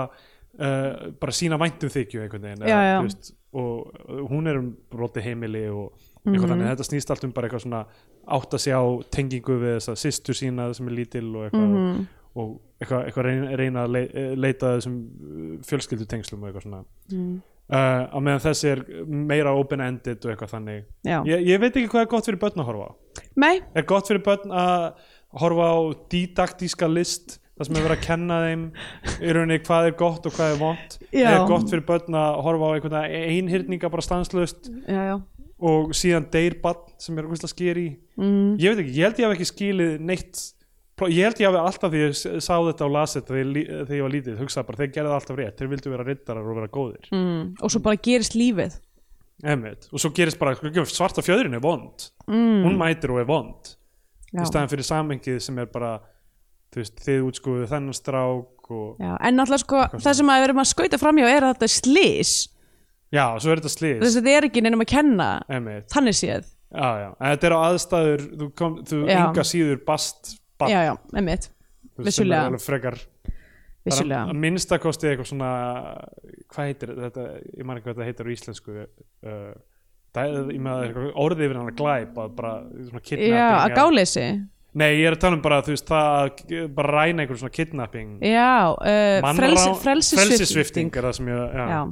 Speaker 2: uh, bara sína væntum þykju einhvern veginn
Speaker 3: Já, já.
Speaker 2: þú veist, og uh, hún er um broti heimili og eitthvað
Speaker 3: Mhm.
Speaker 2: þannig, þetta snýst allt um bara eitthvað svona átt að sjá tengingu við þess að systur sína sem er lítil og eitthvað
Speaker 3: Mhm.
Speaker 2: og eitthvað, eitthvað reyna, reyna að lei- eh, leita að þessum eh, fjölskyldutengslum og eitthvað svona
Speaker 3: Mhm.
Speaker 2: uh, á meðan þessi er meira open-ended og eitthvað þannig
Speaker 3: já
Speaker 2: ég, ég veit ekki hvað er gott fyrir börn að horfa á
Speaker 3: Nei,
Speaker 2: er gott fyrir börn að horfa á didaktíska list það sem er verið að kenna þeim í rauninni hvað er gott og hvað er vont
Speaker 3: Já.
Speaker 2: er gott fyrir börn að horfa á einhvern einhyrninga bara stanslust
Speaker 3: já, já
Speaker 2: og síðan deyr barn sem er úrslega skýri mm. ég veit ekki, ég held ég hafi ekki skilið neitt plot- ég held ég hafi alltaf því ég s- sá þetta og las þetta þegar ég lí- þegar ég var lítið hugsaði bara þeir gerðu það alltaf rétt, þeir vildu vera riddarar og vera góðir mm.
Speaker 3: Og svo bara gerist lífið
Speaker 2: og svo gerist bara svarta fjöðurinn er vond mm. hún mætir og er vond
Speaker 3: já.
Speaker 2: í staðan fyrir samengið sem er bara þú veist, þið útskúðu þennan strák og
Speaker 3: já, En náttúrulega sko, það sem að við erum að skauta framhjá er að þetta er slís
Speaker 2: já, svo er þetta slís
Speaker 3: Þess að þetta er ekki neinum að kenna
Speaker 2: einmitt,
Speaker 3: Þannig séð
Speaker 2: já, já, en þetta er á aðstæður þú, kom, þú
Speaker 3: Já.
Speaker 2: enga síður bast
Speaker 3: Já, já, einmitt, vissulega.
Speaker 2: alveg frekar bara
Speaker 3: vissulega
Speaker 2: að minnsta kosti eitthvað svona hvað heitir þetta, ég man ekki hvað þetta heitir á íslensku uh, það, ég maður eitthvað orðið yfir hann að glæp að bara svona kidnapping
Speaker 3: Já, að
Speaker 2: eða-
Speaker 3: gáleysi
Speaker 2: nei, ég er að tala um bara, þú veist, það að bara ræna einhver svona kidnapping
Speaker 3: Já, uh,
Speaker 2: Mannrán-
Speaker 3: frelsisvifting
Speaker 2: frelsissvipting er það sem ég, já.
Speaker 3: Já,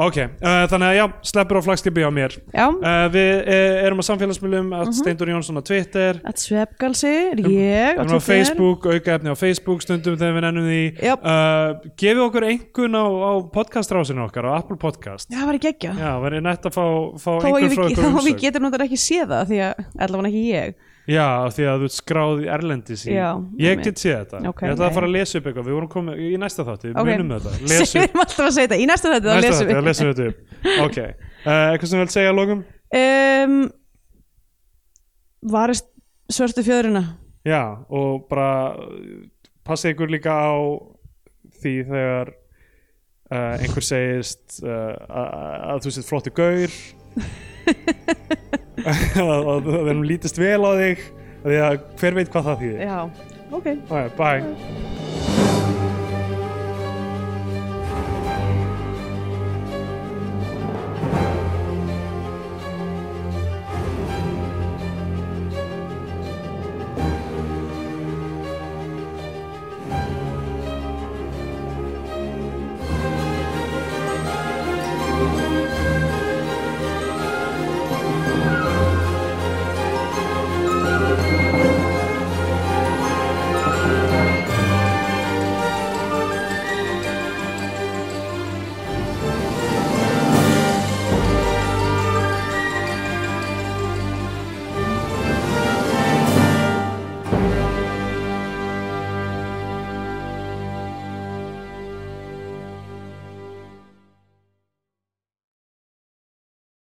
Speaker 2: Ok, uh, þannig að já, sleppur á flagskipi á mér
Speaker 3: já
Speaker 2: uh, Við uh, erum á samfélagsmiðlum
Speaker 3: Mhm.
Speaker 2: að Steindur Jónsson á Twitter
Speaker 3: Að svefgalsi, er ég
Speaker 2: Við Um, erum á Facebook, auka efni á Facebook stundum þegar við nennum því
Speaker 3: Já.
Speaker 2: uh, Gefið okkur einhvern á, á podcastrásinu okkar, á Apple Podcast
Speaker 3: Já, það var ekki ekki
Speaker 2: Já, verið nætt að fá, fá
Speaker 3: Þá að
Speaker 2: einhvern
Speaker 3: ég-
Speaker 2: frá okkur
Speaker 3: þá [laughs] að við
Speaker 2: umsögn
Speaker 3: getum náttúrulega ekki séð það Því að allavega ekki ég
Speaker 2: Já, af því að þú ert skráð í Erlendis í.
Speaker 3: Já,
Speaker 2: Ég
Speaker 3: einmitt.
Speaker 2: get séð þetta
Speaker 3: Ok,
Speaker 2: Ég ætla að
Speaker 3: nei.
Speaker 2: fara að lesa upp eitthvað Við vorum komið í næsta þátti,
Speaker 3: Ok.
Speaker 2: okay. munum þetta
Speaker 3: [laughs] Við
Speaker 2: Lesum,
Speaker 3: erum alltaf að segja þetta, í næsta þetta þá
Speaker 2: næsta
Speaker 3: lesum
Speaker 2: þátti,
Speaker 3: við
Speaker 2: þá lesum við þetta upp Ok, uh, eitthvað sem við vilt segja að lókum?
Speaker 3: um, Varist svörtu fjöðrina
Speaker 2: Já, og bara uh, passið ykkur líka á því þegar uh, einhver segist uh, að, að þú sett flotti gaur að að- að þeim lítist vel á þig af því að hver veit hvað það þýðir
Speaker 3: Já, ok
Speaker 2: All right, bye